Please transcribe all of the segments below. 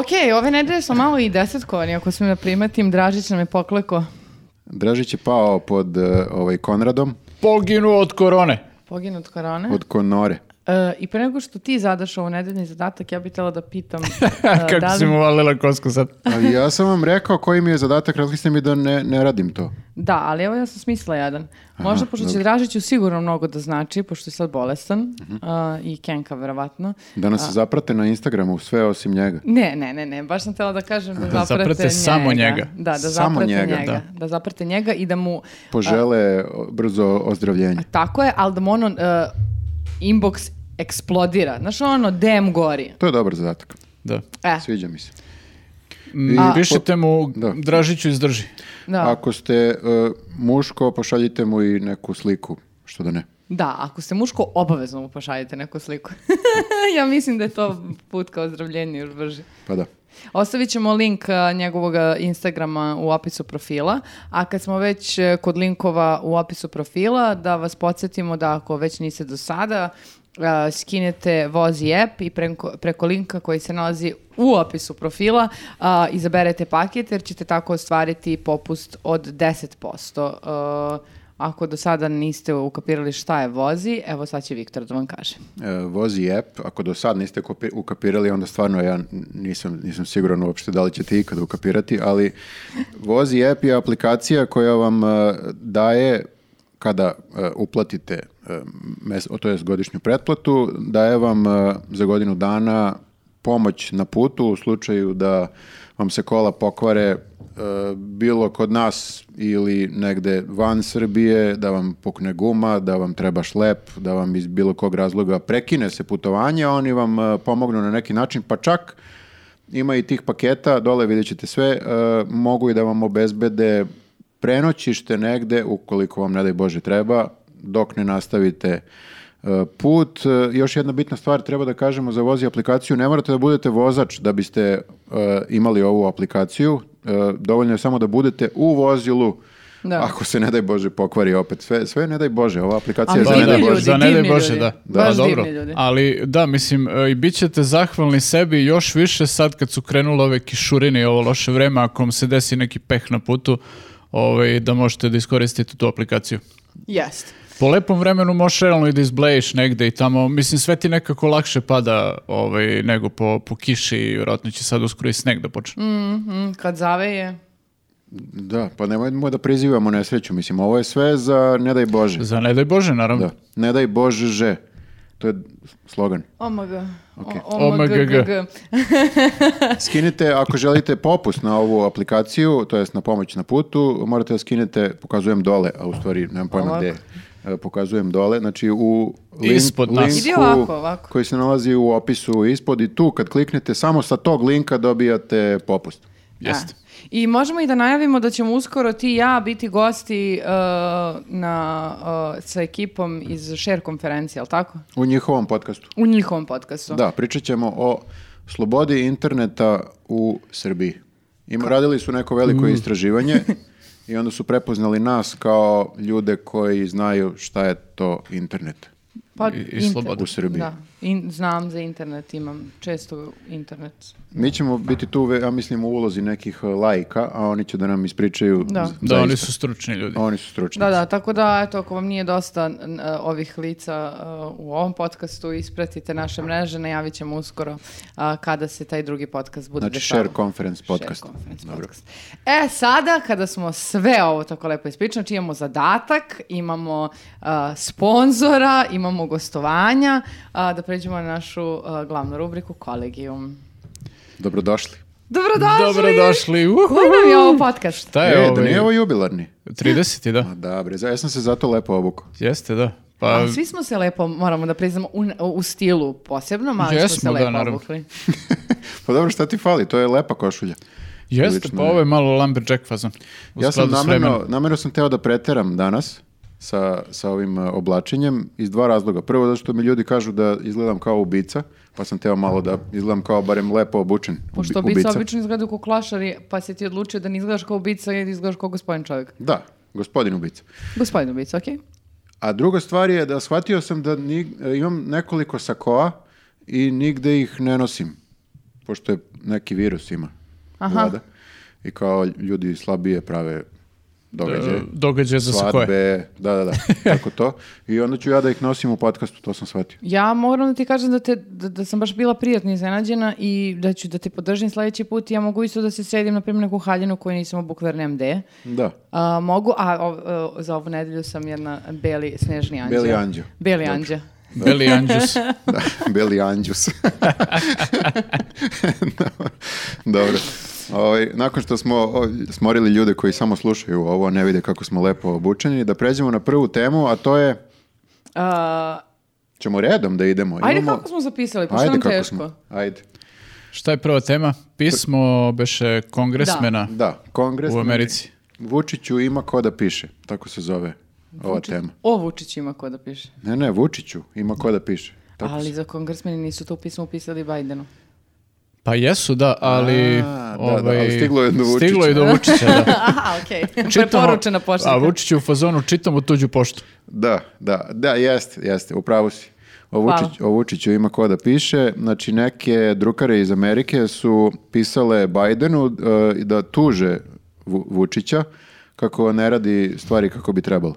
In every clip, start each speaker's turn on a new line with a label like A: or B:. A: Okej, E, ove nedelje smo malo i desetkovani, ako smo da primetim, Dražić nam je pokleko.
B: Dražić je pao pod eh, ovaj Konradom,
C: Poginuo od korone.
A: Poginu od korone.
B: od Konore.
A: E, I pre nego što ti zadaš ovo nedeljni zadatak, ja bih htjela da pitam e,
C: Kako
A: da,
C: si
A: li,
C: mu valila kosku sad?
B: Ali ja sam vam rekao koji mi je zadatak, rekli ste mi da ne, ne radim to.
A: da, ali evo ja sam smisla jedan. Možda, pošto će
B: dobro.
A: Dražiću sigurno mnogo da znači, pošto je sad bolestan a, i Kenka verovatno.
B: Da nas zaprate na Instagramu, sve osim njega.
A: Ne, ne, ne, ne, baš sam htjela da kažem da,
C: Da
A: zaprate,
C: zaprate samo njega.
A: Da, da
B: Samo
A: zaprate njega.
B: njega,
A: Da. zaprate njega i da mu,
B: Požele o, brzo ozdravljenje.
A: tako je, ali da mu ono e, inbox eksplodira. Znaš ono, DM gori.
B: To je dobar zadatak.
C: Da.
A: E,
B: Sviđa mi se.
C: I pišite mu,
B: Da.
C: Dražiću izdrži.
A: da.
B: Ako ste e, muško, pošaljite mu i neku sliku, što da ne.
A: Da, ako ste muško, obavezno mu pošaljite neku sliku. ja mislim da je to put ka ozdravljenju još brži.
B: Pa da.
A: Ostavit ćemo link a, njegovog a, Instagrama u opisu profila, a kad smo već e, kod linkova u opisu profila, da vas podsjetimo da ako već niste do sada, a, skinete Vozi app i preko, preko linka koji se nalazi u opisu profila a, izaberete paket jer ćete tako ostvariti popust od 10%. E, ako do sada niste ukapirali šta je Vozi, evo sad će Viktor da vam kaže.
B: E, vozi app, ako do sad niste kopi- ukapirali, onda stvarno ja n- nisam, nisam siguran uopšte da li ćete ikada ukapirati, ali Vozi app je aplikacija koja vam e, daje kada e, uplatite e, mes, o, to jest godišnju pretplatu, daje vam e, za godinu dana pomoć na putu u slučaju da vam se kola pokvare e, bilo kod nas ili negde van Srbije, da vam pukne guma, da vam treba šlep, da vam iz bilo kog razloga prekine se putovanje, oni vam e, pomognu na neki način, pa čak ima i tih paketa, dole vidjet ćete sve, e, mogu i da vam obezbede prenoćište negde, ukoliko vam ne daj Bože treba, dok ne nastavite e, put. E, Još jedna bitna stvar, treba da kažemo za vozi aplikaciju, ne morate da budete vozač da biste e, imali ovu aplikaciju, E, dovoljno je samo da budete u vozilu,
A: Da.
B: ako se ne daj Bože pokvari opet. Sve, sve je ne daj Bože, ova aplikacija je
A: Ali
B: za ne
A: divni
B: daj Bože.
A: ljudi,
C: za ne daj
A: divni
C: Bože,
A: ljudi.
C: da.
A: Da.
C: Pa
A: Baš
C: dobro.
A: divni ljudi.
C: Ali da, mislim, e, i bit ćete zahvalni sebi još više sad kad su krenule ove kišurine i ovo loše vreme, ako vam se desi neki peh na putu, ovaj, da možete da iskoristite tu aplikaciju.
A: Jeste.
C: Po lepom vremenu možeš realno i da izblejiš negde i tamo, mislim sve ti nekako lakše pada ovaj, nego po, po kiši i vjerojatno će sad uskoro i sneg da počne.
A: Mm, Kad zaveje,
B: Da, pa nemojmo da prizivamo nesreću, mislim, ovo je sve za ne daj Bože.
C: Za ne daj Bože, naravno.
B: Da. Ne daj Bože že. To je slogan.
A: Omg.
B: Ok.
A: O-
C: OMGG.
B: Skinite, ako želite popust na ovu aplikaciju, to jest na pomoć na putu, morate da skinete, pokazujem dole, a u stvari nemam pojma
A: Ovako.
B: gde e, pokazujem dole, znači u link-
C: Ispod nas.
B: linku
A: Idi ovako, ovako.
B: koji se nalazi u opisu ispod i tu kad kliknete samo sa tog linka dobijate popust.
C: Jeste.
A: Da. I možemo i da najavimo da ćemo uskoro ti i ja biti gosti e, na, e, sa ekipom iz Share konferencije, jel tako?
B: U njihovom podcastu.
A: U njihovom podcastu.
B: Da, pričat ćemo o slobodi interneta u Srbiji. Im, radili su neko veliko
A: Mm.
B: istraživanje i onda su prepoznali nas kao ljude koji znaju šta je to internet
A: Pa,
C: I- i
A: inter-
C: sloboda.
B: u Srbiji.
A: Da, In- znam za internet, imam često internet.
B: Mi ćemo biti tu, ve- ja mislim, u ulozi nekih e, laika, a oni će da nam ispričaju.
A: Da.
B: z-
C: Da, oni
B: zaista.
C: su stručni ljudi.
B: Oni su stručni.
A: Da, da, tako da, eto, ako vam nije dosta n- e, ovih lica e, u ovom podcastu, ispratite naše mreže, najavit ćemo uskoro a, kada se taj drugi podcast bude
B: Znači,
A: dešavao.
B: share conference podcast.
A: Share conference
B: Dobro.
A: podcast. E, sada, kada smo sve ovo tako lepo ispričali, znači imamo zadatak, imamo uh, sponzora, imamo gostovanja, a, da pređemo na našu a, glavnu rubriku kolegijum.
B: Dobrodošli.
A: Dobrodošli!
C: Dobrodošli. uhu.
A: Koji nam je ovo podcast?
C: Šta je
B: E, da
C: ovaj?
B: nije ovo jubilarni?
C: 30. da.
B: A da, bre, za- ja sam se zato lepo obukao.
C: Jeste, da. Pa,
A: A, svi smo se lepo, moramo da priznamo, u, u stilu posebno, ali smo se
C: Jesmo, da,
A: lepo
C: naravno.
A: obukli.
B: Pa dobro, šta ti fali? To je lepa košulja.
C: jeste,
B: Prilično
C: pa
B: je.
C: ovo je malo Lumberjack fazon. U
B: Ja sam
C: skladu s
B: namjerno,
C: vremenom.
B: namjerno sam teo da preteram danas sa, sa ovim e, oblačenjem iz dva razloga. Prvo, zato što mi ljudi kažu da izgledam kao ubica, pa sam teo malo da izgledam kao barem lepo obučen ubi-
A: Pošto ubica obično izgleda kao klašari, pa si ti odlučio da ne izgledaš kao ubica i da izgledaš kao gospodin čovjek.
B: Da, gospodin ubica.
A: Gospodin ubica, okej?
B: A druga stvar je da shvatio sam da ni- e, imam nekoliko sakoa i nigde ih ne nosim. pošto je neki virus ima
A: Aha.
B: vlada, i kao ljudi slabije prave događaje.
C: E, događaje za se koje.
B: Svadbe, da, da, da, tako to. I onda ću ja da ih nosim u podcastu, to sam shvatio.
A: Ja moram da ti kažem da, te, da, da sam baš bila prijatno iznenađena i da ću da te podržim sledeći put. Ja mogu isto da se sredim, na primjer, na kuhaljinu koju nisam obukverna MD.
B: Da.
A: A, mogu, a o- o- za ovu nedelju sam jedna beli snežni anđeo.
B: Beli anđeo.
A: Beli anđeo.
C: Beli Anđus.
B: Da, Beli Anđus. Dobro. Ovaj, nakon što smo o, smorili ljude koji samo slušaju ovo, ne vide kako smo lepo obučeni, da pređemo na prvu temu, a to je,
A: A,
B: ćemo redom da idemo.
A: ajde
B: Imamo-
A: kako smo zapisali, pa što
B: Ajde
A: nam
B: kako
A: teško?
B: smo. Ajde.
C: Šta je prva tema? Pismo beše kongresmena
B: Da, kongres.
C: u Americi.
B: Vučiću ima ko da piše, tako se zove ova tema.
A: O Vučić ima ko da piše.
B: Ne, ne, Vučiću ima ko da piše. Tako
A: Ali
B: se-
A: za kongresmeni nisu to pismo upisali Bajdenu.
C: Pa jesu, da, ali...
B: da, da,
C: ovaj,
B: ali stiglo je do
C: Stiglo je do Vučića, da.
A: Aha, okej.
C: Čitamo-
A: Preporučena
C: A
A: pošiljka.
C: Vučić je u fazonu, čitamo tuđu poštu.
B: Da, da, da, jeste, jeste, upravo si. O, Vučić, o Vučiću ima ko da piše. Znači, neke drukare iz Amerike su pisale Bajdenu e, da tuže Vu- Vučića kako ne radi stvari kako bi trebalo.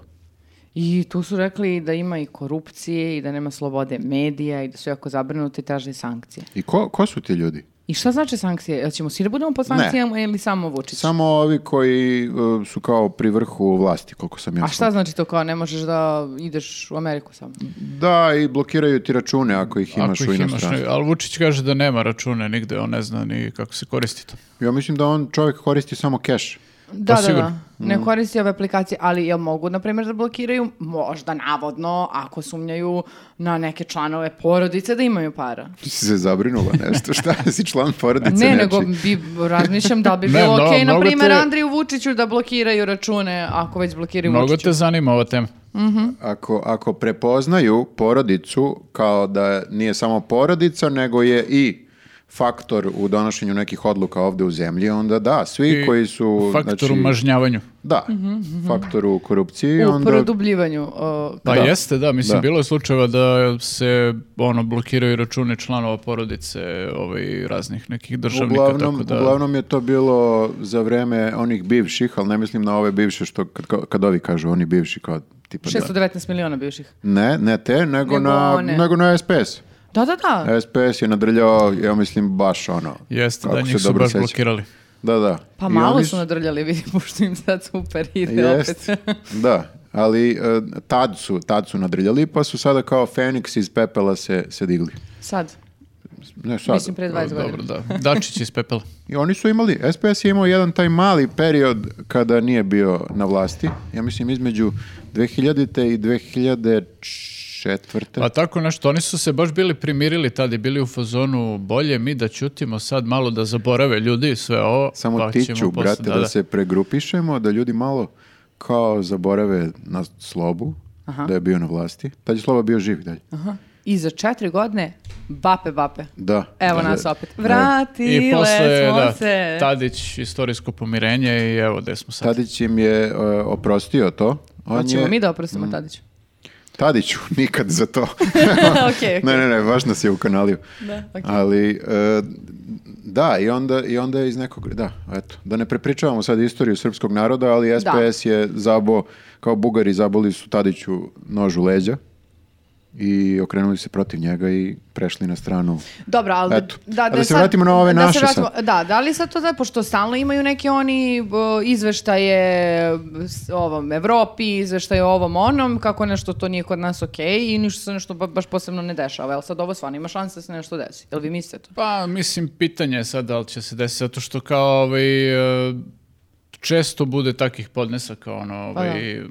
A: I tu su rekli da ima i korupcije i da nema slobode medija i da su jako zabrinuti i traže sankcije.
B: I ko, ko su ti ljudi?
A: I šta znači sankcije? Jel ćemo svi da budemo pod sankcijama ili samo Vučić?
B: Samo ovi koji e, su kao pri vrhu vlasti, koliko sam ja
A: A šta znači to kao ne možeš da ideš u Ameriku samo?
C: Pa
B: Da, i blokiraju ti račune ako ih imaš
C: Ako
B: u
C: ih imaš,
B: inostranstvu.
C: ne, ali Vučić kaže da nema račune nigde, on ne zna ni kako se koristi to.
B: Ja mislim da on čovjek koristi samo keš.
A: Da, da, da.
C: sigurno. Mm.
A: Ne koristi ove aplikacije, ali jel mogu, na primjer, da blokiraju? Možda, navodno, ako sumnjaju na neke članove porodice da imaju para.
B: Ti si se zabrinula nešto, šta si član porodice?
A: Ne,
B: nečiji?
A: nego bi, razmišljam da bi
C: Znači, Ne,
A: bilo
C: no,
A: okej, na
C: mnogo
A: primjer,
C: te-
A: Andriju Vučiću da blokiraju račune, ako već blokiraju
C: Mnogo
A: Vučiću.
C: te zanima ova tema.
B: Ako, ako prepoznaju porodicu kao da nije samo porodica, nego je i faktor u donošenju nekih odluka ovde u zemlji, onda da, svi
C: I
B: koji su...
C: Faktor
B: znači,
C: u mažnjavanju.
B: Da, faktor u korupciji,
A: Mhm, U
B: onda...
A: produbljivanju. o,
C: Pa
B: Da.
C: jeste, da, mislim,
B: Da.
C: bilo je slučajeva da se ono blokiraju račune članova porodice ovaj, raznih nekih državnika,
B: Uglavnom,
C: tako da...
B: uglavnom je to bilo za vreme onih bivših, ali ne mislim na ove bivše što kad, kad ovi kažu oni bivši kao tipa da.
A: 619 miliona bivših.
B: Ne, ne te, nego,
A: Nego
B: na,
A: one.
B: nego na SPS.
A: Da, da, da.
B: E, SPS je nadrljao, ja mislim, baš ono.
C: Jeste, da
B: kako
C: njih
B: se
C: su
B: dobro
C: baš
B: sećam.
C: blokirali.
B: Da, da.
A: Pa
B: I
A: malo
B: oni
A: su nadrljali, vidim, pošto im sad super ide
B: Jest,
A: opet.
B: da. Ali e, tad su, tad su nadrljali, pa su sada kao Feniks iz pepela se, se digli.
A: Sad,
B: Ne, sad.
A: mislim, pre 20
C: Dobro,
A: godina.
C: da. Dačić iz pepela.
B: I oni su imali, SPS je imao jedan taj mali period kada nije bio na vlasti. Ja mislim između 2000. i 2004.
C: Pa tako nešto, oni su se baš bili primirili tad i bili u fazonu bolje mi da ćutimo sad malo da zaborave ljudi sve ovo.
B: Samo
C: pa ćemo
B: tiću,
C: posle-
B: brate, da, se pregrupišemo, da ljudi malo kao zaborave na slobu, da je bio na vlasti. Tad je sloba bio živ dalje.
A: I za četiri godine, bape, bape.
B: Da.
A: Evo
B: Da. E,
A: nas opet.
B: Da.
A: Vratile
C: I posle,
A: smo
C: da,
A: se.
C: Tadić, istorijsko pomirenje i evo gde smo sad.
B: Tadić im je e, oprostio to. On
A: Hoćemo
B: je- Mm.
A: mi da oprostimo Tadiću.
B: Tadiću, nikad za to.
A: Okej,
B: ne, ne, ne, baš nas je ukanalio.
A: Da, okej.
B: Ali, e, da, i onda, i onda je iz nekog, da, eto, da ne prepričavamo sad istoriju srpskog naroda, ali SPS je zabo, kao bugari zaboli su Tadiću nožu leđa i okrenuli se protiv njega i prešli na stranu.
A: Dobro, ali
B: Eto. A
A: da,
B: da se vratimo na ove naše
A: Da, da li sad to da, pošto stalno imaju neke oni b- izveštaje s- ovom Evropi, izveštaje ovom onom, kako nešto to nije kod nas okej i ništa se nešto ba- baš posebno ne dešava. Jel sad ovo stvarno ima šanse da se nešto desi? Jel vi mislite to?
C: Pa, mislim, pitanje je sad da li će se desiti, zato što kao ovaj, e, često bude takih podnesaka ono,
A: Pa da.
C: ovaj, m,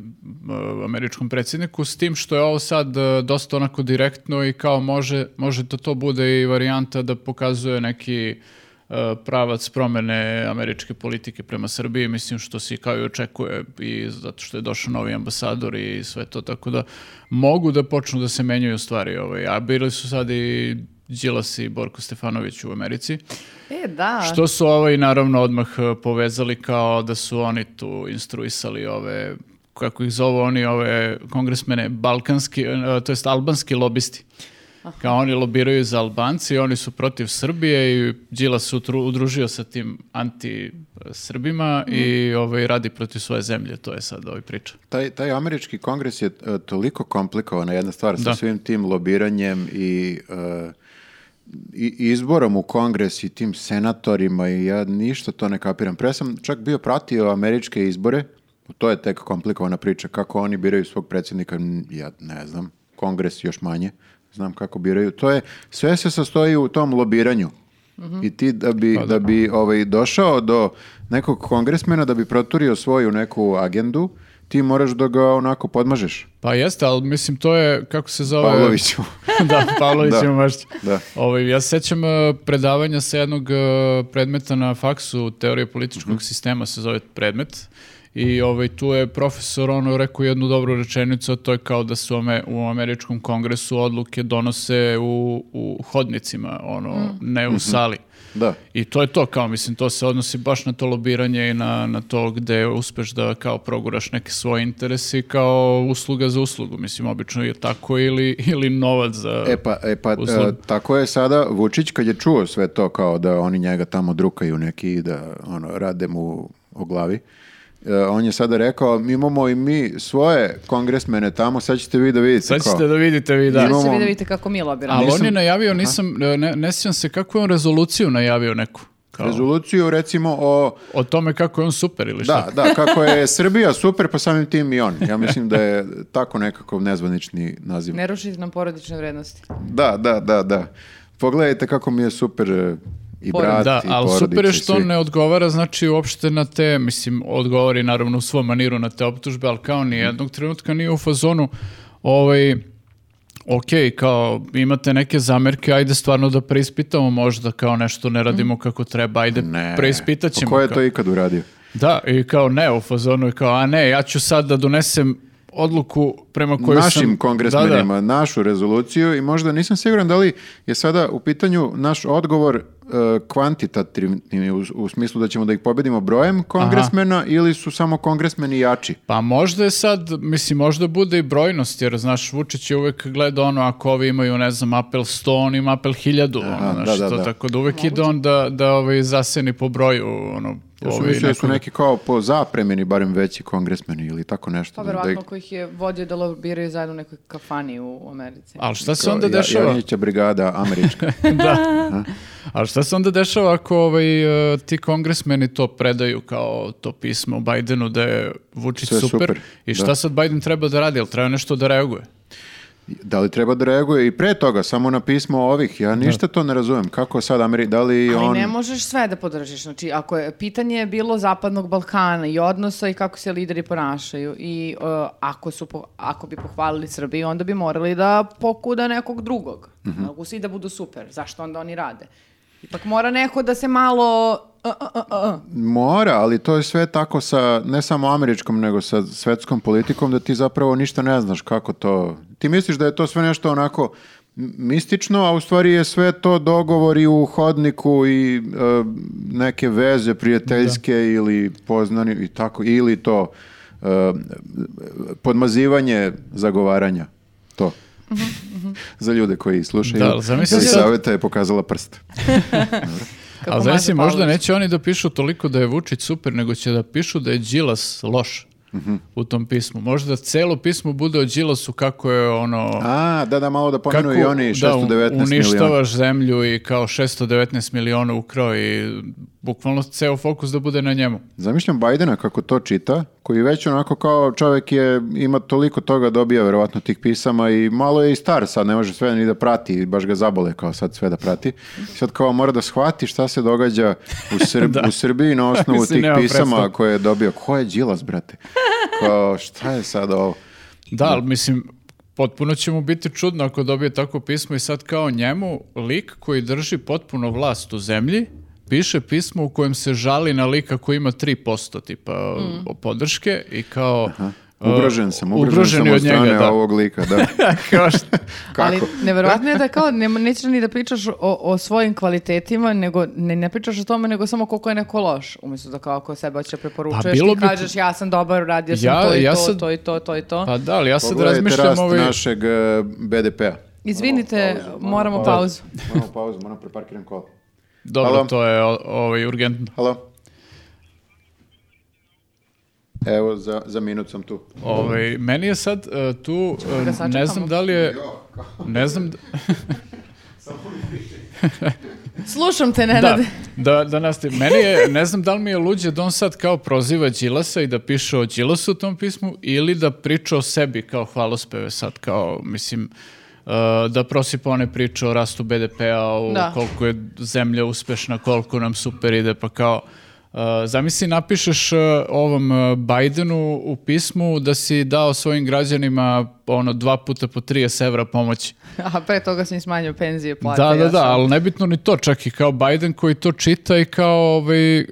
C: e, američkom predsjedniku, s tim što je ovo sad e, dosta onako direktno i kao može, može da to bude i varijanta da pokazuje neki e, pravac promene američke politike prema Srbiji, mislim što se i kao i očekuje i zato što je došao novi ambasador i sve to, tako da mogu da počnu da se menjaju stvari, ovaj, a bili su sad i Đilas i Borko Stefanović u Americi.
A: E, da.
C: Što su ovaj naravno odmah e, povezali kao da su oni tu instruisali ove eh, kako ih zovu oni ove kongresmene balkanski e, to jest albanski lobisti. Kao oni lobiraju za Albanci, oni su protiv Srbije i Đila se utru- udružio sa tim anti-Srbima i ovaj, radi protiv svoje zemlje, to je sad ovaj priča.
B: Taj, taj američki kongres je e, toliko komplikovana jedna stvar sa
C: Da.
B: svim tim lobiranjem i, e, i izborom u kongres i tim senatorima i ja ništa to ne kapiram. Pre sam čak bio pratio američke izbore, to je tek komplikovana priča, kako oni biraju svog predsjednika, m, ja ne znam, kongres još manje, znam kako biraju. To je, sve se sastoji u tom lobiranju. I ti da bi,
C: Pa
B: da bi ovaj, došao do nekog kongresmena, da bi proturio svoju neku agendu, ti moraš da ga onako podmažeš.
C: Pa jeste, ali mislim to je, kako se zove...
B: Pavloviću.
C: da, Pavlović
B: Da.
C: ima mašće.
B: Da.
C: Ovaj, ja se sećam e, predavanja sa jednog e, predmeta na faksu, teorije političkog sistema se zove predmet. I ovaj, tu je profesor ono rekao jednu dobru rečenicu, a to je kao da su ame- u američkom kongresu odluke donose u, u hodnicima, ono, ne u sali.
B: Da.
C: I to je to, kao mislim, to se odnosi baš na to lobiranje i na, na to gde uspeš da kao proguraš neke svoje interese i kao usluga za uslugu, mislim, obično je tako ili, ili novac za...
B: E pa, e pa
C: Uslov.
B: e, tako je sada Vučić kad je čuo sve to kao da oni njega tamo drukaju neki i da ono, rade mu o glavi. e, on je sada rekao, mi imamo i mi svoje kongresmene tamo, sad ćete vi da vidite
C: Sad
B: kao.
C: ćete da vidite vi, da.
A: Da
B: Imamo-
A: ćete vi da vidite kako mi lobiramo.
C: Ali on je
B: Nisam-
C: najavio, nisam, e, ne, ne sjećam se kako je on rezoluciju najavio neku. Kao,
B: Rezoluciju recimo o
C: o tome kako je on super ili šta.
B: Da, da, kako je Srbija super, pa samim tim i on. Ja mislim da je tako nekako nezvanični naziv.
A: Ne rušite nam porodične vrednosti.
B: Da, da, da, da. Pogledajte kako mi je super e, i
A: Porod-
B: brat
C: Da,
B: i
C: ali
B: porodica
C: super je
B: i
C: što
B: svi.
C: on ne odgovara, znači uopšte na te, mislim, odgovori naravno u svom maniru na te optužbe, ali kao
B: Mhm.
C: ni jednog trenutka nije u fazonu, ovaj, ok, kao imate neke zamerke, ajde stvarno da preispitamo možda kao nešto ne radimo kako treba, ajde
B: Mhm. Ne.
C: preispitat
B: Pa
C: ćemo.
B: Ko je
C: kao.
B: to ikad uradio?
C: Da, i kao ne, u fazonu je kao, a ne, ja ću sad da donesem odluku prema kojoj sam...
B: Našim
C: Da,
B: kongresmenima,
C: da.
B: našu rezoluciju i možda nisam siguran da li je sada u pitanju naš odgovor e, kvantitativni u, u smislu da ćemo da ih pobedimo brojem kongresmena ili su samo kongresmeni jači.
C: Pa možda je sad, mislim, možda bude i brojnost, jer, znaš, Vučić je uvek gleda ono, ako ovi imaju, ne znam, apel 100, on ima apel 1000, ono,
B: Aha,
C: znaš,
B: da, da,
C: to
B: da.
C: tako da uvek ide on da, da ovaj, zaseni po broju, ono,
B: Ja sam
C: ovaj,
B: mislio da su
C: nekoga.
B: neki kao po zapremeni, barem veći kongresmeni ili tako nešto.
A: Pa
B: da- da ih-
A: verovatno kojih je vodio da lobiraju zajedno u nekoj kafani u Americi.
C: Ali šta se
B: Kao
C: onda
B: Ja-
C: dešava?
B: Janjića brigada američka.
C: da. Ali šta se onda dešava ako ovaj, e, ti kongresmeni to predaju kao to pismo Bajdenu da je Vučić
B: Sve
C: super,
B: super,
C: i šta
B: da.
C: sad Bajden treba da radi? Jel treba nešto da reaguje?
B: da li treba da reaguje i pre toga, samo na pismo ovih? Ja ništa to ne razumem. Kako sad Ameri... Da li
A: Ali
B: on...
A: ne možeš sve da podržiš. Znači, ako je pitanje je bilo Zapadnog Balkana i odnosa i kako se lideri ponašaju i e, ako, su po- ako bi pohvalili Srbiju, onda bi morali da pokuda nekog drugog. Mogu svi da budu super. Zašto onda oni rade? Ipak mora neko da se malo... e, e, e, e, e.
B: Mora, ali to je sve tako sa, ne samo američkom, nego sa svetskom politikom, da ti zapravo ništa ne znaš kako to... Ti misliš da je to sve nešto onako m- mistično, a u stvari je sve to dogovori u hodniku i e, neke veze prijateljske ili poznani i tako, ili to e, podmazivanje zagovaranja. To. Za ljude koji slušaju.
C: Mhm, Da, ali zamisli sad-
B: Elisaveta je pokazala prst.
A: Kako
C: Ali
A: Maza
C: znači možda
A: Pavlović.
C: neće oni da pišu toliko da je Vučić super, nego će da pišu da je Đilas loš
B: Mhm.
C: u tom pismu. Možda celo pismo bude o Đilasu kako je ono...
B: A, da, da, malo da pomenu
C: kako
B: i oni 619 miliona.
C: da, uništavaš zemlju i kao 619 miliona ukrao i bukvalno ceo fokus da bude na njemu.
B: Zamišljam Bajdena kako to čita, koji već onako kao čovjek je, ima toliko toga dobija verovatno tih pisama i malo je i star sad, ne može sve ni da prati, baš ga zabole kao sad sve da prati. Sad kao mora da shvati šta se događa u, Srb- u Srbiji na osnovu
C: Mislim,
B: tih
C: nema
B: pisama
C: predstav.
B: koje je dobio. Ko je Đilas, brate? Kao, šta je sad ovo?
C: Da, ali mislim, potpuno će mu biti čudno ako dobije tako pismo i sad kao njemu, lik koji drži potpuno vlast u zemlji, piše pismo u kojem se žali na lika koji ima 3% tipa o- podrške i kao... uh,
B: Ugrožen sam, ugrožen,
C: ugrožen
B: sam
C: je
B: od strane
C: da.
B: ovog lika. Da.
C: Kao šta-
B: Kako?
A: Ali neverovatno je da kao ne, nećeš ni da pričaš o, o svojim kvalitetima, nego ne, ne pričaš o tome, nego samo koliko je neko loš. Umjesto da kao ako sebe će
C: Pa
A: preporučuješ,
C: bilo
A: ti
C: bi-
A: kažeš ja sam dobar, radio sam
C: Ja-
A: to i
C: ja
A: to,
C: sad-
A: to i to, to i to.
C: Pa da, ali ja sad
B: Pogledajte
C: razmišljam
B: rast
C: ovaj...
B: našeg eh, BDP-a.
A: Izvinite, moramo pauzu.
B: Moramo pauzu, moram preparkiram kola.
C: Dobro,
B: Hvala.
C: to je o- ovaj, urgentno.
B: Halo? Evo, za, za minut sam tu.
C: Ovaj, meni je sad e, tu, e,
A: da sačekamo.
C: ne znam da li je, ne znam, d-
A: Slušam te,
C: da,
A: Nenade.
C: da, da nastavim. Meni je, ne znam da li mi je luđe da on sad kao proziva Đilasa i da piše o Đilasu u tom pismu ili da priča o sebi kao hvalospeve sad, kao, mislim, e, da prosipa one priče o rastu BDP-a, o
A: Da.
C: koliko je zemlja uspešna, koliko nam super ide, pa kao, e, zamisli napišeš e, ovom e, Bidenu u pismu da si dao svojim građanima ono dva puta po 30 evra pomoći.
A: A pre toga sam im smanjio penzije, plate.
C: Da, da,
A: ja
C: da,
A: sam-
C: ali nebitno ni to, čak i kao Biden koji to čita i kao ovaj, e,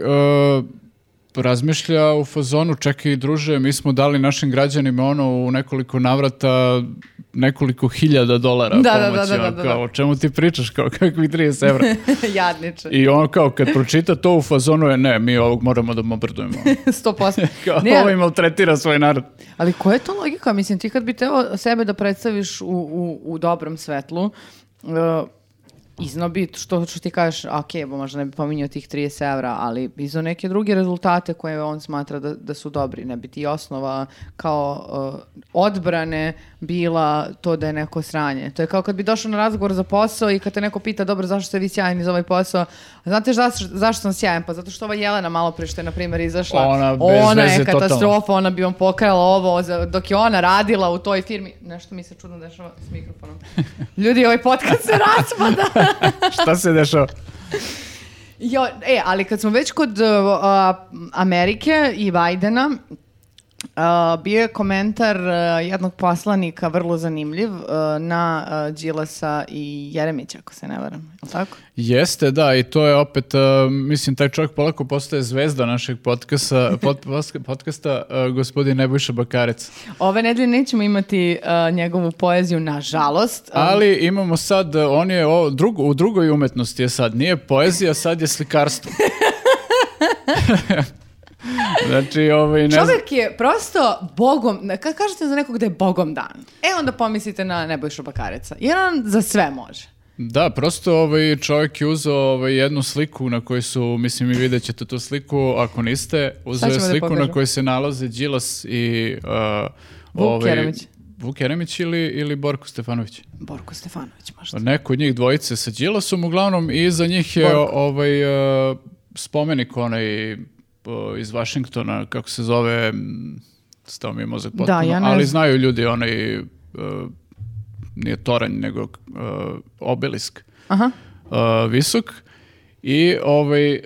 C: razmišlja u fazonu, čak i druže, mi smo dali našim građanima ono u nekoliko navrata nekoliko hiljada dolara
A: Da, da, da,
C: pomoći,
A: da,
C: ono,
A: da, da.
C: kao, o čemu ti pričaš, kao kakvi 30 evra.
A: Jadniče.
C: I on kao kad pročita to u fazonu je, ne, mi ovog moramo da bombardujemo.
A: 100%.
C: Kao,
A: Ne,
C: ovaj maltretira svoj narod.
A: Ali koja je to logika? Mislim, ti kad bi teo sebe da predstaviš u, u, u dobrom svetlu, uh, iznao bi, što, što ti kažeš, ok, bo možda ne bi pominjao tih 30 evra, ali iznao neke druge rezultate koje on smatra da, da su dobri. Ne bi ti osnova kao uh, odbrane bila to da je neko sranje. To je kao kad bi došao na razgovor za posao i kad te neko pita, dobro, zašto ste vi sjajni za ovaj posao? A Znate zašto, zašto sam sjajan? Pa zato što ova Jelena malo pre što je, na primjer, izašla.
C: Ona bez
A: Ona je
C: veze totalno.
A: katastrofa pa ona bi vam pokrala ovo za- dok je ona radila u toj firmi. Nešto mi se čudno dešava s mikrofonom. Ljudi, ovaj podcast se raspada.
C: Šta se dešava?
A: Jo, e, ali kad smo već kod uh, a, Amerike i Bajdena, a, bio je komentar a, jednog poslanika vrlo zanimljiv a, na a, Đilasa i Jeremića, ako se ne varam. Jel tako?
C: Jeste, da, i to je opet, uh, mislim, taj čovjek polako postaje zvezda našeg podcasta, pod, podca- podcasta uh, gospodin Nebojša Bakarec.
A: Ove nedelje nećemo imati a, njegovu poeziju, nažalost. E, a-
C: Ali imamo sad, uh, on je o, drugo- u drugoj umetnosti je sad, nije poezija, sad je slikarstvo. znači, ovaj, ne znam-
A: Čovjek je prosto bogom, na- kad kažete za nekog da je bogom dan, e onda pomislite na Nebojšu Bakareca, jer on za sve može.
C: Da, prosto ovaj čovjek je uzeo ovaj, jednu sliku na kojoj su, mislim i vidjet ćete tu sliku, ako niste, uzeo je
A: ćemo da
C: sliku na
A: pokažemo.
C: kojoj se nalaze Đilas i... Uh,
A: Vuk
C: ovaj,
A: Jeremić.
C: Vuk Jeremić ili, ili Borko Stefanović.
A: Borko Stefanović možda.
C: Neko od njih dvojice sa Đilasom, uglavnom i za njih je
A: Borko.
C: ovaj uh, spomenik onaj uh, iz Vašingtona, kako se zove, mm, stao mi je mozak potpuno,
A: ja ne znam.
C: ali znaju ljudi onaj, uh, nije toranj, nego uh, obelisk
A: Aha.
C: uh, visok i ovaj, uh,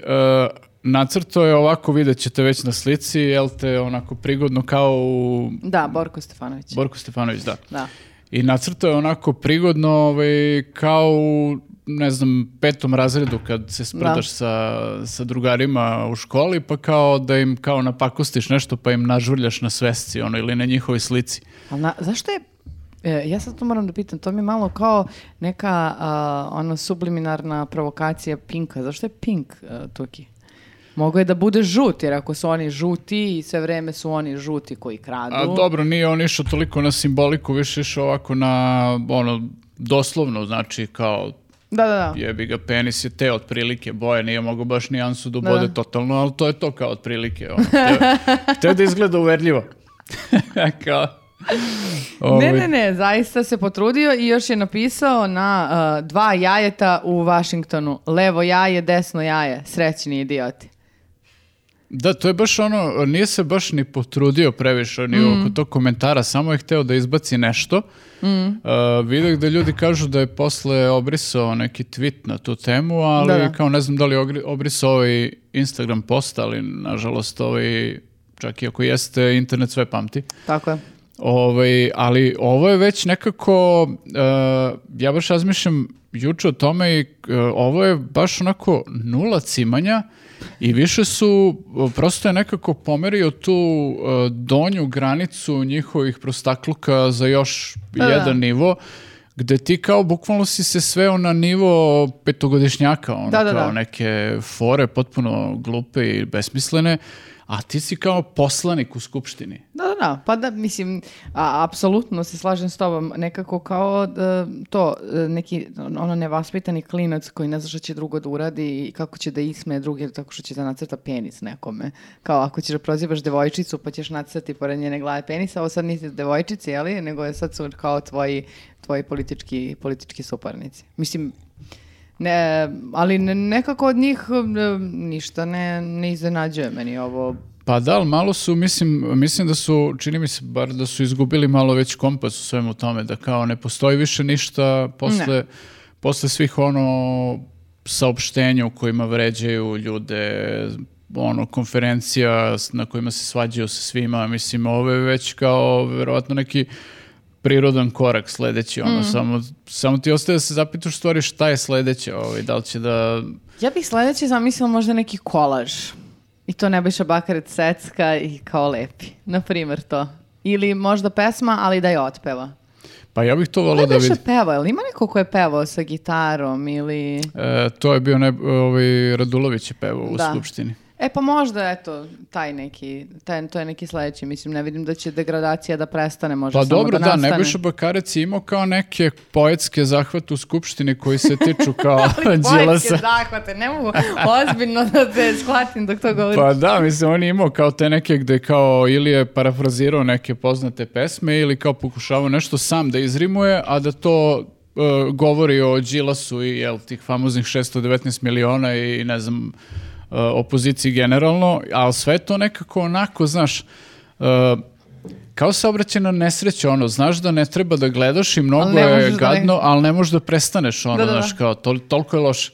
C: nacrto je ovako, vidjet ćete već na slici, jel te onako prigodno kao u
A: Da, Borko Stefanović.
C: Borko Stefanović, da.
A: da.
C: I nacrto je onako prigodno ovaj, kao u, ne znam, petom razredu kad se sprdaš
A: Da.
C: sa, sa drugarima u školi, pa kao da im kao napakostiš nešto pa im nažvrljaš na svesci ono, ili na njihovoj slici.
A: Ali na- zašto je e, ja sad to moram da pitam, to mi je malo kao neka a, ono subliminarna provokacija Pinka. Zašto je Pink a, Tuki? Mogu je da bude žut, jer ako su oni žuti i sve vreme su oni žuti koji kradu.
C: A dobro, nije on išao toliko na simboliku, više išao ovako na ono, doslovno, znači kao
A: Da, da, da.
C: jebi ga, penis je te otprilike boje, nije mogao baš nijansu da
A: Da.
C: ubode totalno, ali to je to kao otprilike. Ono, teo, teo da izgleda uverljivo. kao,
A: Ne,
C: ovaj,
A: ne, ne, zaista se potrudio i još je napisao na uh, dva jajeta u Vašingtonu. Levo jaje, desno jaje, srećni idioti.
C: Da, to je baš ono, nije se baš ni potrudio previše ni
A: Mm.
C: oko tog komentara, samo je hteo da izbaci nešto. Mm. vidio da ljudi kažu da je posle obrisao neki tweet na tu temu, ali
A: Da, da.
C: kao ne znam da li je ogri- obrisao ovaj Instagram post, ali nažalost ovaj, čak i ako jeste, internet sve pamti.
A: Tako je.
C: Ovaj, ali ovo je već nekako, eh, ja baš razmišljam juče o tome i eh, ovo je baš onako nula cimanja i više su, eh, prosto je nekako pomerio tu eh, donju granicu njihovih prostakluka za još
A: Pa da.
C: jedan nivo, gde ti kao bukvalno si se sveo na nivo petogodišnjaka, ono
A: Da, da,
C: kao
A: da.
C: neke fore potpuno glupe i besmislene, a ti si kao poslanik u skupštini.
A: Da, da, da, pa da, mislim, a, apsolutno se slažem s tobom, nekako kao da, to, e, neki ono nevaspitani klinac koji ne zna što će drugo da uradi i kako će da isme druge tako što će da nacrta penis nekome. Kao ako ćeš da prozivaš devojčicu pa ćeš nacrtati pored njene glave penisa, ovo sad nisi devojčici, jeli, nego je sad su kao tvoji, tvoji politički, politički suparnici. Mislim, ne, ali ne- nekako od njih e, ništa ne, ne iznenađuje meni ovo
C: Pa da, ali malo su, mislim, mislim da su, čini mi se bar da su izgubili malo već kompas u svemu tome, da kao ne postoji više ništa posle, posle svih ono saopštenja u kojima vređaju ljude, ono, konferencija s- na kojima se svađaju sa svima, mislim, ovo je već kao verovatno neki prirodan korak sledeći, ono, samo, samo ti ostaje da se zapitaš u stvari šta je sledeće, ovaj, da li će da
A: Ja bih sledeće zamislila možda neki kolaž. I to Nebojša Bakarec secka i kao lepi. Na primjer to. Ili možda pesma, ali da je otpeva.
C: Pa ja bih to volao da
A: Da više
C: vidim.
A: peva, ili ima neko ko je pevao sa gitarom ili...
C: E, to je bio ne, ovaj, Radulović je pevao u
A: Da.
C: Skupštini.
A: E pa možda, eto, taj neki, taj, to je neki sledeći, mislim, ne vidim da će degradacija da prestane, možda
C: Pa
A: samo
C: dobro,
A: da
C: da,
A: nastane.
C: Nebojša Bakarec je imao kao neke poetske zahvate u Skupštini koji se tiču kao
A: Poetske
C: Đilasa.
A: zahvate, ne mogu ozbiljno da te shvatim dok to govorim.
C: Pa da, mislim, on je imao kao te neke gde kao ili je parafrazirao neke poznate pesme ili kao pokušavao nešto sam da izrimuje, a da to e, govori o Đilasu i jel, tih famoznih 619 miliona i ne znam, e, opoziciji generalno, ali sve je to nekako onako, znaš, e, kao saobraćena nesreća, ono, znaš da ne treba da gledaš i mnogo
A: ne
C: je
A: možeš da ne-
C: gadno, ali ne možeš da prestaneš, ono,
A: Da, da, da.
C: znaš, kao, tol- toliko je loše.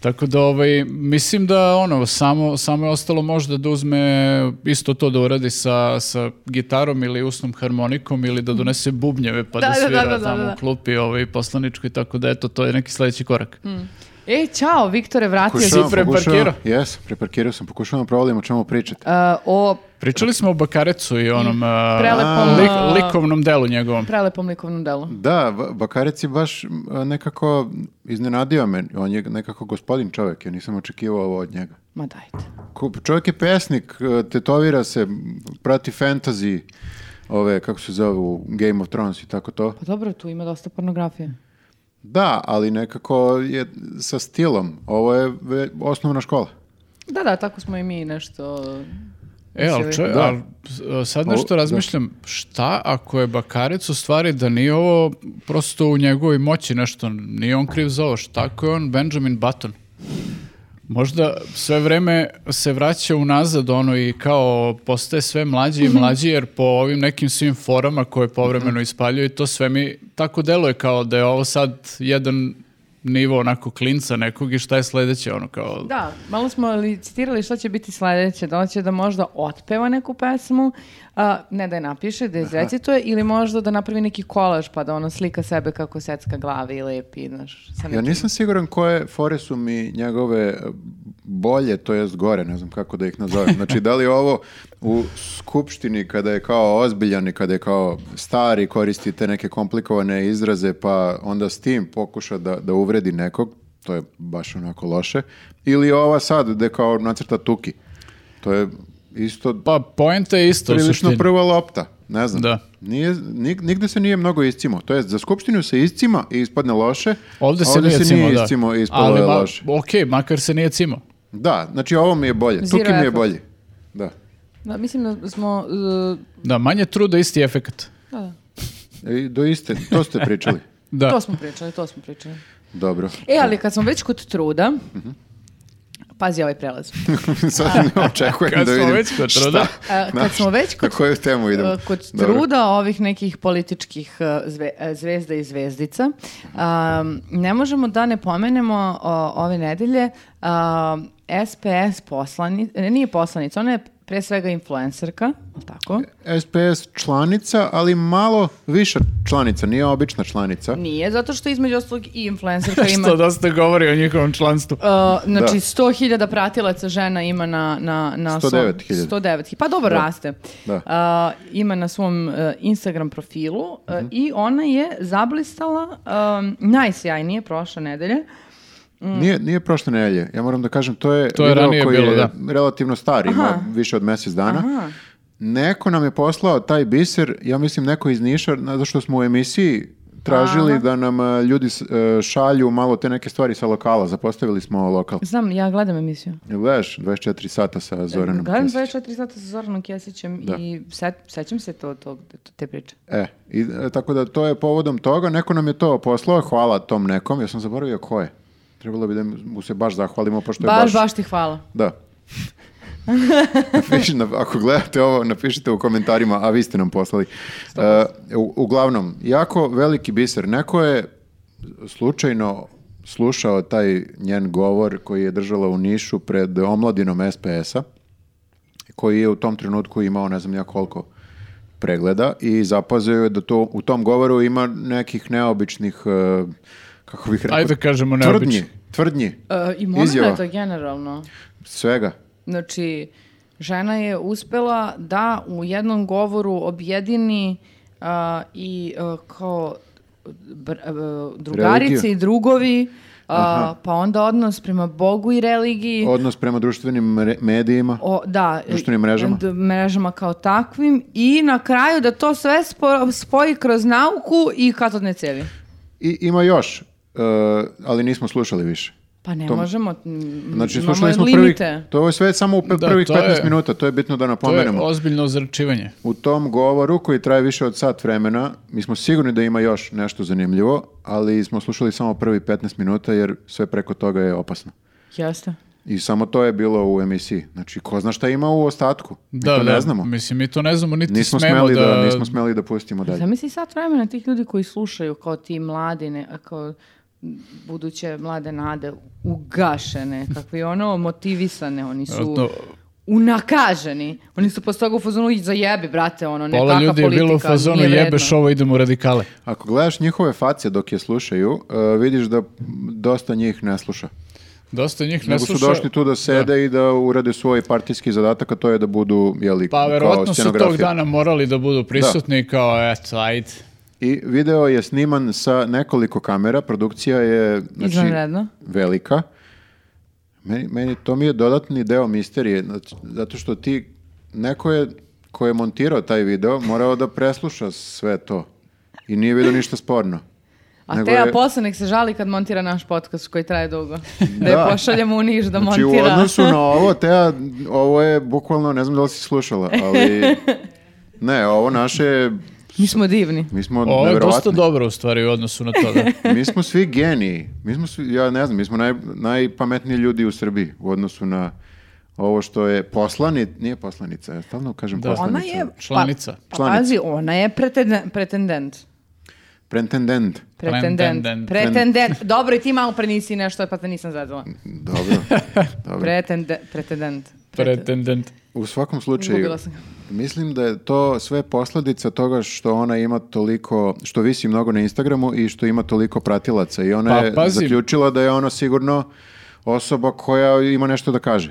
C: Tako da, ovaj, mislim da, ono, samo, samo je ostalo možda da uzme isto to da uradi sa, sa gitarom ili usnom harmonikom ili da donese bubnjeve pa da,
A: Da, da, da,
C: svira
A: da, da,
C: tamo
A: da, da.
C: u klupi ovaj, poslaničku i tako da, eto, to je neki sledeći korak.
A: E, čao, Viktore, vratio si. se.
B: Pokušavam,
C: si preparkirao?
B: pokušavam- Jes, preparkirao sam, pokušavam da provalim o čemu pričate.
A: Uh, o
C: Pričali smo o Bakarecu i onom a,
A: Mm. Prelepom,
C: lik-
A: a-
C: likovnom delu njegovom.
A: prelepom likovnom delu.
B: Da, V- Bakarec je baš m, nekako iznenadio me. On je nekako gospodin čovjek, ja nisam očekivao ovo od njega.
A: Ma dajte.
B: Ko- Čovjek je pesnik, e, tetovira se, m, prati fantasy, ove, kako se zovu, Game of Thrones i tako to.
A: Pa dobro, tu ima dosta pornografije.
B: Da, ali nekako je sa stilom. Ovo je ve- osnovna škola.
A: Da, da, tako smo i mi nešto...
C: E, ali,
A: Mislim,
C: čo,
B: Da.
C: ali s- sad nešto
B: Ovo-
C: razmišljam, šta ako je Bakarec u stvari da nije ovo prosto u njegovoj moći nešto, nije on kriv za ovo, šta ako je on Benjamin Button? Možda sve vreme se vraća unazad ono i kao postaje sve mlađi i mlađi jer po ovim nekim svim forama koje povremeno ispaljuju to sve mi tako deluje kao da je ovo sad jedan nivo onako klinca nekog i šta je sledeće ono kao...
A: Da, malo smo licitirali što će biti sljedeće. Da li će da možda otpeva neku pesmu, a, ne da je napiše, da je izrecituje, ili možda da napravi neki kolaž pa da ono slika sebe kako secka glave i lepi, znaš. sa
B: Ja
A: nekim-
B: nisam siguran koje fore su mi njegove e, bolje, to jest gore, ne znam kako da ih nazovem. Znači, da li je ovo u skupštini kada je kao ozbiljan i kada je kao stari koristi te neke komplikovane izraze pa onda s tim pokuša da, da uvredi nekog, to je baš onako loše, ili ova sad gde kao nacrta tuki. To je isto
C: Pa poenta je isto u
B: prilično
C: suštini.
B: prva lopta, ne znam.
C: Da.
B: Nije, nig- nigde se nije mnogo iscimo. To je, za skupštinu se iscima i ispadne loše.
C: Ovde
B: a
C: se nije cimo, da.
B: iscimo i ispalo
C: Ali
B: je
C: ma-
B: loše.
C: Okej, makar se nije cimo.
B: Da, znači ovo mi je bolje.
A: Zero
B: Tuki mi je
A: effort.
B: bolje. Da.
A: Da, mislim da smo... e,
C: Da, manje truda, isti efekat.
A: da, da.
B: I do iste, to ste pričali.
C: Da.
A: To smo pričali, to smo pričali.
B: Dobro.
A: E, ali kad smo već kod truda, pazi ovaj prelaz.
B: Sad ne očekujem
C: Kad
B: da
C: smo
B: vidim
C: već kod
B: šta-
C: truda.
A: A, kad smo već
B: Na
A: kod
B: koju temu idemo?
A: Uh, Kod
B: Dobro.
A: truda ovih nekih političkih uh, zve- uh, zvezda i zvezdica, um, ne možemo da ne pomenemo uh, ove nedelje um, SPS poslanica, nije poslanica, ona je pre svega influencerka, jel tako?
B: SPS članica, ali malo više članica, nije obična članica.
A: Nije, zato što između ostalog i influencerka ima...
C: Što dosta govori o njihovom članstvu.
B: Pa
A: Uh, znači,
B: Da.
A: 100.000 pratilaca žena ima na... na, na svom-
B: 109.000.
A: 109.000. Pa dobro, raste.
B: Da.
A: Uh, ima na svom uh, Instagram profilu uh,
B: Mhm.
A: i ona je zablistala um, najsjajnije prošle nedelje. Uh,
B: Nije, nije prošle nedelje. Ja moram da kažem, to je,
C: Mm. To je
B: video
C: ranije
B: koji
C: bilo,
B: je
C: da.
B: relativno star, ima
A: Aha.
B: više od mjesec dana.
A: Aha.
B: Neko nam je poslao taj biser, ja mislim neko iz Niša, zato što smo u emisiji tražili da nam e, ljudi s- e, šalju malo te neke stvari sa lokala. Zapostavili smo lokal.
A: Znam, ja gledam emisiju.
B: Jel Gledaš 24 sata
C: E,
B: sa Zoranom
A: Gledam
B: Kesić?
A: 24 sata sa Zoranom Kesićem
B: Da.
A: i se, sećam se to, to, te priče.
B: E, i, e, tako da to je povodom toga. Neko nam je to poslao, hvala tom nekom. Ja sam zaboravio ko je. Trebalo bi da mu se baš zahvalimo, pošto je
A: Baš, baš ti hvala. Uh,
B: Da. Napiši- nap- ako gledate ovo, napišite u komentarima, a vi ste nam poslali. E, u- uglavnom, jako veliki biser. Neko je slučajno slušao taj njen govor koji je držala u Nišu pred omladinom SPS-a, koji je u tom trenutku imao ne znam ja koliko pregleda i zapazio je da to, u tom govoru ima nekih neobičnih, e, kako bih rekao,
C: Ajde kažemo
B: tvrdnji,
C: neobično.
B: tvrdnji,
A: E, I momenta
B: Izjava.
A: je to generalno.
B: svega.
A: Znači, žena je uspela da u jednom govoru objedini a, i a, kao br- a, drugarice
B: Religiju.
A: i drugovi, a, pa onda odnos prema Bogu i religiji.
B: Odnos prema društvenim mre- medijima.
A: O, da,
B: Društvenim mrežama.
A: d- mrežama kao takvim i na kraju da to sve spo- spoji kroz nauku i katodne cevi.
B: I ima još, e, ali nismo slušali više.
A: Pa ne
B: To-
A: možemo, m,
B: Znači,
A: imamo
B: slušali smo prvih,
A: limite.
B: to je sve samo u pe-
C: Da,
B: prvih
C: to je-
B: 15 minuta, to je bitno da
C: To je
B: napomenemo.
C: ozbiljno ozračivanje.
B: U tom govoru koji traje više od sat vremena, mi smo sigurni da ima još nešto zanimljivo, ali smo slušali samo prvi 15 minuta jer sve preko toga je opasno.
A: Jeste.
B: I samo to je bilo u emisiji. Znači, ko zna šta ima u ostatku? Mi
C: Da,
B: to
C: da,
B: ne znamo.
C: Mislim, mi to ne znamo, niti
B: Nismo
C: smemo
B: smeli
C: da...
B: da, nismo smeli da pustimo dalje.
A: Zamisli sat vremena tih ljudi koji slušaju kao ti mladi, ne, kao buduće mlade nade, ugašene, kakvi ono motivisane, oni su
C: Vjerojatno,
A: unakaženi. Oni su posle toga u fazonu "I zajebi, brate, ono, ne
C: Pola
A: taka
C: ljudi je
A: politika,
C: bilo u fazonu
A: nije vredno."
C: jebeš ovo, idemo u radikale.
B: Ako gledaš njihove face dok je slušaju, e, vidiš da dosta njih ne sluša.
C: Dosta njih ne
B: Nego su
C: sluša.
B: došli tu da sede i da urade svoj partijski zadatak, a to je da budu jeli,
C: Pa
B: kao
C: verovatno su tog
B: scenografija.
C: dana morali da budu prisutni kao eto, ajde.
B: I video je sniman sa nekoliko kamera, produkcija je znači,
A: Izvanredno.
B: velika. Meni, meni to mi je dodatni deo misterije, znači, zato što ti, neko je ko je montirao taj video, morao da presluša sve to i nije vidio ništa sporno.
A: A
B: Nego
A: Teja
B: je-
A: posle nek se žali kad montira naš podcast koji traje dugo. Da, je
B: Da.
A: pošaljemo u Niš da
B: Znači, u
A: montira.
B: odnosu na ovo, Teja, ovo je bukvalno, ne znam da li si slušala, ali... Ne, ovo naše, je-
A: Mi smo divni.
B: mi smo
C: Ovo je dosta
B: neverovatni.
C: dobro u stvari u odnosu na to. Da.
B: Mi smo svi geniji. Mi smo svi, ja ne znam, mi smo naj, najpametniji ljudi u Srbiji u odnosu na ovo što je poslani, nije poslanica, ja stalno kažem
C: Da.
B: poslanica.
A: Ona je... pa-
C: Članica.
A: Pa,
B: Članica.
A: pazi, ona je pretenden- pretendent.
B: Pretendent.
A: Pretendent.
C: Pretendent.
A: Pretendent. Dobro, i ti malo pre nisi nešto, pa te nisam zadala.
B: Dobro. Dobro.
A: Pretende, pretendent. Prete-
C: Pretendent.
B: U svakom
A: Izgubila
B: slučaju,
A: sam ga.
B: mislim da je to sve posledica toga što ona ima toliko, što visi mnogo na Instagramu i što ima toliko pratilaca. I ona
C: Pa,
B: je
C: pazi.
B: zaključila da je ona sigurno osoba koja ima nešto da kaže.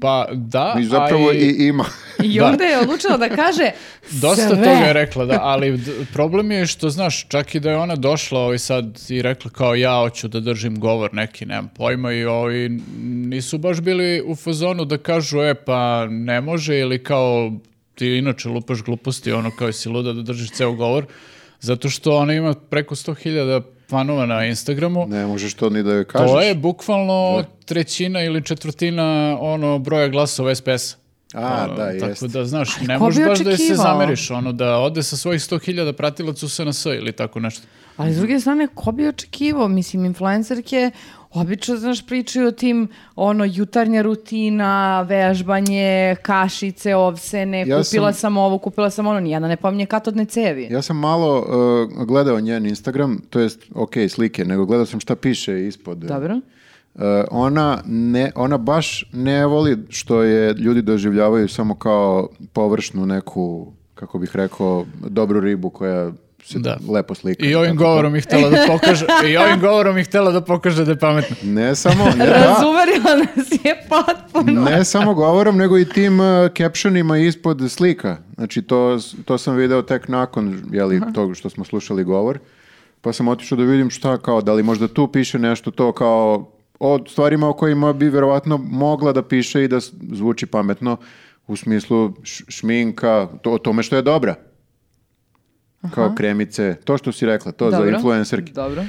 C: Pa da,
B: I zapravo
C: a i-
B: i ima.
A: I
C: Da.
A: onda je odlučila da kaže
C: Dosta
A: sve.
C: toga je rekla, da, ali d- problem je što, znaš, čak i da je ona došla ovaj sad i rekla kao ja hoću da držim govor neki, nemam pojma i ovi nisu baš bili u fazonu da kažu, e pa ne može ili kao ti inače lupaš gluposti, ono kao si luda da držiš ceo govor, zato što ona ima preko 100.000 fanova na Instagramu.
B: Ne možeš to ni da joj kažeš.
C: To je bukvalno trećina ili četvrtina ono broja glasova SPS-a.
B: A,
C: Ono,
B: da,
C: Tako
B: jeste.
C: da, znaš, ne
A: ko
C: možeš
A: bi
C: baš da joj se
A: očekivao?
C: zameriš, ono, da ode sa svojih 100.000 pratilaca u SNS ili tako nešto.
A: Ali s druge strane, ko bi očekivao? Mislim, influencerke obično, znaš, pričaju o tim, ono, jutarnja rutina, vežbanje, kašice, ovsene,
B: Ja
A: kupila
B: sam-
A: sam ovo, kupila sam ono, nijedna ne pominje katodne cevi.
B: Ja sam malo uh, gledao njen Instagram, to jest, ok, slike, nego gledao sam šta piše ispod.
A: Dobro?
B: Uh, ona, ne, ona baš ne voli što je ljudi doživljavaju samo kao površnu neku, kako bih rekao, dobru ribu koja se
C: Da.
B: lepo slika.
C: I ovim
B: Tako to.
C: govorom ih htjela da pokaže, i ovim govorom ih htjela da pokaže da je pametna.
B: Ne samo, ne, da,
A: Razuverila nas je potpuno.
B: ne samo govorom, nego i tim uh, captionima ispod slika. Znači, to, to sam video tek nakon jeli, tog što smo slušali govor. Pa sam otišao da vidim šta kao, da li možda tu piše nešto to kao o stvarima o kojima bi verovatno mogla da piše i da s- zvuči pametno u smislu š- šminka, to, o tome što je dobra. Kao kremice, to što si rekla, to za influencerke.
A: Dobro,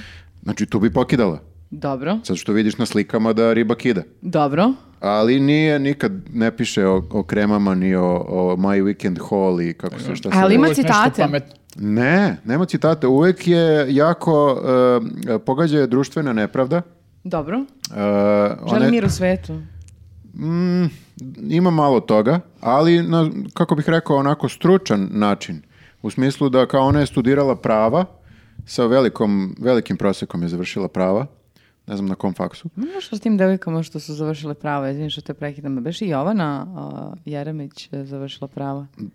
B: Znači tu bi pokidala,
A: dobro,
B: sad što vidiš na slikama da riba kida.
A: dobro.
B: Ali nije, nikad ne piše o, o kremama ni o, o My Weekend Haul i kako se šta se...
A: Ali
B: zove.
A: ima
C: Uvek nešto
A: citate.
C: pametno.
B: Ne, nema citata. Uvek je jako, e, pogađa je društvena nepravda.
A: Dobro.
B: E,
A: Želim
B: one-
A: mir u svetu.
B: Mm, ima malo toga, ali na, kako bih rekao, onako stručan način. U smislu da kao ona je studirala prava, sa velikom, velikim prosekom je završila prava, ne znam na kom faksu.
A: Možda što s tim devojkama što su završile pravo, izvim što te prekidam, beš i Jovana a, Jeremić je završila pravo.
B: M,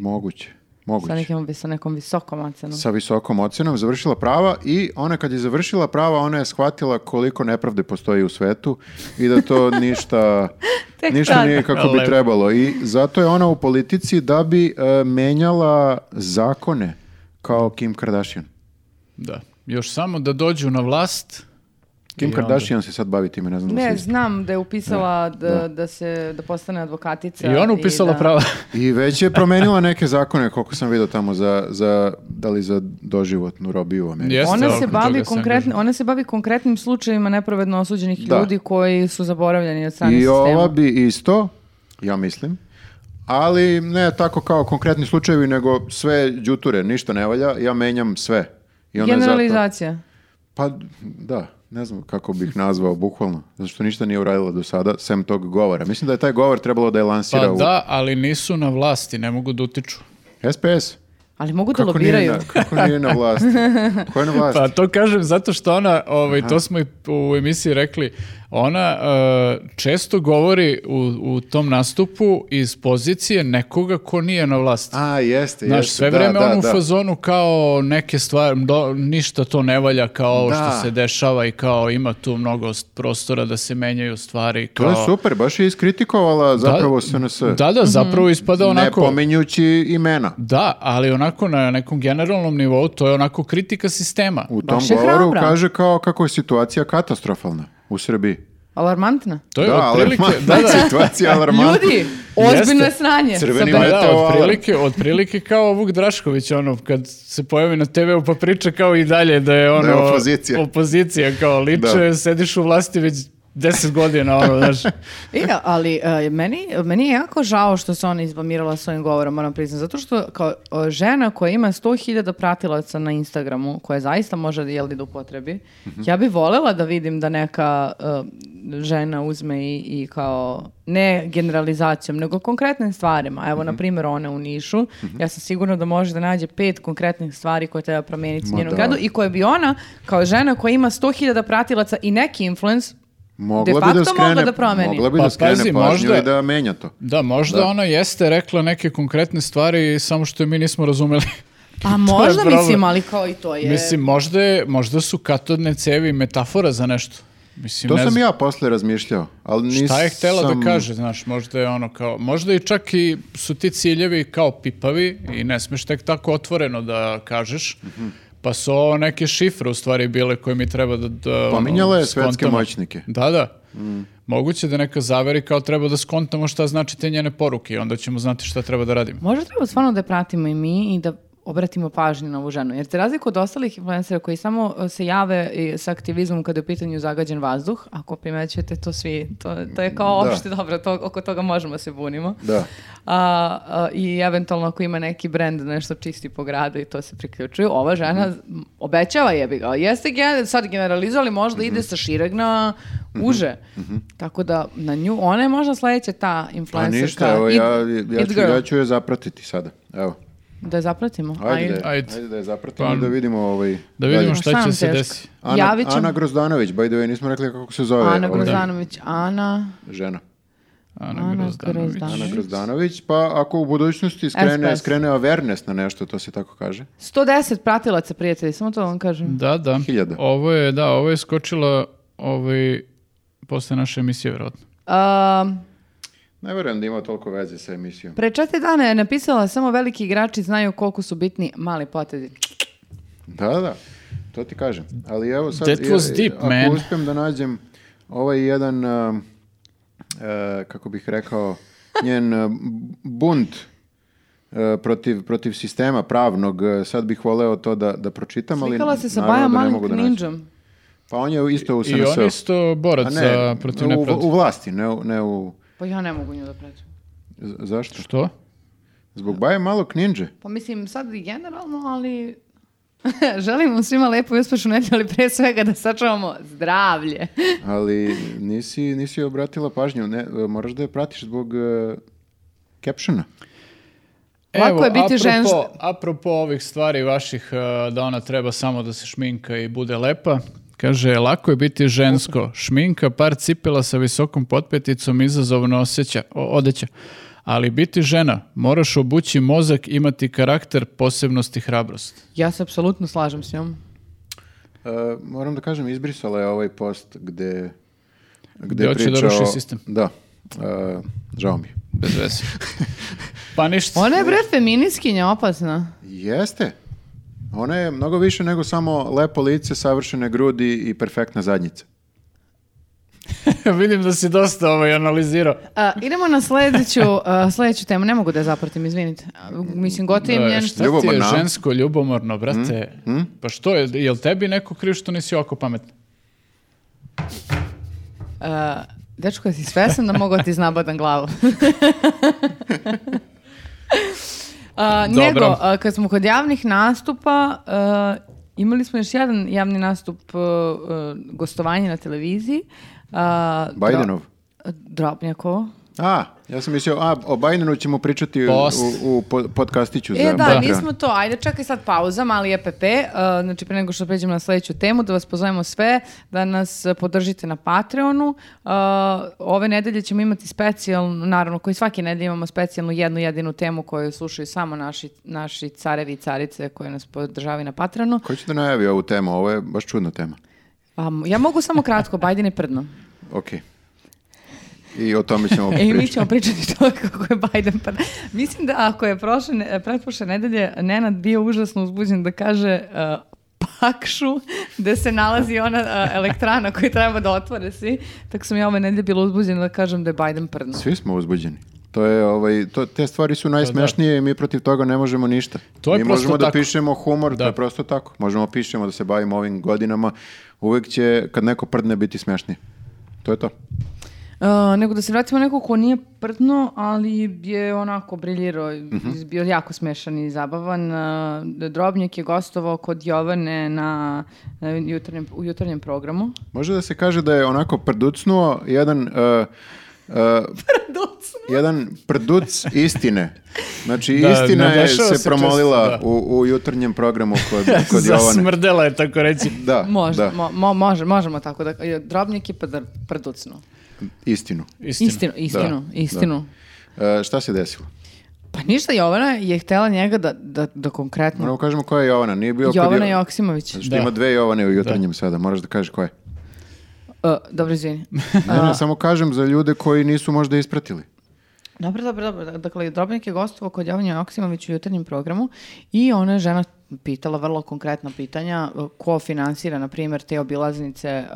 B: Moguće,
A: Sa,
B: moguće.
A: nekim, sa nekom visokom ocenom.
B: Sa visokom ocenom završila prava i ona kad je završila prava, ona je shvatila koliko nepravde postoji u svetu i da to ništa,
A: Tek
B: ništa
A: tad.
B: nije kako bi
C: Lepo.
B: trebalo. I zato je ona u politici da bi e, menjala zakone kao Kim Kardashian.
C: Da. Još samo da dođu na vlast.
B: Kim
C: I onda-
B: Kardashian se sad bavi time, ne znam da
A: Ne,
B: li si-
A: znam da je upisala da,
B: da.
A: da. se, da postane advokatica.
C: I ona upisala
A: da-
C: prava.
B: I već je promenila neke zakone, koliko sam vidio tamo, za, za, da li za doživotnu robiju u Americi.
C: Jeste,
A: Ona
C: ali
A: se,
C: oko
A: bavi
C: toga se
A: konkretni,
C: angažuje.
A: ona se bavi konkretnim slučajevima nepravedno osuđenih
B: Da.
A: ljudi koji su zaboravljeni od strane
B: I
A: sistema.
B: ova bi isto, ja mislim, ali ne tako kao konkretni slučajevi, nego sve đuture, ništa ne valja, ja menjam sve. I ona je zato-
A: Generalizacija.
B: Pa da, ne znam kako bih nazvao bukvalno, zato što ništa nije uradila do sada, sem tog govora. Mislim da je taj govor trebalo da je lansira
C: Pa da, ali nisu na vlasti, ne mogu da utiču.
B: u SPS.
A: Ali mogu da
B: Kako nije,
A: lobiraju.
B: na, kako nije na vlasti? Ko je na vlasti?
C: Pa to kažem zato što ona, ovaj, to smo i u emisiji rekli, ona e, često govori u, u tom nastupu iz pozicije nekoga ko nije na vlasti.
B: A, jeste,
C: Znaš,
B: jeste.
C: sve
B: da,
C: vrijeme
B: da,
C: on u
B: da.
C: fazonu kao neke stvari, do- ništa to ne valja kao ovo
B: Da.
C: što se dešava i kao ima tu mnogo s- prostora da se menjaju stvari.
B: To
C: Kao...
B: je super, baš je iskritikovala zapravo SNS.
C: Da, da, zapravo ispada
B: ne
C: onako...
B: pominjući imena.
C: Da, ali onako na nekom generalnom nivou to je onako kritika sistema.
B: U tom
A: Baš je
B: govoru
A: hrabra.
B: kaže kao kako je situacija katastrofalna u Srbiji.
A: Alarmantna.
C: To je
B: da,
C: E, otprilike... Da,
B: alarmantna
C: da.
B: situacija je alarmantna.
A: Ljudi, ozbiljno je
C: Jeste.
A: sranje.
B: Crveni
A: Sa-
C: Pa
B: Meteo
C: da,
B: alarm.
C: otprilike, otprilike kao Vuk Drašković, ono, kad se pojavi na TV-u pa priča kao i dalje da je ono...
B: Da je opozicija.
C: Opozicija, kao liče,
B: Da.
C: sediš u vlasti već deset godina, ono, znaš.
A: I, ali e, meni, meni je jako žao što se ona izbamirala svojim govorom, moram priznati, zato što kao e, žena koja ima 100.000 pratilaca na Instagramu, koja zaista može jel, da upotrebi,
B: Mhm.
A: ja bi volela da vidim da neka e, žena uzme i, i kao, ne generalizacijom, nego konkretnim stvarima.
B: Mhm.
A: Evo, na primjer, ona u Nišu, ja sam sigurna da može da nađe pet konkretnih stvari koje treba promijeniti
B: Ma
A: u njenom
B: da.
A: gradu i koje bi ona, kao žena koja ima 100.000 pratilaca i neki influence, De
B: Mogla bi da
A: facto mogla
B: skrene,
A: da promeni.
B: mogla bi
C: Pa
B: da skrene
C: pazi,
B: pažnju
C: možda-
B: i da menja to.
C: Da, možda ona jeste rekla neke konkretne stvari, samo što je mi nismo razumeli.
A: Pa možda,
C: problem.
A: mislim, ali kao i to je...
C: Mislim, možda, je, možda su katodne cevi metafora za nešto. Mislim,
B: To
C: ne
B: sam
C: znam.
B: ja posle razmišljao, ali nisam...
C: Šta je htela da kaže, znaš, možda je ono kao, možda i čak i su ti ciljevi kao pipavi i ne smeš tek tako otvoreno da kažeš, pa su ovo neke šifre u stvari bile koje mi treba da... da ono,
B: Pominjala je svetske
C: skontamo.
B: moćnike. Mm.
C: Da, da. Moguće da neka zaveri kao treba da skontamo šta znači te njene poruke i onda ćemo znati šta treba da radimo.
A: Možda treba stvarno da je pratimo i mi i da obratimo pažnju na ovu ženu. Jer za razliku od ostalih influencera koji samo e, se jave i sa aktivizmom kada je u pitanju zagađen vazduh, ako primećujete to svi, to, to je kao
B: Da.
A: opšte dobro, to, oko toga možemo se bunimo.
B: Da.
A: A, a, I eventualno ako ima neki brend da nešto čisti po gradu i to se priključuju, ova žena
B: Mhm.
A: m, obećava jebi ga. Jeste gen- sad generalizovali,
B: Mhm.
A: možda ide sa šireg na uže. Tako da na nju, ona je možda sledeća ta
B: Pa
A: influencerka.
B: Mhm. ništa, evo,
A: It-
B: ja, ja,
A: it
B: ću,
A: girl.
B: ja ću je zapratiti sada. Evo,
A: Da je zapratimo.
B: ajde,
A: Ajde.
B: da je-
C: Ajde.
B: ajde da je zapratimo
C: Pa-
B: da vidimo ovaj...
C: Da vidimo
B: dalje.
A: Šta
C: šta
A: nam
C: će se
A: teško?
C: desiti.
B: Ana,
A: Javit ćemo-
B: Ana Grozdanović, by the way, nismo rekli kako se zove
A: Ana
B: ova
A: Grozanović, Ana.
B: žena.
C: Ana
A: Ana
C: Grozdanović.
A: Grozdanović.
B: Ana Grozdanović, pa ako u budućnosti skrene,
A: SPS.
B: skrene awareness na nešto, to se tako kaže.
A: 110 pratilaca, prijatelji, samo to vam kažem.
C: Da, da.
B: Hiljada.
C: Ovo je, da, ovo je skočila ovaj, posle naše emisije, vjerojatno.
A: Um,
B: Ne verujem da ima toliko veze sa emisijom.
A: pre četiri dana je napisala samo veliki igrači znaju koliko su bitni mali potezi.
B: Da, da, to ti kažem. Ali evo sad,
C: That was
B: je-
C: deep,
B: ako
C: man.
B: uspijem da nađem Ovaj jedan, uh, uh, kako bih rekao, njen uh, bunt uh, protiv, protiv sistema pravnog, uh, sad bih voleo to da, da pročitam,
A: Slikala
B: ali
A: se sa Baja
B: naravno da ne
A: Mank
B: mogu da nađem.
A: Ninjom.
B: Pa on je isto u
C: I on
B: SNS-u.
C: isto
B: A
C: borac za protiv
B: u,
C: nepravde.
B: u vlasti, ne, u- ne u...
A: Pa ja ne mogu nju da pređem.
B: z- Zašto?
C: Što?
B: Zbog Baje malo ninja.
A: Pa mislim, sad i generalno, ali... Želim vam svima lepo i uspešnu nedelju, ali pre svega da sačuvamo zdravlje.
B: Ali nisi, nisi joj obratila pažnju, ne, moraš da je pratiš zbog uh, captiona.
A: Lako je biti
C: apropo,
A: ženš-
C: Apropo ovih stvari vaših, eh, da ona treba samo da se šminka i bude lepa, kaže, lako je biti žensko. Šminka, par cipela sa visokom potpeticom, izazovno osjeća, o- odeća. Ali biti žena, moraš obući mozak, imati karakter, posebnost i hrabrost.
A: Ja se apsolutno slažem s njom.
B: Uh, moram da kažem, izbrisala je ovaj post gde,
C: Gde hoće da
B: priča
C: ruši
B: o-
C: sistem.
B: Da, uh, žao mi je.
C: Bez veze. pa ništa.
A: Ona je bre feminiskinja opasna.
B: Jeste. Ona je mnogo više nego samo lepo lice, savršene grudi i perfektna zadnjica.
C: Vidim da si dosta ovaj analizirao.
A: A, Uh, idemo na sljedeću, a, sljedeću temu. Ne mogu da je zapratim, izvinite. A, Mislim, gotivim
C: E,
A: njen...
C: šta ti je
B: Ljubomorna.
C: žensko ljubomorno, brate? Pa što, je, jel tebi neko kriv što nisi oko pametna?
A: A, Uh, dečko, jesi svesan da mogu da ti iznabadan glavu? A,
C: Dobro.
A: Uh, nego, a, kad smo kod javnih nastupa, a, imali smo još jedan javni nastup a, a, gostovanje na televiziji. A, dro-
B: Bajdenov.
A: Drobnjakovo.
B: A, ja sam mislio, a, o Bidenu ćemo pričati u,
C: Post.
B: u, u po- podcastiću za
A: E, da,
B: Patreon.
A: nismo to. Ajde, čekaj sad pauza, mali EPP. Uh, znači, pre nego što pređemo na sljedeću temu, da vas pozovemo sve da nas uh, podržite na Patreonu. Uh, ove nedelje ćemo imati specijalnu, naravno, koji svake nedelje imamo specijalnu jednu jedinu temu koju slušaju samo naši, naši carevi i carice koje nas podržavaju na Patreonu.
B: Ko će da najavi ovu temu? Ovo je baš čudna tema.
A: Pa, m- ja mogu samo kratko, Bajden je prdno.
B: Ok. I o tome ćemo
A: E, i mi
B: pričati.
A: ćemo pričati to kako je Biden pa Mislim da ako je prošle, ne- pretprošle nedelje Nenad bio užasno uzbuđen da kaže uh, pakšu gde se nalazi ona uh, elektrana koju treba da otvore svi. Tako sam ja ove nedelje bila uzbuđena da kažem da je Biden prdno.
B: Svi smo uzbuđeni. To je, ovaj, to, te stvari su najsmešnije i mi protiv toga ne možemo ništa.
C: To je
B: mi
C: prosto
B: možemo da
C: tako.
B: pišemo humor, to
C: Da.
B: je prosto tako. Možemo pišemo da se bavimo ovim godinama. Uvijek će, kad neko prdne, biti smešnije. To je to.
A: Uh, nego da se vratimo na neko ko nije prdno, ali je onako briljirao, iz- bio jako smešan i zabavan. Uh, Drobnjak je gostovao kod Jovane na, na jutarnjem, u jutarnjem programu.
B: Može da se kaže da je onako prducnuo jedan... eh, eh, jedan prduc istine. Znači,
C: Da,
B: istina je
C: nadešava
B: se,
C: se
B: promolila
C: često, da.
B: u, u jutarnjem programu kod, kod Jovane.
C: Zasmrdela je, tako reći.
B: Da,
A: Možda,
B: da,
A: mo- mo- može, možemo tako da drobnjak je prdr, prducno.
B: istinu.
C: Istina.
A: Istinu, istinu,
B: Da,
A: istinu.
B: Eh, šta se desilo?
A: Pa ništa, Jovana je htela njega da, da, da konkretno...
B: Moramo kažemo koja je Jovana, nije bio
A: Jovana
B: kod Jo-
A: Joksimović.
B: Zato što
C: Da.
B: ima dve Jovane u jutarnjem sada, moraš da kažeš koja je.
A: E, dobro, izvini.
B: Ne, ne, samo kažem za ljude koji nisu možda ispratili.
A: Dobro, dobro, dobro. Dakle, Drobnjak je gostovao kod Jovanja Joksimović u jutarnjem programu i ona je žena pitala vrlo konkretna pitanja e, ko finansira, na primjer, te obilaznice e,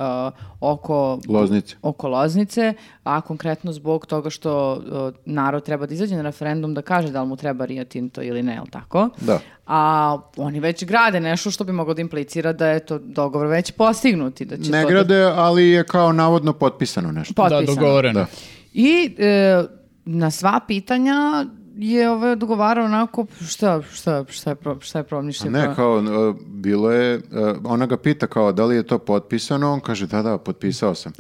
A: oko
B: Loznice.
A: oko Loznice, a konkretno zbog toga što e, narod treba da izađe na referendum da kaže da li mu treba Rio Tinto ili ne, jel tako?
B: Da.
A: A oni već grade nešto što bi moglo da implicira da je to dogovor već postignuti. Da će
B: Ne
A: to
B: grade, ali je kao navodno potpisano nešto.
A: Da, potpisano.
C: Da, dogovoreno.
B: Da.
A: I e, na sva pitanja je ovaj odgovarao onako šta, šta, šta je, pro, šta je problem, ništa je
B: Ne,
A: problem.
B: kao, e, bilo je, e, ona ga pita kao da li je to potpisano, on kaže da, da, potpisao sam.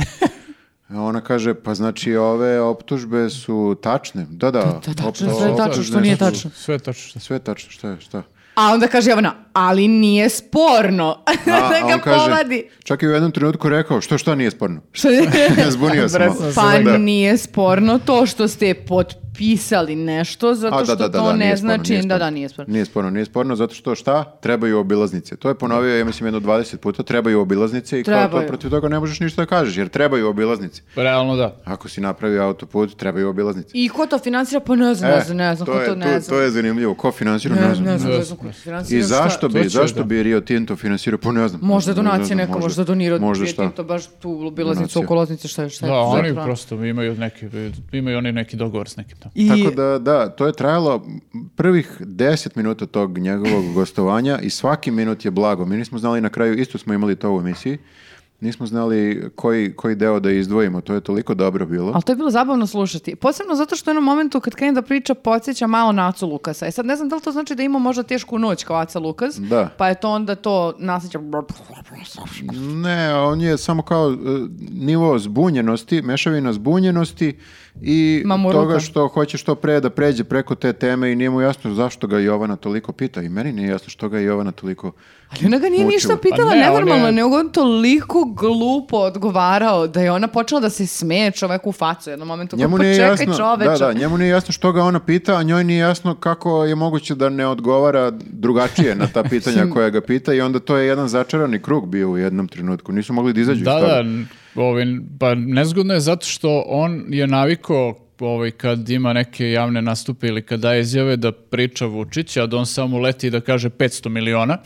B: A ona kaže, pa znači ove optužbe su tačne. Da, da,
A: da, tačno,
B: optužbe
A: sve je
B: su
A: tačno,
B: tačne,
A: što nije
B: sve su-
A: tačno.
C: Sve je tačno.
B: Sve je tačno, šta je, šta?
A: A onda kaže Jovana, ali nije sporno
B: A,
A: da
B: a
A: ga
B: on kaže-
A: povadi.
B: Čak je u jednom trenutku rekao, što, šta nije sporno?
A: Što je-
B: Zbunio sam. malo.
A: Pa
B: Da.
A: nije sporno to što ste potpisali. pisali nešto, zato
B: A,
A: što
B: da, da, da,
A: to
B: da,
A: ne
B: nije sporno,
A: znači...
B: nije sporno.
A: da, da, nije sporno.
B: Nije sporno, nije sporno, zato što šta? Trebaju obilaznice. To je ponovio, ja mislim, jedno 20 puta, trebaju obilaznice i kao
A: Trebaju.
B: to protiv toga ne možeš ništa da kažeš, jer trebaju obilaznice.
C: Realno da.
B: Ako si napravio autoput, trebaju obilaznice.
A: I ko to financira? Pa ne znam, ne znam, ne znam, ko
B: je,
A: to ne
B: E, To
A: znam.
B: je zanimljivo, ko financira,
A: Ne,
B: ne,
A: ne
B: znam.
A: znam,
C: ne
A: ne znam
C: znam.
A: ko financira.
B: I
A: šta.
B: zašto
C: To
B: bi,
C: ćeš
B: zašto
C: da.
B: bi Rio Tinto finansirao, pa ne znam.
A: Možda
B: Ne znam,
A: donacija neka, možda donira
B: Možda
A: Rio
B: šta.
A: Tinto, baš tu obilaznicu
B: Donacija.
A: oko loznice, šta je, šta je.
C: Da,
A: to
C: oni
A: zapravo?
C: prosto imaju neki, imaju oni neki dogovor s nekim tamo.
A: I,
B: Tako da, da, to je trajalo prvih 10 minuta tog njegovog gostovanja i svaki minut je blago. Mi nismo znali na kraju, isto smo imali to u emisiji, nismo znali koji, koji deo da izdvojimo, to je toliko dobro bilo.
A: Ali to je bilo zabavno slušati. Posebno zato što je na momentu kad krene da priča podsjeća malo na Acu Lukasa. E sad ne znam da li to znači da ima možda tešku noć kao Aca Lukas,
B: Da.
A: pa je to onda to nasjeća...
B: Ne, on je samo kao e, nivo zbunjenosti, mešavina zbunjenosti i
A: Mamuruka.
B: toga što hoće što pre da pređe preko te teme i nije mu jasno zašto ga Jovana toliko pita. I meni nije jasno što ga je Jovana toliko
A: Ali ona ga nije
B: mučila.
A: ništa pitala
C: Pa ne,
A: nenormalno,
C: on je-
A: nego on toliko glupo odgovarao da je ona počela da se smeje čoveku u facu u jednom momentu.
B: Njemu
A: kao,
B: nije
A: pa čekaj
B: jasno,
A: čoveče.
B: da, da, njemu nije jasno što ga ona pita, a njoj nije jasno kako je moguće da ne odgovara drugačije na ta pitanja koja ga pita i onda to je jedan začarani krug bio u jednom trenutku. Nisu mogli da izađu iz
C: Da,
B: toga.
C: da, n- ovaj, pa nezgodno je zato što on je naviko ovaj, kad ima neke javne nastupe ili kad daje izjave da priča Vučić, a da on samo leti da kaže 500 miliona.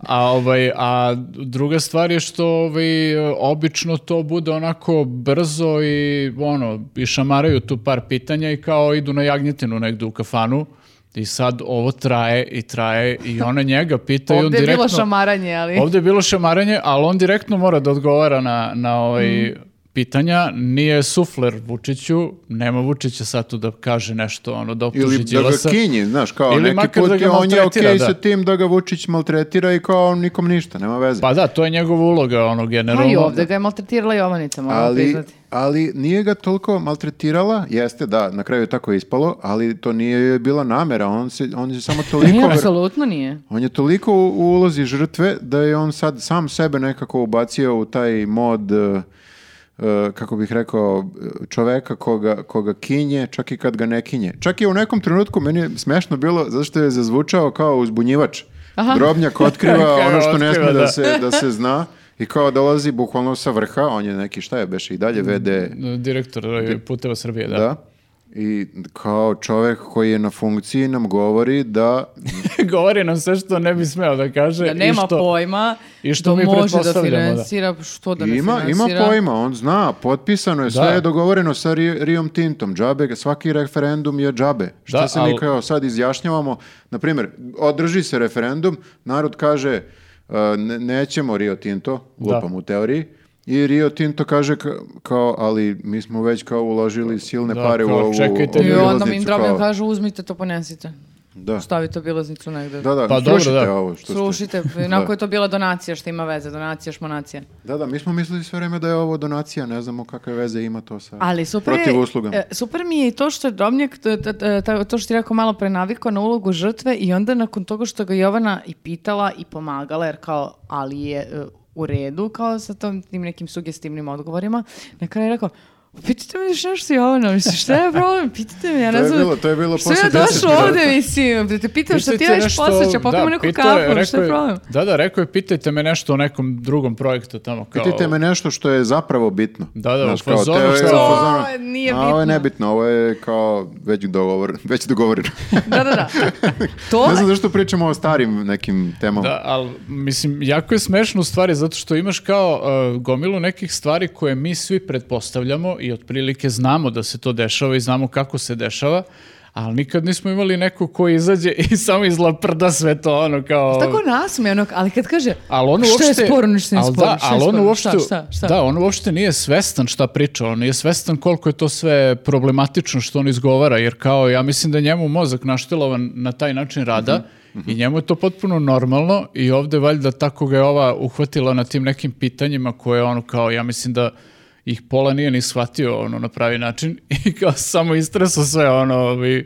C: a, ovaj, a druga stvar je što ovaj, obično to bude onako brzo i ono, i šamaraju tu par pitanja i kao idu na jagnjetinu negde u kafanu. I sad ovo traje i traje i ona njega pita i on
A: Ovdje je bilo
C: direktno...
A: šamaranje, ali...
C: Ovdje je bilo šamaranje, ali on direktno mora da odgovara na, na ovaj
A: Mm.
C: pitanja. Nije sufler Vučiću, nema Vučića sad tu da kaže nešto, ono, da optuži
B: Ili da ga
C: Đilasa.
B: kinji, znaš, kao
C: Ili
B: neki
C: makar
B: put
C: da ga
B: je on je okej
C: maltretira, da.
B: sa tim da ga Vučić maltretira i kao on nikom ništa, nema veze.
C: Pa da, to je njegova uloga, ono,
A: Pa
C: generalno.
A: i ovdje ga je maltretirala Jovanicom, moram
B: ali,
A: priznati.
B: ali nije ga toliko maltretirala, jeste da, na kraju je tako ispalo, ali to nije joj bila namera, on, se, on je samo toliko...
A: Nije,
B: ver-
A: apsolutno nije.
B: On je toliko u u ulozi žrtve da je on sad sam sebe nekako ubacio u taj mod, e, e, kako bih rekao, e, čoveka koga, koga kinje, čak i kad ga ne kinje. Čak i u nekom trenutku meni je smešno bilo zato što je zazvučao kao uzbunjivač. Drobnjak otkriva
C: Kao
B: ono što ne
C: otkriva,
B: smije da. se,
C: da.
B: da se zna i kao dolazi bukvalno sa vrha, on je neki, šta je, beše i dalje vede
C: Direktor ovaj, puteva Srbije, Mm. da.
B: da. I kao čovek koji je na funkciji nam govori da
C: Govori nam sve što ne bi smeo da kaže.
A: Da nema
C: i što,
A: pojma
C: i što
A: da
C: mi
A: može da
C: pretpostavljamo, da.
A: financira, što da ne
B: ima, ima
A: finansira.
B: pojma, on zna, potpisano je, sve
C: Da.
B: je dogovoreno sa Ri- Rijom Tintom, džabe, svaki referendum je džabe. Šta
C: Da,
B: se mi
C: al-
B: kao sad izjašnjavamo, na primjer, održi se referendum, narod kaže uh, ne- nećemo Rio Tinto, lupam u teoriji, i Rio Tinto kaže ka- kao, ali mi smo već kao uložili silne
C: Da,
B: pare u
C: kao,
B: ovu
C: čekajte.
B: ovu
A: I onda mi pa-
B: obilaznicu, kao,
A: Drobnjak kaže uzmite to ponesite.
B: Da,
A: Stavite obilaznicu negde.
B: da, da,
C: Pa dobro,
B: srušite
C: da.
B: ovo što ste-
A: Slušite,
B: Da.
A: onako je to bila donacija što ima veze, donacija, šmonacija.
B: Da, da, mi smo mislili sve vrijeme da je ovo donacija, ne znamo kakve veze ima to sa
A: Ali super, je-
B: protiv uslugama.
A: e, super mi je i to što je Drobnjak, t- t- t- ta- to što ti rekao malo prenavikao na ulogu žrtve i onda nakon toga što ga Jovana i pitala i pomagala, jer kao, ali je e, u redu, kao sa tom, tim nekim sugestivnim odgovorima, na kraju je rekao, Pitajte me još nešto Jovana, mislim, šta je problem? Pitajte me, ja
B: To
A: ne
B: je
A: znam.
B: bilo- to je bilo
A: Što ja
B: posle 10
A: došla
B: minuta.
A: ovde, mislim, da te pitam šta ti
C: Pitajte
A: radiš
C: nešto-
A: posle, će popijemo
C: da,
A: neku
C: pitao je,
A: kafu, šta je
C: rekao
A: problem?
C: Da, da, rekao je, pitajte me nešto o nekom drugom projektu tamo. Kao,
B: Pitajte me nešto što je zapravo bitno.
C: Da, da,
B: Znaš,
C: u
B: kao,
C: fazonu
B: teo je
C: što-
B: u fazonu,
A: To nije
B: "A, Ovo je
A: bitno."
B: nebitno, ovo je kao već, dogovor, već dogovoreno.
A: Da, da, da. To,
B: ne znam zašto pričamo o starim nekim temama.
C: Da, ali mislim, jako je smešno u stvari zato što imaš kao e, gomilu nekih stvari koje mi svi pretpostavljamo i otprilike znamo da se to dešava i znamo kako se dešava, ali nikad nismo imali neko ko izađe i samo izlaprda sve to ono kao...
A: tako nasmejano, ali kad kaže,
C: Ali on ono uopšte,
A: šta je sporno, ništa nije
C: ali
A: sporno,
C: da,
A: šta je
C: ali on
A: sporno,
C: uopšte,
A: šta, šta, šta?
C: Da, on uopšte nije svestan šta priča, on nije svestan koliko je to sve problematično što on izgovara, jer kao ja mislim da je njemu mozak naštelovan na taj način rada
A: Mhm,
C: i njemu je to potpuno normalno i ovde valjda tako ga je ova uhvatila na tim nekim pitanjima koje ono kao ja mislim da ih pola nije ni shvatio ono na pravi način i kao samo istreso sve ono i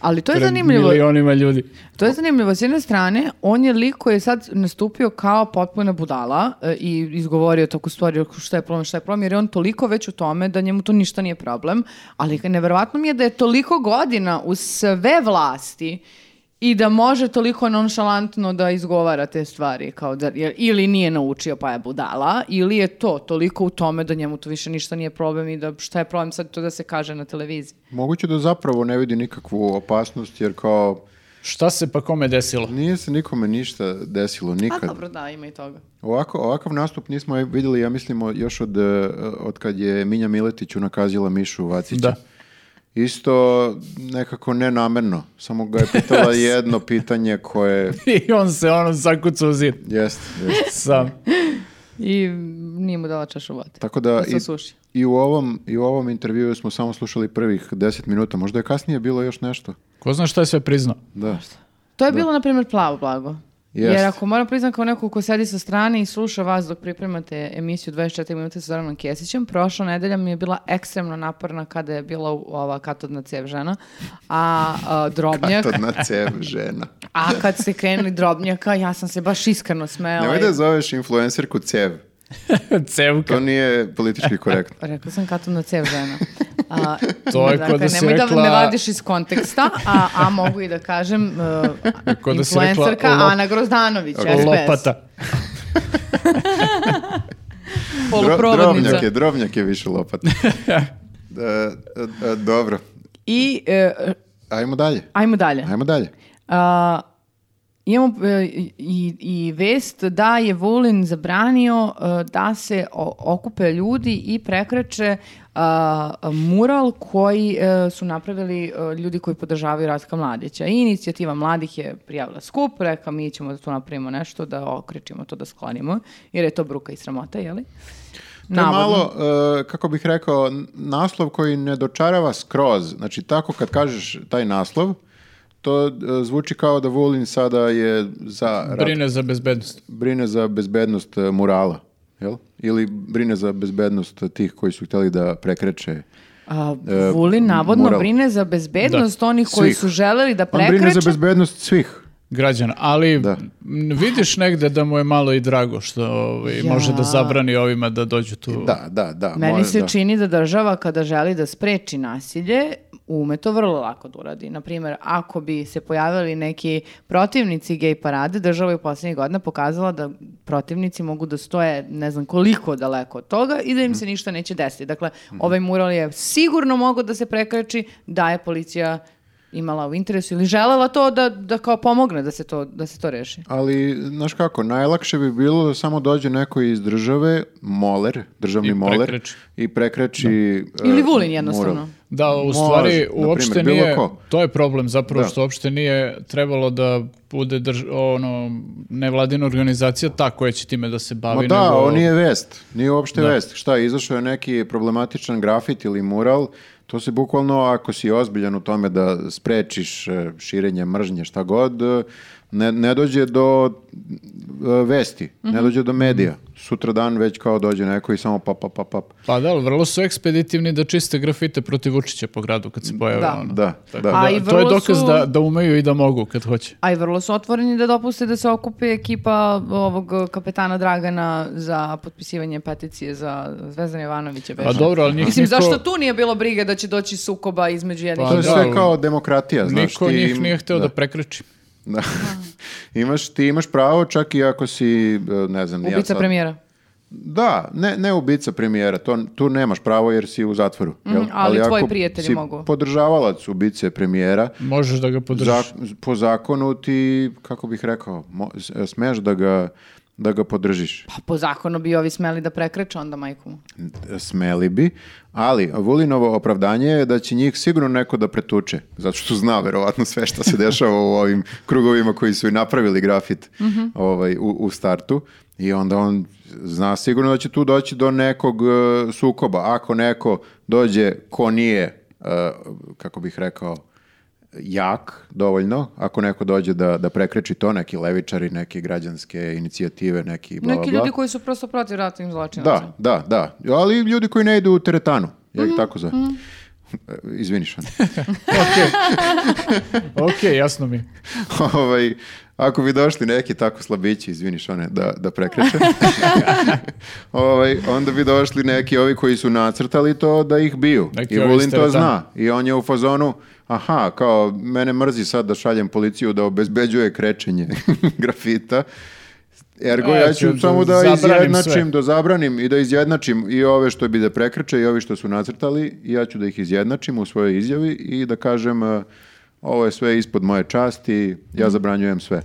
A: Ali to je
C: pred
A: zanimljivo.
C: milionima ljudi.
A: To je zanimljivo. S jedne strane, on je lik koji je sad nastupio kao potpuna budala e, i izgovorio tako stvari šta je problem, šta je problem, jer je on toliko već u tome da njemu to ništa nije problem. Ali neverovatno mi je da je toliko godina u sve vlasti i da može toliko nonšalantno da izgovara te stvari. Kao da, jer, ili nije naučio pa je budala, ili je to toliko u tome da njemu to više ništa nije problem i da šta je problem sad to da se kaže na televiziji.
B: Moguće da zapravo ne vidi nikakvu opasnost, jer kao
C: Šta se pa kome desilo?
B: nije se nikome ništa desilo
A: A
B: nikad.
A: dobro, da, ima i toga.
B: Ovako, ovakav nastup nismo vidjeli, ja mislimo, još od, eh, od kad je Minja Miletić unakazila Mišu Vacića.
C: Da.
B: Isto nekako nenamerno. Samo ga je pitala jedno pitanje koje...
C: I on se ono zakucao u zid.
B: Jest, jest.
C: Sam.
A: I nije mu dala čašu vode.
B: Tako da
A: se osuši.
B: Pa i, i, u ovom, i u ovom intervjuu smo samo slušali prvih 10 minuta. Možda je kasnije bilo još nešto.
C: Ko zna šta je sve priznao?
B: Da.
A: To je bilo, na primjer, plavo blago.
B: Jest.
A: Jer ako moram priznat kao neko ko sedi sa strane i sluša vas dok pripremate emisiju 24 minute sa Zoranom Kjesićem, prošla nedelja mi je bila ekstremno naporna kada je bila u- ova katodna cijev žena, a, a, drobnjak.
B: To na cev žena.
A: A kad ste krenuli drobnjaka, ja sam se baš iskreno smela.
B: Nemoj
A: i-
B: da zoveš influencerku cev.
C: Cevka.
B: To nije politički korektno.
A: Rekla sam katodna cijev žena. A,
C: To je
A: dakle,
C: ko da si
A: nemoj da
C: rekla-
A: ne vadiš iz konteksta, a, a mogu i da kažem uh,
C: Ko da si rekla
A: influencerka
C: lop-
A: Ana Grozdanović, SPS.
C: Lopata.
B: Dro,
A: Poluprovodnica.
B: drobnjak je, drobnjak je više lopat. Da, e, e, dobro,
A: I e,
B: ajmo dalje.
A: ajmo dalje.
B: Ajmo dalje.
A: A, imamo e, i, i vest da je Vulin zabranio e, da se o- okupe ljudi i prekreče a, mural koji e, su napravili e, ljudi koji podržavaju Ratka Mladića. I inicijativa mladih je prijavila skup, rekla mi ćemo da tu napravimo nešto, da okrećemo to, da sklonimo, jer je to bruka i sramota, jeli?
B: To je
A: Navodno.
B: malo, e, kako bih rekao, n- naslov koji ne dočarava skroz. Znači, tako kad kažeš taj naslov, to e, zvuči kao da Vulin sada je za rat-
C: Brine za bezbednost.
B: brine za bezbednost e, murala, jel? Ili brine za bezbednost tih koji su htjeli da prekreče.
A: A,
B: E,
A: Vulin navodno
B: mural.
A: brine za bezbednost onih koji
B: Svih.
A: su želeli da
B: On brine za
A: prekreče.
B: bezbednost svih.
C: Građana. Ali
B: Da.
C: m, vidiš negde da mu je malo i drago što ovaj,
A: Ja.
C: može da zabrani ovima da dođu tu.
B: Da, da, da.
A: Meni
B: mora-
A: se
B: da.
A: čini da država kada želi da spreči nasilje, ume to vrlo lako da uradi. Naprimjer, ako bi se pojavili neki protivnici gej parade, država je u posljednjih godina pokazala da protivnici mogu da stoje ne znam koliko daleko od toga i da im se
B: Mhm.
A: ništa neće desiti. Dakle, ovaj mural je sigurno mogao da se prekreči da je policija imala u interesu ili želela to da, da kao pomogne da se to, da se to reši.
B: Ali, znaš kako, najlakše bi bilo da samo dođe neko iz države, moler, državni
C: I
B: moler,
C: prekreči.
B: i prekreči... e,
A: Ili Vulin jednostavno.
B: mural.
C: Da, u
B: Može,
C: stvari
B: na primjer,
C: uopšte
B: bilo
C: nije,
B: ko.
C: to je problem zapravo
B: Da.
C: što uopšte nije trebalo da bude drž, ono, nevladina organizacija ta koja će time da se
B: Ma
C: bavi.
B: da,
C: nego-
B: ovo nije vest, nije uopšte vest. Šta, izašao je neki problematičan grafit ili mural, to se bukvalno, ako si ozbiljan u tome da sprečiš e, širenje mržnje, šta god, e, ne, ne dođe do e, vesti,
A: Mhm.
B: ne dođe do medija.
C: Mhm.
B: Sutra dan već kao dođe neko i samo pap, pap, pap, pap.
C: Pa da, ali vrlo su ekspeditivni da čiste grafite protiv Vučića po gradu kad se pojave.
A: Da.
C: ono.
B: Da,
C: Tako
B: da.
C: da,
A: A i
C: to je
A: vrlo
C: dokaz
A: su-
C: da, da umeju i da mogu kad hoće.
A: A i vrlo su otvoreni da dopuste da se okupi ekipa ovog eh, kapetana Dragana za potpisivanje peticije za Zvezdana Jovanovića.
C: Pa dobro, ali njih
A: Mislim,
C: niko-
A: zašto tu nije bilo brige da će doći sukoba između jednih
C: Pa
B: To je
A: i
C: da,
A: drugih?
B: sve kao demokratija, znaš.
C: Niko
B: ti
C: njih
B: im-
C: nije hteo da, prekreči.
B: Da. imaš, ti imaš pravo čak i ako si, e, ne znam, ni ja
A: Ubica
B: sad-
A: premijera.
B: Da, ne, ne ubica premijera, to, tu nemaš pravo jer si u zatvoru. jel?
A: Mhm, ali tvoji
B: ako
A: prijatelji
B: si
A: mogu.
B: podržavalac ubice premijera,
C: Možeš da ga podržiš.
B: zak- po zakonu ti, kako bih rekao, mo, s- smeš da ga, da ga podržiš.
A: Pa po zakonu bi ovi smeli da prekreče onda majku. mu.
B: Smeli bi, ali Vulinovo opravdanje je da će njih sigurno neko da pretuče, zato što zna verovatno sve što se dešava u ovim krugovima koji su i napravili grafit
A: Mhm.
B: ovaj, u, u startu i onda on zna sigurno da će tu doći do nekog e, sukoba. Ako neko dođe ko nije, e, kako bih rekao, jak dovoljno, ako neko dođe da, da prekreči to, neki levičari, neke građanske inicijative, neki bla, bla,
A: Neki
B: bla.
A: ljudi koji su prosto protiv ratnih zločinaca.
B: Da, da, da. Ali ljudi koji ne idu u teretanu, ja ih tako zovem. Izvini, Šan.
C: Ok, ok, jasno mi.
B: ovaj, ako bi došli neki tako slabići, izvini Šone, da, da prekrećem, ovaj, onda bi došli neki ovi koji su nacrtali to da ih biju.
C: Neki
B: I
C: ovi
B: Vulin to
C: stereotipi.
B: zna. I on je u fazonu, aha, kao, mene mrzi sad da šaljem policiju da obezbeđuje krečenje grafita. Ergo,
C: A,
B: ja
C: ja ću
B: ću
C: E, da
B: samo da
C: zabranim sve.
B: izjednačim, da zabranim i da izjednačim i ove što bi da prekreče i ovi što su nacrtali, i ja ću da ih izjednačim u svojoj izjavi i da kažem e, ovo je sve ispod moje časti,
C: Mhm.
B: ja zabranjujem sve.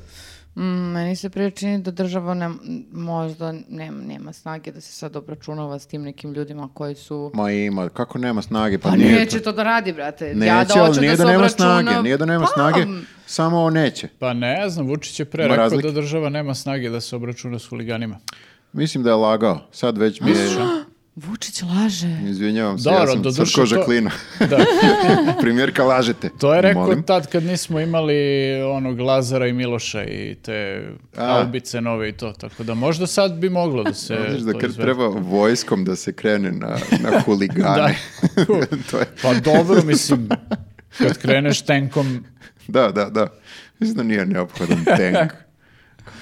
A: Mm, meni se prije čini da država ne, možda nema, nema snage da se sad obračunava s tim nekim ljudima koji su...
B: Ma ima, kako nema snage, pa,
A: Pa
B: nije
A: neće to da radi, brate.
B: Neće,
A: ja da
B: ali
A: hoću
B: nije
A: da,
B: da,
A: se
B: nema
A: obračunam-
B: snage, nije da nema
A: Pa,
B: snage, samo on neće.
C: Pa ne znam, Vučić je pre
B: Ima
C: rekao
B: razlike.
C: da država nema snage da se obračuna s huliganima.
B: Mislim da je lagao, sad već mi je,
A: Vučić laže.
B: izvinjavam se, ja
C: Dobro,
B: sam
C: doduše
B: crko
C: to-
B: Žaklina.
C: Da.
B: Primjerka lažete.
C: To je rekao
B: Molim.
C: tad kad nismo imali onog Lazara i Miloša i te
B: A.
C: haubice nove i to, tako da možda sad bi moglo da se
B: Znaš da
C: E, to
B: kad
C: izvede.
B: treba vojskom da se krene na, na huligane. to je,
C: Pa dobro, mislim, kad kreneš tenkom,
B: da, da, da. Mislim da nije neophodan tank.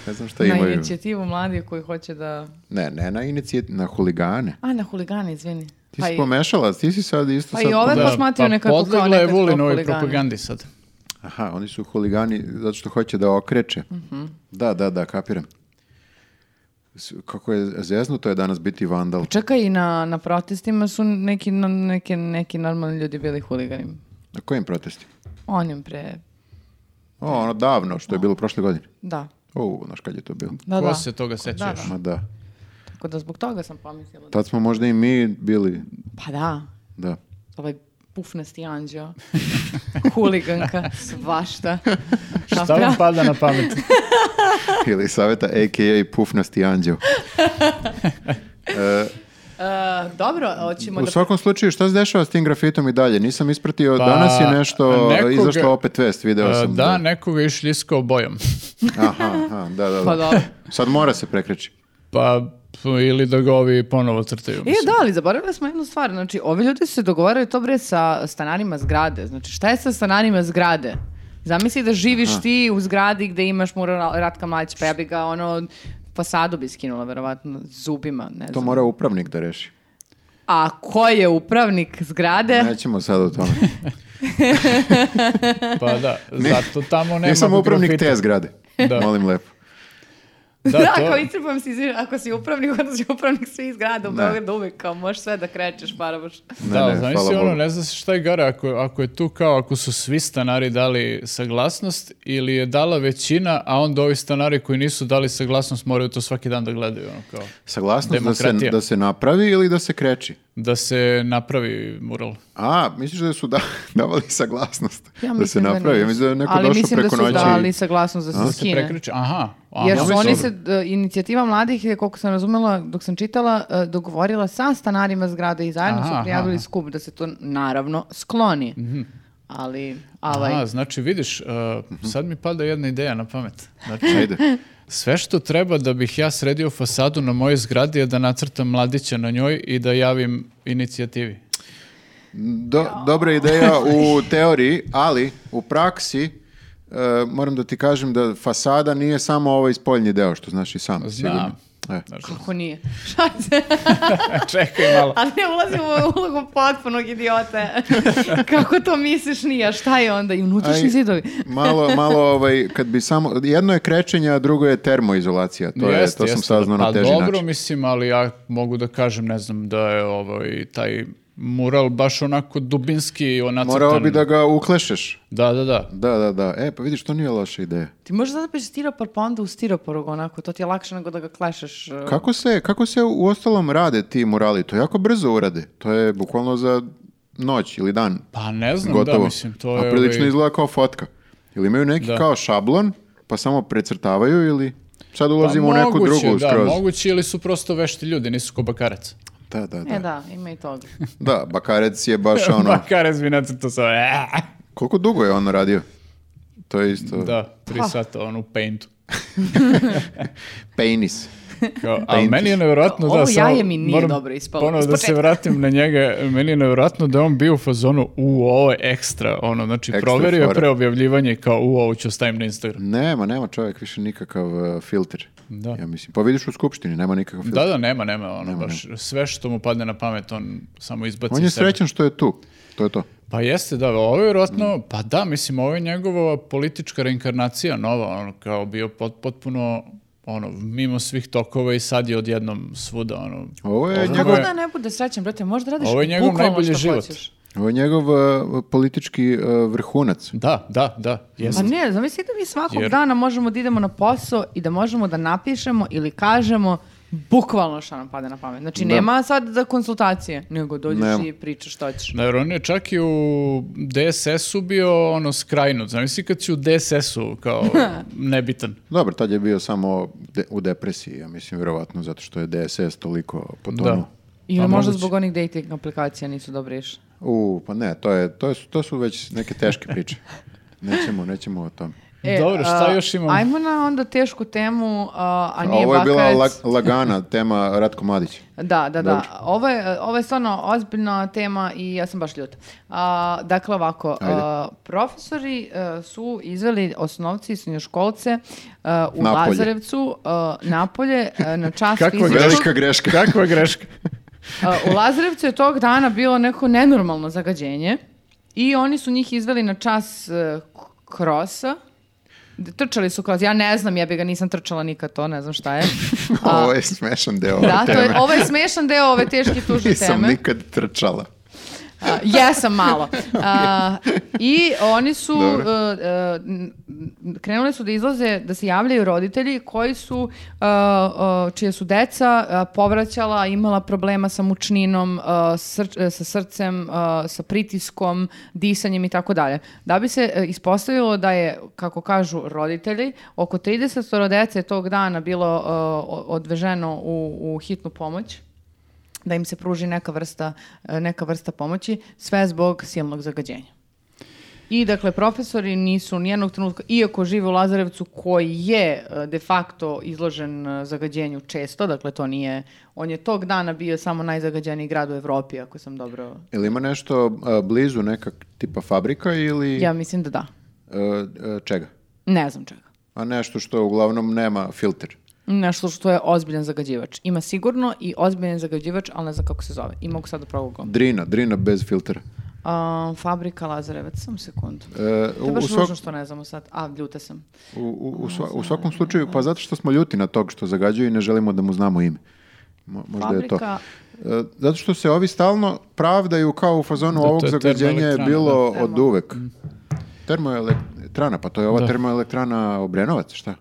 B: Ne znam šta
A: Na
B: imaju.
A: inicijativu mladih koji hoće da...
B: Ne, ne na inicijat, na huligane.
A: A, na huligani, izvini.
B: Ti
A: Pa
B: si
A: i-
B: pomešala, ti si sad isto
A: Pa
B: sad
A: i ove
B: pomešala.
A: baš smatraju nekako kao
C: podlegla je
A: nekad kao
C: Vulinovoj
A: huligani.
C: propagandi sad.
B: Aha, oni su huligani zato što hoće da okreće.
A: Mhm.
B: Da, da, da, kapiram. S- Kako je zeznuto je danas biti vandal.
A: Čekaj, i na, na protestima su neki, na- neki, neki normalni ljudi bili huligani.
B: Na kojim protestima?
A: Onim pre,
B: O, ono davno, što je bilo prošle godine.
A: da.
B: O, znaš kad je to bilo.
A: Da,
C: Ko
A: da.
C: se toga seća
A: da.
C: još?
B: Ma da.
A: Tako da zbog toga sam pomislila. Da...
B: Tad smo možda i mi bili,
A: Pa da,
B: da.
A: ovaj pufnasti anđeo, huliganka, svašta. Pa
C: Šta vam pada na pamet?
B: Ili saveta a.k.a. pufnasti anđeo.
A: E, dobro, hoćemo
B: pa- U
A: da...
B: svakom slučaju, šta se dešava s tim grafitom i dalje? Nisam ispratio,
C: Pa, E,
B: danas je nešto,
C: nekoga-
B: izašlo opet vest, video
C: Pa Da,
B: sam.
C: nekoga je išljiskao bojom.
B: Aha, aha, da, da,
A: Pa
B: da.
A: dobro.
B: Sad mora se prekreći.
C: Pa, p- ili da ga ovi ponovo crtaju.
A: E,
C: mislim.
A: da, ali zaboravili smo jednu stvar. Znači, ovi ljudi se dogovaraju to bre sa stanarima zgrade. Znači, šta je sa stanarima zgrade? Zamisli da živiš ti u zgradi gde imaš mural Ratka Mladića, pa ja bi ga ono fasadu bi skinula, verovatno, zubima, ne
B: To
A: znam.
B: mora upravnik da reši.
A: A ko je upravnik zgrade?
B: Nećemo sad o tome.
C: Pa da, zato tamo nema
B: Nisam upravnik
C: grafita.
B: te zgrade.
C: Da.
B: Molim lepo.
C: Da,
A: Da,
C: to-
A: ako istrpujem si, izvini, ako si upravnik, onda si upravnik svih zgrada u
B: Ne.
A: Beogradu uvek, kao možeš sve da krećeš, paraboš.
B: Ne,
C: Da,
B: ne,
C: znaš
B: hvala
C: si ono,
B: Bogu.
C: ne zna se šta je gara, ako, ako je tu kao, ako su svi stanari dali saglasnost ili je dala većina, a onda ovi stanari koji nisu dali saglasnost moraju to svaki dan da gledaju, ono kao,
B: Saglasnost da se,
C: Demokratija.
B: da se napravi ili da se kreči?
C: da se napravi mural.
B: A, misliš da su da, davali saglasnost
A: Ja
B: da se
A: mislim da
B: napravi?
A: nisu.
B: Ja mislim da je neko
A: Ali
B: došao
A: mislim
B: preko
A: da su
B: noći.
A: dali
B: i-
A: saglasnost da se
C: Da se
A: skine.
C: prekriče, aha, aha.
A: Jer su
B: mislim-
A: oni se, d- inicijativa mladih je, koliko sam razumela, dok sam čitala, e, dogovorila sa stanarima zgrade i zajedno su
C: Aha,
A: prijavili
C: aha. Mhm.
A: skup da se to naravno skloni. Ali, ovaj,
C: Aha, znači vidiš, uh, sad mi pada jedna ideja na pamet. Znači,
B: Ajde.
C: sve što treba da bih ja sredio fasadu na mojoj zgradi je da nacrtam mladića na njoj i da javim inicijativi.
B: Do, dobra ideja u teoriji, ali u praksi e, moram da ti kažem da fasada nije samo ovaj spoljni deo, što znaš i sam. sigurno. E.
A: kako nije? Šta se?
C: Čekaj malo.
A: A ne ulazim u ulogu potpunog idiota. kako to misliš nije? A Šta je onda? I unutrašnji
B: Aj,
A: zidovi.
B: malo, malo ovaj, kad bi samo, jedno je krećenje, a drugo je termoizolacija. To, je,
C: Jeste,
B: to sam
C: jeste,
B: saznao
C: da.
B: na teži
C: Pa dobro,
B: način.
C: mislim, ali ja mogu da kažem, ne znam, da je ovaj, taj mural baš onako dubinski onacrtan.
B: Morao bi da ga uklešeš.
C: Da, da, da.
B: Da, da, da. E, pa vidiš, to nije loša ideja.
A: Ti možeš zapiš stiropor pa onda u stiroporu, onako, to ti je lakše nego da ga klešeš. e,
B: Kako se, kako se u ostalom rade ti murali? To jako brzo urade. To je bukvalno za noć ili dan.
C: Pa ne znam,
B: Gotovo.
C: da, mislim, to je...
B: A prilično
C: ovaj,
B: izgleda kao fotka. Ili imaju neki
C: Da.
B: kao šablon, pa samo precrtavaju ili... Sad ulazimo
C: pa
B: u neku
C: moguće,
B: drugu
C: da,
B: skroz.
C: moguće ili su prosto vešti ljudi, nisu ko bakarac.
B: Da, da, da.
A: E da, ima i toga.
B: Da, Bakarec je baš ono...
C: Bakarec bi nacrtao sa...
B: Koliko dugo je on radio? To je isto...
C: Da, tri
A: Pa.
C: sata, ono, u paintu.
B: Penis.
C: Kao, a meni je nevjerojatno da
A: Ovo
C: samo
A: jaje mi nije
C: moram
A: dobro ispalo
C: Ponovo da se
A: ispočetka.
C: vratim na njega, meni je nevjerojatno da je on bio u fazonu u ovo je ekstra, ono znači
B: Ekstra
C: proverio je
B: fora.
C: pre objavljivanja i kao u ovo ću stavim na Instagram.
B: Nema, nema čovjek više nikakav uh, filter.
C: Da.
B: Ja mislim, pa vidiš u skupštini, nema nikakav filter.
C: Da, da, nema, nema, ono, baš sve što mu padne na pamet, on samo izbaci
B: On je
C: sebe.
B: srećan Mm. što je tu. To je to.
C: Pa jeste, da, ovo je vjerojatno, pa da, mislim, ovo je njegova politička reinkarnacija nova, ono, kao bio pot, potpuno, ono, mimo svih tokova i sad je odjednom svuda, ono.
B: Ovo je
C: Ovo
A: A
B: njegov,
A: možda ne bude srećan, brate, možda radiš
C: Ovo je njegov
A: bukvalno
C: najbolji
A: šta
C: život.
A: hoćeš.
B: ovo je njegov uh, politički uh, vrhunac.
C: Da, da, da,
A: Pa
C: jeste.
A: ne, zamisli da mi svakog
C: Jer-
A: dana možemo da idemo na posao i da možemo da napišemo ili kažemo bukvalno šta nam pada na pamet. Znači, nema sad za konsultacije, nego dođeš
B: Nema.
A: i pričaš što ćeš.
C: Da, jer on je čak i u DSS-u bio ono skrajnut. Zamisli kad si u DSS-u kao nebitan.
B: Dobro, tad je bio samo de- u depresiji, ja mislim, vjerovatno, zato što je DSS toliko potonuo.
C: Da.
A: Ili
C: A
A: možda
C: Pa moguće.
A: zbog onih dating aplikacija nisu dobre išle.
B: U, pa ne, to, je, to, je, to su već neke teške priče. Nećemo, nećemo o tom.
C: Dobro, šta
A: E, a,
C: još imamo?
A: Ajmo na onda tešku temu, a, a
B: A
A: Pa nije
B: ovo je bila
A: Bakarec.
B: la- lagana tema Ratko Mladić.
A: Da, da, da.
B: Dobro.
A: Ovo je, ovo je stvarno ozbiljna tema i ja sam baš ljuta. A, dakle, ovako,
B: Ajde.
A: a, profesori e, su izveli osnovci i srednjoškolce e, u
B: Napolje.
A: Lazarevcu, e, napolje, e, na čas
C: Kako je
A: fizičkog.
B: Velika greška.
C: Kakva je greška?
A: Uh, u Lazarevcu je tog dana bilo neko nenormalno zagađenje i oni su njih izveli na čas uh, k- krosa. D- Trčali su kroz, ja ne znam, ja bi ga nisam trčala nikad to, ne znam šta je. A,
B: Pa Ovo je smešan deo ove
A: da, to
B: teme.
A: je, ovo je smešan deo ove teške tužne
B: Nisam
A: teme.
B: nikad trčala.
A: A, jesam malo. A, I oni su
B: Dobro.
A: e, e, n- n- krenuli su da izlaze, da se javljaju roditelji koji su, e, e, čije su deca e, povraćala, imala problema sa mučninom, e, srč- e, sa srcem, e, sa pritiskom, disanjem i tako dalje. Da bi se e, ispostavilo da je, kako kažu roditelji, oko 30 dece je tog dana bilo e, o- odveženo u, u hitnu pomoć da im se pruži neka vrsta, e, neka vrsta pomoći, sve zbog silnog zagađenja. I dakle, profesori nisu nijednog trenutka, iako žive u Lazarevcu koji je e, de facto izložen e, zagađenju često, dakle to nije, on je tog dana bio samo najzagađeniji grad u Evropi, ako sam dobro...
B: Ili ima nešto a, blizu neka tipa fabrika ili
A: Ja mislim da da.
B: a, a, čega?
A: Ne znam čega.
B: A nešto što uglavnom nema filter.
A: Nešto što je ozbiljan zagađivač. Ima sigurno i ozbiljan zagađivač, ali ne znam kako se zove. I mogu sad da progugam.
B: Drina, drina bez filtera.
A: A, fabrika Lazarevac, sam sekundu.
B: E,
A: To je
B: u,
A: baš
B: svak-
A: ružno što ne znamo sad. A, ljuta sam.
B: u, u- u sva- u svakom slučaju, pa zato što smo ljuti na tog što zagađuje i ne želimo da mu znamo ime. Mo- možda je to.
A: Fabrika-
B: E, zato što se ovi stalno pravdaju kao u fazonu
C: Da, to
B: ovog
C: je
B: zagađenja je
C: termoelektrana,
B: bilo
A: da.
B: od uvek. Termoelektrana, pa to je ova termoelektrana Obrenovac, šta?
C: E,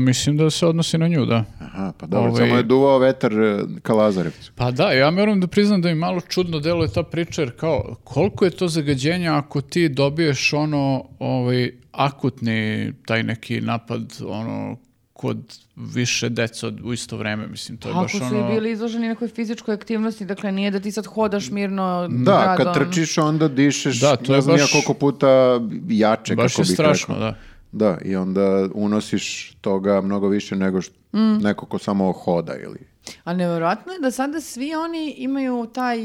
C: mislim da se odnosi na nju, da.
B: Aha, pa dobro,
C: Ovaj-
B: samo je duvao vetar e, ka Lazarevcu.
C: Pa da, ja moram da priznam da mi malo čudno deluje ta priča, jer kao, koliko je to zagađenja ako ti dobiješ ono, ovaj, akutni taj neki napad, ono, kod više deca od- u isto vreme, mislim, to je
A: Ako
C: baš
A: su
C: ono...
A: i bili izloženi nekoj fizičkoj aktivnosti, dakle nije da ti sad hodaš mirno
B: Da,
A: gradom.
B: kad trčiš onda dišeš,
C: Mm. Da, to je
B: ne znam ja
C: baš-
B: koliko puta jače,
C: Baš
B: kako
C: je
B: bih
C: strašno,
B: rekao.
C: da.
B: Da, i onda unosiš toga mnogo više nego što neko ko samo hoda ili...
A: A nevjerojatno je da sada svi oni imaju taj,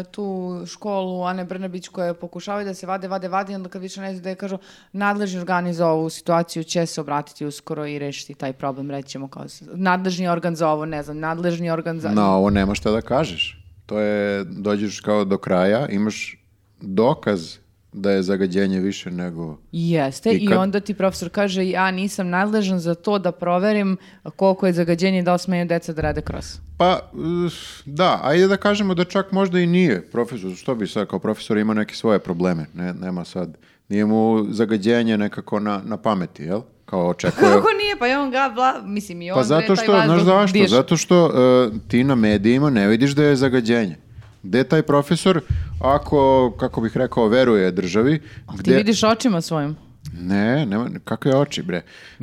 A: e, tu školu Ane Brnabić koja pokušavaju da se vade, vade, vade i onda kad više ne znaju da je kažu nadležni organi za ovu situaciju će se obratiti uskoro i rešiti taj problem, rećemo kao s- nadležni organ za ovo, ne znam, nadležni organ za...
B: Na ovo nema šta da kažeš. To je, dođeš kao do kraja, imaš dokaz da je zagađenje više nego...
A: Jeste,
B: I
A: i,
B: kad-
A: onda ti profesor kaže ja nisam nadležan za to da proverim koliko je zagađenje da osmeju deca da rade kros.
B: Pa, s- da, ajde da kažemo da čak možda i nije profesor. Što bi sad, kao profesor ima neke svoje probleme. Ne, nema sad, nije mu zagađenje nekako na, na pameti, jel? Kao očekuje...
A: Kako nije? Pa je on ga, bla, mislim i on
B: Pa zato što, znaš zašto? Zato što e, ti na medijima ne vidiš da je zagađenje. Gde taj profesor, ako, kako bih rekao, veruje državi,
A: Ti
B: gde...
A: vidiš očima svojim.
B: Ne, nema, kakve oči, bre.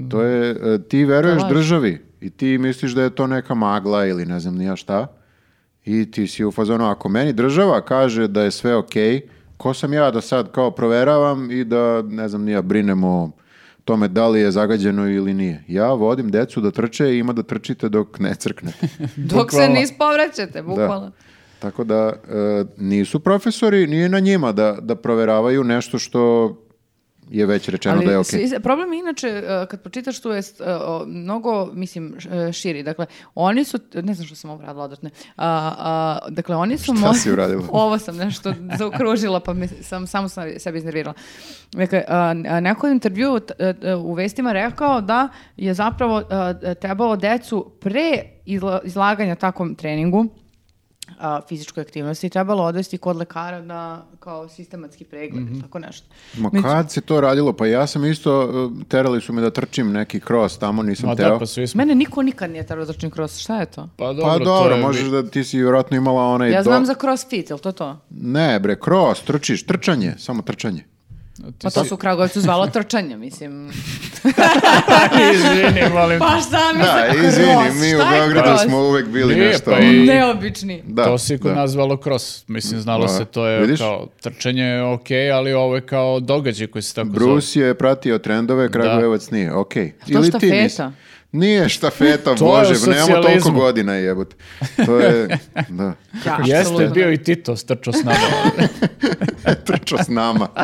B: To je, e, ti veruješ
A: Mm. laž.
B: državi i ti misliš da je to neka magla ili ne znam ni ja šta. I ti si u fazonu, ako meni država kaže da je sve okej, ko sam ja da sad kao proveravam i da, ne znam, ni ja brinemo tome da li je zagađeno ili nije. Ja vodim decu da trče i ima da trčite dok ne crknete.
A: Dok se
C: Bukvalno.
A: ne ispovraćate, bukvalno.
B: Tako da e, nisu profesori, nije na njima da, da proveravaju nešto što je već rečeno da je okej.
A: svi- problem je inače, e, kad pročitaš tu, je s- e, o, mnogo, mislim, š- e, širi. Dakle, oni su, ne znam što sam ovo radila odvratno. A, a, dakle, oni su...
B: Šta
A: mo-
B: si uradila?
A: ovo sam nešto zaokružila, pa me, sam samo sam sebe iznervirala. Dakle, a, a, neko je u intervju t- e, e, u vestima rekao da je zapravo a, e, trebalo decu pre izla- izlaganja takvom treningu a, fizičkoj aktivnosti trebalo odvesti kod lekara na kao sistematski pregled ili tako nešto.
B: Mhm. Ma kad se to radilo? Pa ja sam isto, e, terali su me da trčim neki kros tamo, nisam
C: Ma
B: teo.
C: da, pa svi smo.
A: Mene niko nikad nije terao da trčim cross. Šta je to?
C: Pa
B: Pa
C: dobro,
B: dobro,
C: to je
B: možeš da ti si vjerojatno imala onaj...
A: ja
B: E, do-
A: znam za crossfit, jel to to?
B: Ne bre, kros, trčiš, trčanje, samo trčanje.
A: Pa to su u Kragovicu zvalo trčanje, mislim.
C: Izvini, molim.
A: Pa šta mi
B: Da,
A: se
B: izvini, mi u Beogradu smo uvek bili
C: Nije,
B: nešto.
C: pa
B: ono.
C: i-
A: Neobični.
B: Da,
C: to se kod
B: da.
C: nas zvalo cross. Mislim, znalo
B: Da.
C: se, to je
B: Vidiš?
C: kao trčanje, ok, ali ovo je kao događaj koji se tako zove.
B: Bruce je pratio trendove, Kragujevac nije, okej.
A: to
B: Ili ti
A: štafeta?
B: nisi? Nije štafeta,
C: To je
B: bože,
C: u
B: nemamo toliko
C: socijalizmu.
B: godina jebote. To je, da,
A: Da,
C: Jeste
A: apsolutno.
C: bio i Tito strčao s nama.
B: trčao s nama.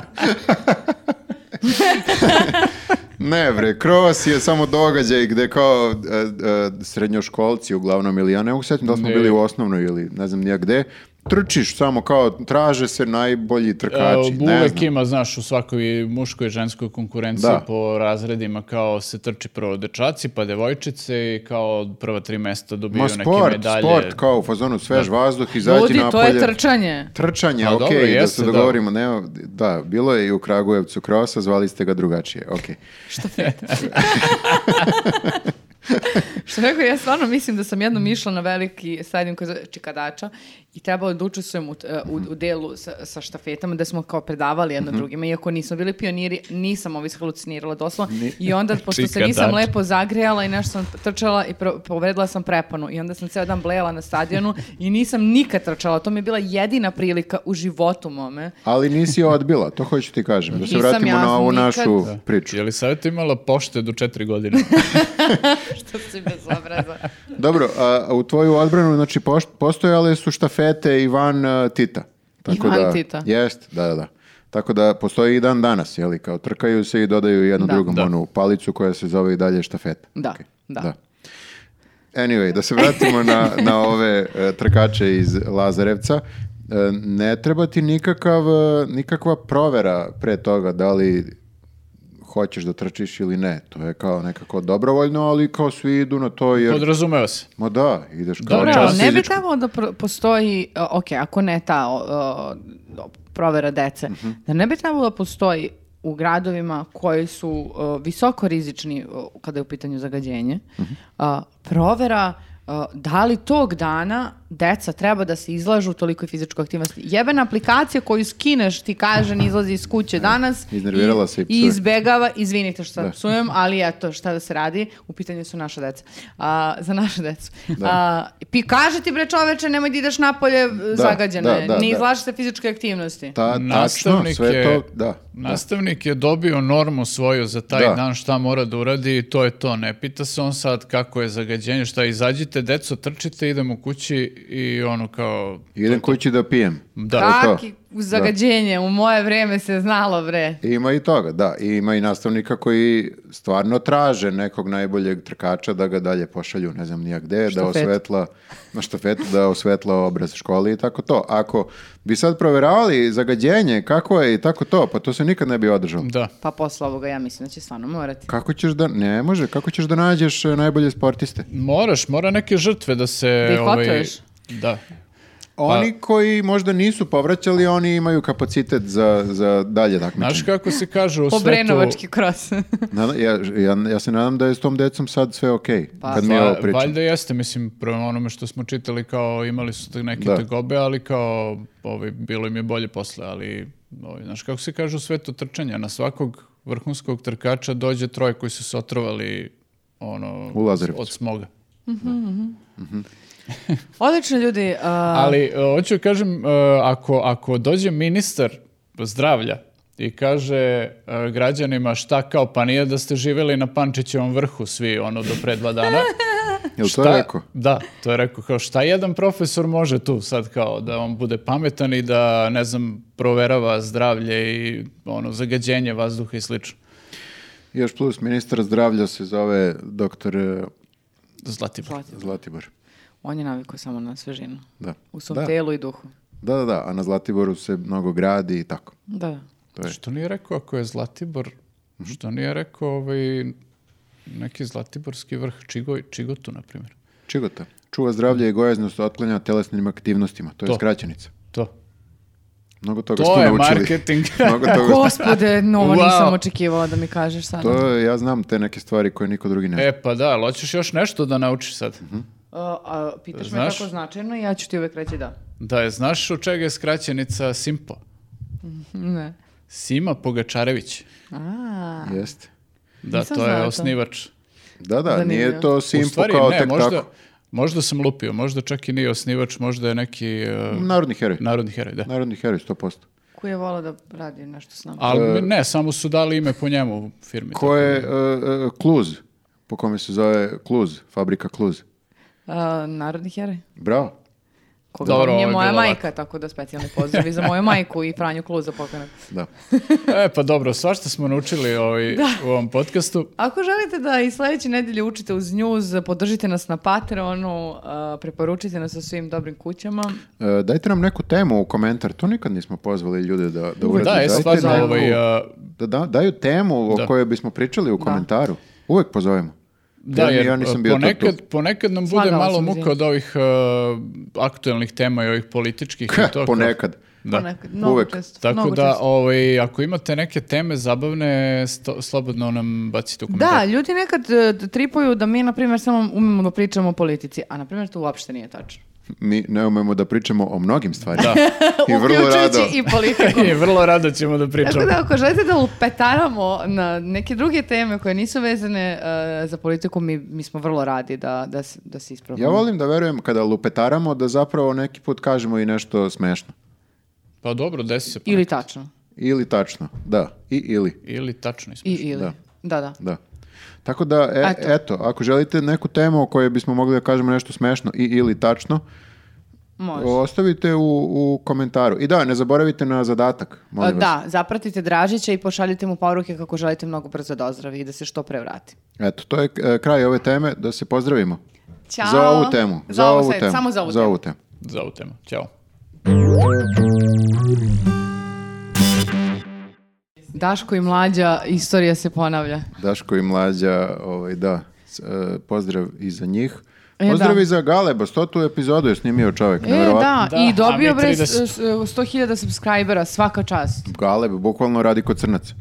B: ne bre, kros je samo događaj gde kao e, e, srednjoškolci uglavnom ili ja ne mogu setim da li smo
C: Ne.
B: bili u osnovnoj ili ne znam nija gde, trčiš samo kao traže se najbolji trkači,
C: Uh,
B: ne
C: Uvek
B: znam.
C: ima, znaš, u svakoj muškoj i ženskoj konkurenciji
B: Da.
C: po razredima kao se trči prvo dečaci, pa devojčice i kao prva tri mesta dobiju
B: Ma
C: neke
B: sport,
C: medalje.
B: sport, kao u fazonu svež vazduh, izađi
A: Ljudi, to
B: napolje.
A: je trčanje.
B: Trčanje,
C: Pa
B: ok,
C: dobro,
B: da
C: jeste,
B: se
C: da.
B: dogovorimo, nema, da, bilo je i u Kragujevcu krosa, zvali ste ga drugačije, ok.
A: Što rekao, ja stvarno mislim da sam jednom išla na veliki stadion koji se zove Čikadača i trebalo da učestvujem u, t- e, u, u delu sa, sa štafetama da smo kao predavali jedno drugima, iako nismo bili pioniri, nisam ovo ishalucinirala doslovno. I onda, pošto se nisam
C: Čikadača.
A: lepo zagrejala i nešto sam trčala i pro- povredila sam preponu i onda sam ceo dan blejala na stadionu i nisam nikad trčala. To mi je bila jedina prilika u životu mome.
B: Ali nisi odbila, to hoću ti kažem, da se
A: Nisam
B: vratimo
A: ja
B: na ovu
A: nikad-
B: našu priču.
C: Je li savjeta imala pošte do četiri godine?
A: Što si bez obraza.
B: Dobro, a, a u tvoju odbranu, znači, poš- postojale su štafete i van a, Tita.
A: I van
B: da,
A: Tita.
B: Jest, da, da, da. Tako da postoji i dan danas, jeli, kao trkaju se i dodaju jednu
A: Da.
B: drugom
C: Da.
B: onu palicu koja se zove i dalje štafeta.
A: Da,
B: Okej,
A: da.
B: Anyway, da se vratimo na, na ove e, trkače iz Lazarevca. E, ne treba ti nikakav, e, nikakva provera pre toga da li hoćeš da trčiš ili ne. To je kao nekako dobrovoljno, ali kao svi idu na to jer...
C: Podrazumeva se.
B: Ma da, ideš kao
C: Dobro,
A: Dobro,
B: čas
A: ali ne bi
B: fizičko.
A: trebalo da pro- postoji, e, ok, ako ne ta o, o, o, provera dece,
B: Mhm.
A: da ne bi trebalo da postoji u gradovima koji su e, visoko rizični e, kada je u pitanju zagađenje,
B: Mhm.
A: a, provera e, da li tog dana deca treba da se izlažu toliko fizičkoj aktivnosti. Jebena aplikacija koju skineš ti kaže ne izlazi iz kuće danas
B: Mhm. iznervirala
A: i,
B: se i psuje.
A: i izbegava, izvinite što sad psujem, ali eto, šta da se radi, u pitanju su naša deca. A, za našu decu. A, pi, kaže ti bre čoveče, nemoj da ideš napolje da, zagađene,
B: da, da,
A: ne
B: da.
A: izlaži se fizičke aktivnosti.
B: Ta, tačno,
C: Nastavnik
B: sve
C: je-
B: to, da. da.
C: Nastavnik je dobio normu svoju za taj
B: Da.
C: dan šta mora da uradi i to je to. Ne pita se on sad kako je zagađenje, šta izađite, deco, trčite, idemo kući i ono kao...
B: Idem kući da pijem.
C: Da.
B: To je to.
A: Kaki zagađenje, u moje vreme se znalo bre.
B: Ima i toga, da. I ima i nastavnika koji stvarno traže nekog najboljeg trkača da ga dalje pošalju, ne znam nija gde, da
A: Štafetu.
B: osvetla, na štafetu, da osvetla obraz školi i tako to. Ako bi sad proveravali zagađenje, kako je i tako to, pa to se nikad ne bi održalo.
C: Da.
A: Pa posle ovoga ja mislim da će stvarno morati.
B: Kako ćeš da, ne može, kako ćeš da nađeš e, najbolje sportiste?
C: Moraš, mora neke žrtve da se...
A: Da ih
C: ovaj,
A: otruješ.
C: Da. Pa-
B: Oni koji možda nisu povraćali, oni imaju kapacitet za, za dalje
C: Znaš
B: takmičenje.
C: kako se kaže u
A: Obrenovački kros.
B: Nada- ja, ja, ja se nadam da je s tom decom sad sve okej.
A: Pa,
B: kad mi
C: Pa,
B: ovo pričamo.
C: valjda jeste, mislim, prema onome što smo čitali, kao imali su te neke
B: Da.
C: tegobe, ali kao, ovaj, bilo im je bolje posle, ali, ovaj, znaš, kako se kaže u svetu trčanja, na svakog vrhunskog trkača dođe troje koji su se otrovali, ono,
B: U Lazarevcu.
C: od smoga.
A: Odlično ljudi, a,
C: Ali, e, hoću da kažem, e, ako, ako dođe ministar zdravlja i kaže e, građanima šta kao, pa nije da ste živjeli na Pančićevom vrhu svi ono do pre dva dana.
B: Jel to
C: Šta-
B: rekao?
C: Da, to je rekao kao šta jedan profesor može tu sad kao da on bude pametan i da ne znam proverava zdravlje i ono zagađenje vazduha i slično.
B: Još plus, ministar zdravlja se zove doktor e,
C: Zlatibor.
A: Zlatibor.
B: Zlatibor.
A: On je navikao samo na svežinu.
B: Da.
A: U svom
B: da.
A: telu i duhu.
B: Da, da, da, a na Zlatiboru se mnogo gradi i tako.
A: Da, da.
B: To je.
C: Što nije rekao ako je Zlatibor,
B: Mhm.
C: što nije rekao ovaj neki Zlatiborski vrh Čigoj, Čigotu na primjer.
B: Čigota. Čuva zdravlje i gojaznost otklanja telesnim aktivnostima. To je
C: To.
B: skraćenica.
C: To.
B: Mnogo toga
C: To
B: smo
C: je
B: naučili.
C: marketing.
B: Mnogo toga
A: Gospode, no,
C: Wow.
A: nisam očekivala da mi kažeš sada.
B: To je, ja znam te neke stvari koje niko drugi ne zna.
C: e pa da, ali hoćeš još nešto da naučiš sad.
B: Mhm.
A: A, a, pitaš me
C: Znaš?
A: tako značajno i ja ću ti uvek reći da.
C: Da je, znaš od čega je skraćenica Simpo?
A: Ne.
C: Sima Pogačarević.
A: A,
B: Jeste.
C: Da,
A: Nisam
C: to
A: znala
C: je
A: to.
C: osnivač.
B: Da, da,
A: Zanimljivo.
B: nije to
C: U
B: simpo
C: stvari,
B: kao
C: ne,
B: tek
C: možda,
B: tako.
C: možda sam lupio, možda čak i nije osnivač, možda je neki e,
B: Narodni heroj.
C: narodni heroj, da.
B: Narodni heroj, 100%.
A: ko je volao da radi nešto s nama?
B: E,
C: Ali ne, samo su dali ime po njemu u firmi.
B: Ko je e, e, Kluz, po kome se zove Kluz, fabrika Kluz.
A: A, narodni heroj.
B: Bravo.
A: Koga
C: Dobro,
A: Dobro, je
C: ovo je
A: moja
C: bilo
A: majka, tako da specijalni pozdravi za moju majku i Franju Kluza pokojnog.
B: Da.
C: E, pa dobro, svašta smo naučili ovaj, u ovom podcastu.
A: Ako želite da i sledeće nedelje učite uz njuz, podržite nas na Patreonu, a, preporučite nas sa svim dobrim kućama.
B: E, dajte nam neku temu u komentar, to nikad nismo pozvali ljude da, da urade.
C: Da, je
B: Dajte
C: stvarno
B: neku-
C: ovaj, a,
B: da, da- daju temu o
C: Da.
B: kojoj bismo pričali u komentaru. Uvek pozovemo.
C: Da,
B: Ja-
C: jer
B: ja nisam bio tad
C: ponekad,
B: tu.
C: ponekad nam bude
A: Slagala
C: malo
A: sam,
C: muka
A: izvinite.
C: od ovih e, aktuelnih tema i ovih političkih. i to, kao-
B: Ponekad.
C: Da.
A: Ponekad, mnogo
B: Uvek.
A: često,
C: Tako
A: mnogo
C: da,
A: često.
C: ovaj, ako imate neke teme zabavne, sto- slobodno nam bacite u komentar.
A: Da, ljudi nekad e, tripuju da mi, na primjer, samo umemo da pričamo o politici, a na primjer to uopšte nije tačno.
B: Mi ne umemo da pričamo o mnogim stvarima.
C: Da.
B: I vrlo
A: Uključujući
B: rado.
A: i politiku.
C: I vrlo rado ćemo da pričamo.
A: Tako da ako želite da lupetaramo na neke druge teme koje nisu vezane e, za politiku, mi, mi smo vrlo radi da, da, se- da se ispravimo.
B: Ja volim da verujem kada lupetaramo da zapravo neki put kažemo i nešto smešno.
C: Pa dobro, desi se.
A: Ili
C: ponekad.
A: tačno.
B: Ili tačno, da. I ili,
C: Ili tačno ispod.
A: I, ili.
B: Da.
A: Da, da.
B: da. Tako da, e-
A: Eto.
B: eto, ako želite neku temu o kojoj bismo mogli da kažemo nešto smešno i ili tačno,
A: Može.
B: ostavite u, u komentaru. I da, ne zaboravite na zadatak, molim vas.
A: E, da, zapratite Dražića i pošaljite mu poruke kako želite mnogo brzo da ozdravi i da se što pre vrati.
B: Eto, to je e, kraj ove teme, da se pozdravimo.
A: Ćao.
B: Za ovu temu. Za,
A: Za ovo
B: ovu
A: sad,
B: temu.
A: samo za ovu
B: Za ovu temu.
C: Za ovu temu. Ćao.
A: Daško i mlađa, istorija se ponavlja.
B: Daško i Mlađa, ovaj, da, s- e, pozdrav i za njih.
A: E,
B: Pozdrav
A: da.
B: i za Galeba, stotu epizodu je snimio čovek,
A: E,
B: nevjerovatno.
A: da,
C: Da,
A: i
C: a
A: dobio
C: mi
A: bre
C: 30.
A: 100.000 subscribera, svaka čast.
B: Galeb bukvalno radi kod crnaca.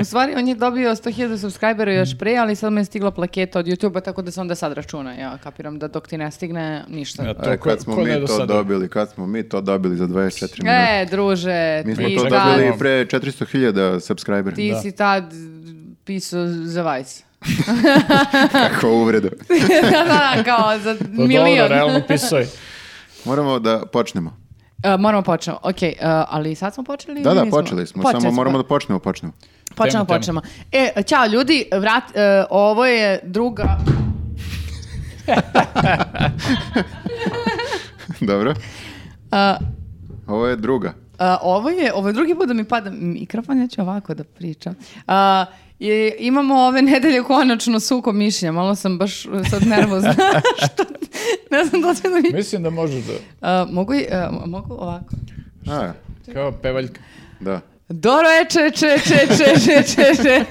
A: U stvari, on je dobio 100.000 subscribera
C: Mm.
A: još pre, ali sad me je stigla plaketa od YouTube-a, tako da se onda sad računa. Ja kapiram da dok ti ne stigne, ništa.
C: Ja,
B: E,
C: ko-
B: kad smo
C: ko ne
B: mi
C: do
B: to
C: sada?
B: dobili, kad smo mi to dobili za 24 minuta.
A: E, druže,
B: Mi smo
A: ti,
B: to
A: tad,
C: čekali.
B: dobili pre 400.000 subscribera.
A: ti
C: Da.
A: si tad pisao za Vice.
B: Kako uvreda.
A: da, da, kao za
C: Pa
A: milion.
C: dobro, realno pisao je.
B: Moramo da počnemo.
A: E, moramo počnemo. Ok, ali sad smo počeli?
B: Da,
A: ili
B: da,
A: nismo?
B: počeli smo,
A: Počeli
B: samo
A: smo.
B: moramo da počnemo, počnemo.
A: Počnemo,
C: Tema,
A: počnemo. E, čao ljudi, vrat, e, ovo je druga...
B: Dobro,
A: e,
B: ovo je druga.
A: A, ovo je, ovo je drugi put da mi pada mikrofon, ja ću ovako da pričam. A, je, imamo ove nedelje konačno suko mišljenja, malo sam baš e, sad nervozna. što, ne znam da li će da mi...
C: Mislim da možeš da...
A: A, mogu, i- a, mogu ovako.
B: A,
C: Kao pevaljka.
B: da.
A: Dobro je, če, če, če, če, če, če, če.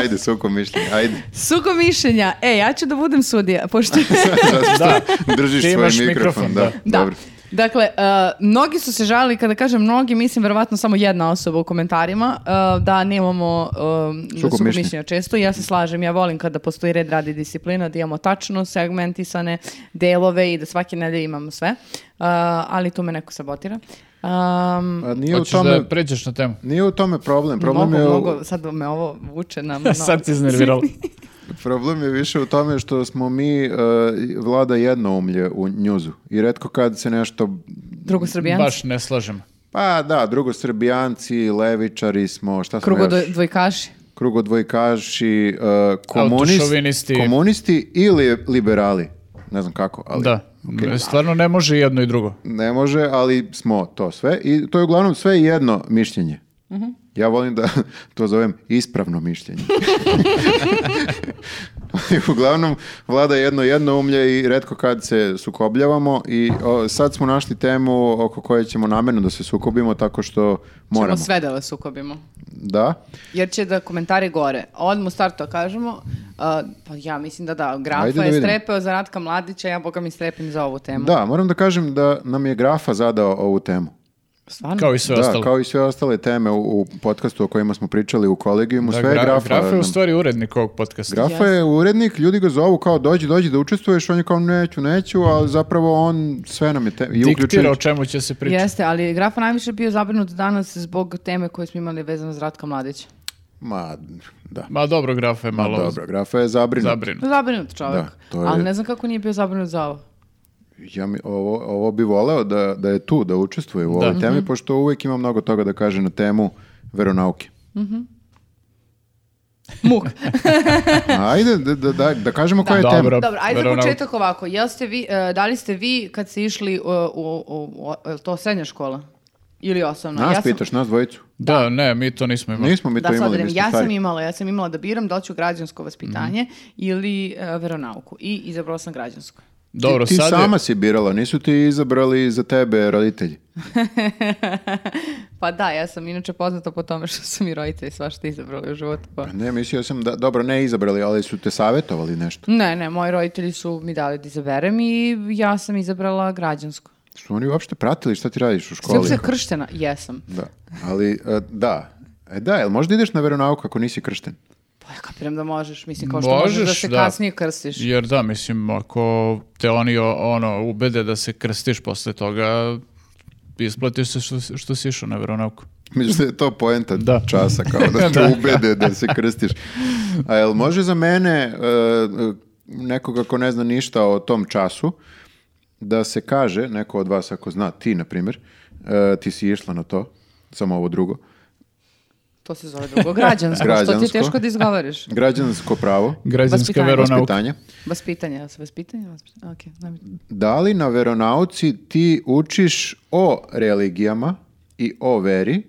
B: Ajde, suko mišljenje, ajde.
A: Suko mišljenja. E, ja ću da budem sudija, pošto...
B: Pa
C: Da.
B: Držiš
C: Ti
B: svoj
C: imaš
B: mikrofon,
C: mikrofon,
B: da.
C: da.
A: Da.
B: Dobro.
A: Dakle, e, mnogi su se žalili, kada kažem mnogi, mislim verovatno samo jedna osoba u komentarima, e, da nemamo um,
B: Sukob
A: sukob
B: mišljenja.
A: mišljenja često. I Ja se slažem, ja volim kada postoji red radi disciplina, da imamo tačno segmentisane delove i da svake nedelje imamo sve, E, ali tu me neko sabotira. Um,
B: A nije u
C: Hoćeš
B: tome...
C: da pređeš na temu.
B: Nije u tome problem, problem
A: mnogo,
B: je, u-
A: mnogo, sad me ovo vuče na mnogo.
C: Sad si iznervirala.
B: problem je više u tome što smo mi e, vlada jednoumlje u njuzu i redko kad se nešto
A: Drugo
C: Baš ne slažem.
B: Pa da, drugosrbijanci, levičari smo, šta smo
A: Krugo
B: još?
A: do- dvojkaši.
B: Krugodvojkaši, uh, komunist-
C: Autošovinisti.
B: komunisti ili liberali. Ne znam kako, ali
C: Da. E, Stvarno ne može i jedno i drugo.
B: ne može, ali smo to sve. I to je uglavnom sve jedno mišljenje. Ja volim da to zovem ispravno mišljenje. Ali uglavnom, vlada jedno jedno umlje i redko kad se sukobljavamo i o, sad smo našli temu oko koje ćemo namjerno da se sukobimo tako što moramo.
A: Ćemo sve da vas sukobimo.
B: Da.
A: Jer će da komentari gore. Odmah u startu kažemo, a, pa ja mislim da da, Grafa
B: Ajde da
A: je
B: vidimo.
A: strepeo za Ratka Mladića, ja boga mi strepim za ovu temu.
B: Da, moram da kažem da nam je Grafa zadao ovu temu.
A: Stvarno?
C: Kao i sve
B: da,
C: ostalo.
B: kao i sve ostale teme u, u podcastu o kojima smo pričali u kolegijumu,
C: Da,
B: sve je
C: Gra-
B: Grafa.
C: Grafa je u
B: nam-
C: stvari urednik ovog podcasta.
B: Grafa je urednik, ljudi ga zovu kao dođi, dođi da učestvuješ, on je kao neću, neću, ali zapravo on sve nam je te... i
C: Diktira
B: uključuje.
C: o čemu će se pričati.
A: Jeste, ali je Grafa najviše bio zabrinut danas zbog teme koje smo imali vezano za Ratka Mladića.
B: Ma, da.
C: Ma dobro, Grafa je malo
B: Dobro, Grafa je zabrinut.
C: zabrinut.
A: Zabrinut čovjek.
B: Da, to je-
A: Ali ne znam kako nije bio zabrinut za ovo.
B: Ja mi, ovo, ovo bi voleo da, da je tu, da učestvuje u ovoj
C: Da.
B: temi, pošto uvijek ima mnogo toga da kaže na temu veronauke.
A: Muk.
B: Ajde, da, da, da, da kažemo koja je
C: Da.
B: tema.
C: Dobro.
A: Dobro, ajde za
C: Veronauk.
A: početak ovako. Jel ste vi, e, da li ste vi kad ste išli u, u, u, u- jel to srednja škola? Ili osnovna?
B: Nas
A: ja sam-
B: pitaš, nas dvojicu.
C: Da, ne, mi to nismo imali.
B: Ono, Nismo mi
A: da,
B: to
A: sad
B: imali,
A: odrem.
B: mi smo
A: ja sam
B: stari.
A: imala, ja sam imala da biram da li ću građansko vaspitanje
B: Mhm.
A: ili e, veronauku. I izabrala sam građansko.
C: Dobro,
B: ti, ti
C: sad je-
B: sama si birala, nisu ti izabrali za tebe roditelji.
A: Pa da, ja sam inače poznata po tome što su mi roditelji svašta izabrali u životu. Pa.
B: Pa Ne, mislio sam da, dobro, ne izabrali, ali su te savjetovali nešto.
A: Ne, ne, moji roditelji su mi dali da izaberem i ja sam izabrala građansko.
B: Su oni uopšte pratili šta ti radiš u školi?
A: Sam se krštena, jesam.
B: Da, ali e, da. E da, jel možda ideš na veronauku ako nisi kršten?
A: Pa ja kapiram da možeš, mislim kao što možeš,
C: Možeš,
A: da se
C: da.
A: kasnije krstiš.
C: Jer da, mislim, ako te oni o- ono, ubede da se krstiš posle toga, isplati se što, što si išao na veronauku.
B: Mislim da je to poenta
C: Da.
B: časa, kao da te ubede da se krstiš. A jel može za mene, e, e, nekoga ko ne zna ništa o tom času, da se kaže, neko od vas ako zna, ti na primjer, e, ti si išla na to, samo ovo drugo,
A: To se zove drugo građansko, što ti je
B: Građansko.
A: teško da izgovoriš.
B: građansko pravo,
C: Građanska
A: Vaspitanje.
C: veronauka.
B: vaspitanje,
A: Vaspitanje, jel se vaspitanje? Vaspitanje, okej, najbitno.
B: da li na veronauci ti učiš o religijama i o veri,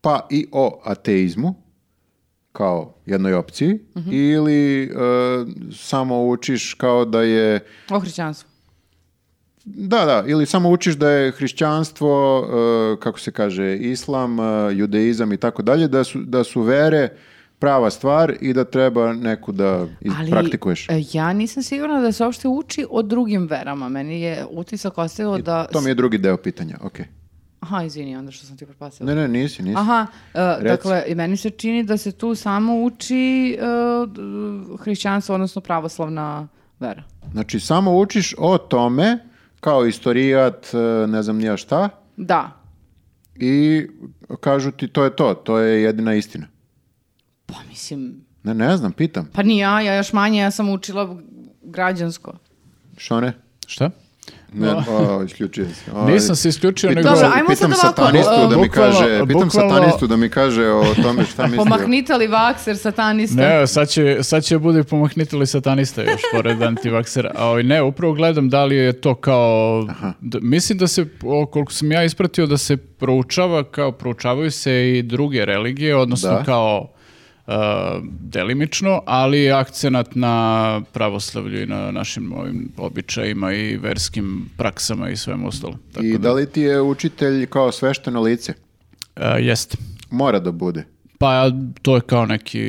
B: pa i o ateizmu, kao jednoj opciji,
A: Mhm.
B: ili e, samo učiš kao da je,
A: O hrišćanstvu.
B: da, da, ili samo učiš da je hrišćanstvo, e, kako se kaže, islam, e, judeizam i tako dalje, da su, da su vere prava stvar i da treba neku da iz-
A: Ali,
B: praktikuješ.
A: e, ja nisam sigurna da se uopšte uči o drugim verama. Meni je utisak ostavio da...
B: To mi je drugi deo pitanja, ok.
A: Aha, izvini, onda što sam ti propasila.
B: Ne, ne, nisi, nisi.
A: Aha, e,
B: Reci.
A: dakle, i meni se čini da se tu samo uči e, d- hrišćanstvo, odnosno pravoslavna vera.
B: Znači, samo učiš o tome, kao istorijat, e, ne znam nija šta,
A: Da.
B: i kažu ti to je to, to je jedina istina.
A: Pa mislim,
B: Ne, ne znam, pitam.
A: pa ni ja, ja još manje, ja sam učila građansko.
B: Što ne?
C: Šta?
B: Ne, o, isključio se. O,
C: Nisam se isključio,
B: Pitam,
C: nego...
A: Dobro, ajmo
B: pitam
A: sad ovako,
B: satanistu da mi
C: bukvalno-
B: kaže, pitam
C: bukvalno-
B: satanistu da mi kaže o tome šta misli.
A: Pomahnite li vakser, satanista?
B: e,
C: Ne, sad će, sad će bude pomahnitili satanista još, pored antivaksera. A ovaj, ne, upravo gledam da li je to kao... d- mislim da se, o, koliko sam ja ispratio, da se proučava, kao proučavaju se i druge religije, odnosno
B: Da.
C: kao e, delimično, ali je akcenat na pravoslavlju i na našim ovim običajima i verskim praksama i svemu ostalom. Tako
B: I
C: da,
B: da li ti je učitelj kao svešteno lice?
C: E, jeste.
B: Mora da bude.
C: Pa to je kao neki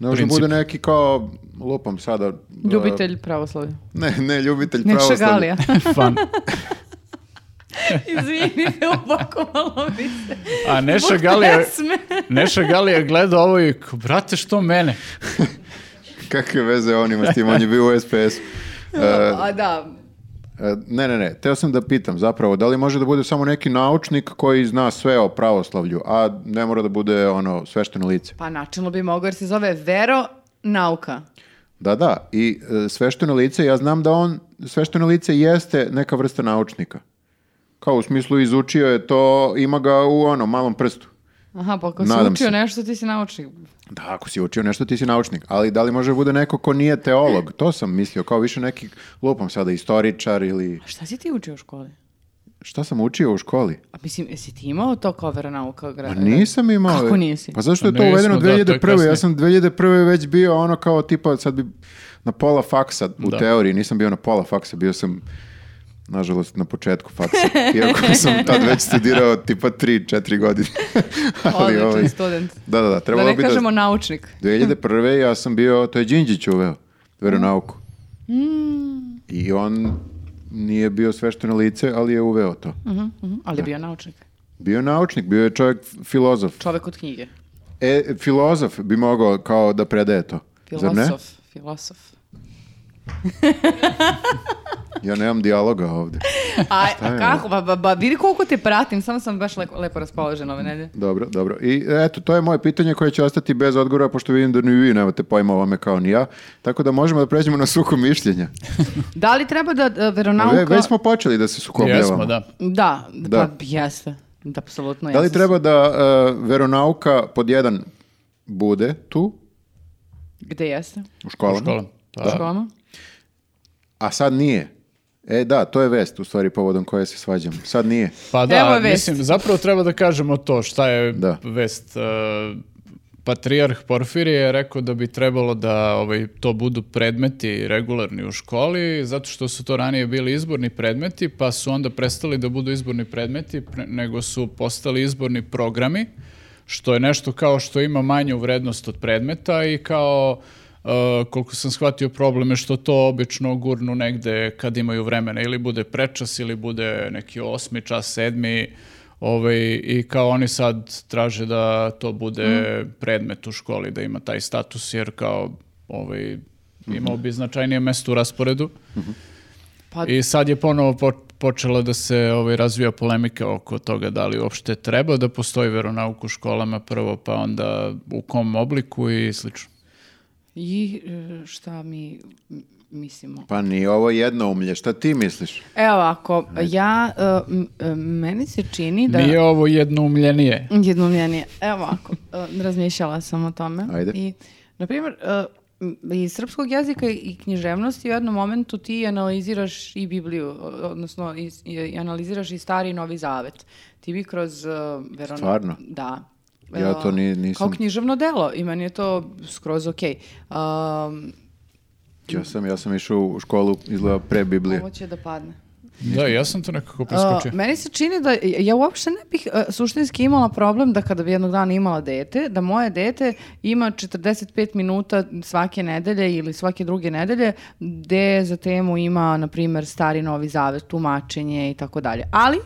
B: Ne može da
C: princip.
B: bude neki kao, lupam sada. e,
A: Ljubitelj pravoslavlja.
B: Ne, ne, ljubitelj
A: Ne
B: pravoslavlja.
A: šagalija.
C: Fan.
A: Izvini, upakovalo mi se.
C: A Neša
A: Zbog
C: Galija,
A: pesme.
C: Neša Galija gleda ovo i kao, brate što mene?
B: Kakve veze on ima s tim, on je bio u SPS-u.
A: A da,
B: E, Ne, ne, ne, teo sam da pitam zapravo, da li može da bude samo neki naučnik koji zna sve o pravoslavlju, a ne mora da bude ono svešteno lice.
A: pa načinno bi mogao jer se zove vero nauka.
B: Da, da, i e, svešteno lice, ja znam da on, svešteno lice jeste neka vrsta naučnika. kao u smislu izučio je to, ima ga u ono, malom prstu.
A: Aha, pa ako si
B: Nadam
A: učio
B: se.
A: nešto, ti si naučnik.
B: Da, ako si učio nešto, ti si naučnik. Ali da li može bude neko ko nije teolog? To sam mislio, kao više neki, lupam sada, istoričar ili...
A: A šta si ti učio u školi?
B: Šta sam učio u školi?
A: A mislim, jesi ti imao to kao veronauka?
B: Pa
A: gra-
B: nisam imao...
A: Kako nisi?
B: Pa zašto je
C: Pa
B: to
C: nismo,
B: uvedeno
C: da, to je
B: 2001.
C: kasnije.
B: ja sam 2001. već bio ono kao tipa, sad bi na pola faksa u
C: Da.
B: teoriji, nisam bio na pola faksa, bio sam nažalost na početku faksa. Iako sam tad već studirao tipa 3-4 godine. Ali,
A: Odličan
B: ovaj,
A: student.
B: Da, da, da,
A: Da
B: trebalo
A: ne
B: bi da...
A: kažemo naučnik.
B: 2001. ja sam bio, to je Đinđić uveo, veronauku.
A: Mm.
B: I on nije bio svešteno lice, ali je uveo to.
A: Mhm, mhm, Ali je bio naučnik.
B: Bio je naučnik, bio je čovjek filozof.
A: Čovek od knjige.
B: E, filozof bi mogao kao da predaje to. Zar ne?
A: Filosof. Filosof.
B: Ja nemam dijaloga ovdje.
A: A,
B: je
A: a kako? Ba, ba, ba, vidi koliko te pratim, samo sam baš lepo, lepo raspoložena ove nedelje.
B: Dobro, dobro. I eto, to je moje pitanje koje će ostati bez odgovora, pošto vidim da ni vi nemate pojma o ovome kao ni ja. Tako da možemo da pređemo na suku mišljenja.
A: Da li treba da e, veronauka...
B: Ve, već smo počeli da se sukobljavamo.
C: Jesmo, da.
A: Da,
B: Da.
A: da. pa jeste. Da, apsolutno
B: Da li
A: jeste.
B: treba da e, veronauka pod jedan bude tu
A: Gde jeste?
B: u školama,
C: U školama. Pa,
A: U školama?
B: a sad nije? E da, to je vest u stvari povodom koje se svađam. Sad nije.
C: Pa
A: Evo
C: da,
A: je vest.
C: mislim, zapravo treba da kažemo to šta je
B: Da.
C: vest. e, Patrijarh Porfirije je rekao da bi trebalo da ovaj, to budu predmeti regularni u školi, zato što su to ranije bili izborni predmeti, pa su onda prestali da budu izborni predmeti, pre- nego su postali izborni programi, što je nešto kao što ima manju vrednost od predmeta i kao Uh, koliko sam shvatio problem je što to obično gurnu negde kad imaju vremena ili bude prečas ili bude neki osmi čas, sedmi ovaj, i kao oni sad traže da to bude predmet u školi, da ima taj status jer kao ovaj, imao bi značajnije mesto u rasporedu
A: Pa,
C: i sad je ponovo po- počela da se ovaj, razvija polemika oko toga da li uopšte treba da postoji veronauk u školama prvo pa onda u kom obliku i slično.
A: I e, šta mi m- mislimo?
B: Pa ni ovo jedno umlje. Šta ti misliš?
A: Evo ovako, ja, e, m- e, meni se čini da...
C: Nije ovo jednoumljenije.
A: Jednom ja nije. Evo ovako, e, razmišljala sam o tome.
B: Ajde.
A: I, na primjer, e, m, iz srpskog jezika i književnosti u jednom momentu ti analiziraš i Bibliju, o- odnosno iz- i analiziraš i Stari i Novi Zavet. Ti bi kroz... e, veron-
B: Stvarno?
A: Da.
B: Ja
A: E,
B: to ni- nisam-
A: Kao književno delo i meni je to skroz okej. Um,
B: Ja sam, ja sam išao u školu, izgleda pre Biblije.
A: ovo će da padne.
C: Da, ja sam to nekako
A: Uh,
C: preskočio.
A: meni se čini da ja uopšte ne bih uh, suštinski imala problem da kada bi jednog dana imala dete, da moje dete ima 45 minuta svake nedelje ili svake druge nedelje gde za temu ima, na primjer, stari novi zavet, tumačenje i tako dalje. Ali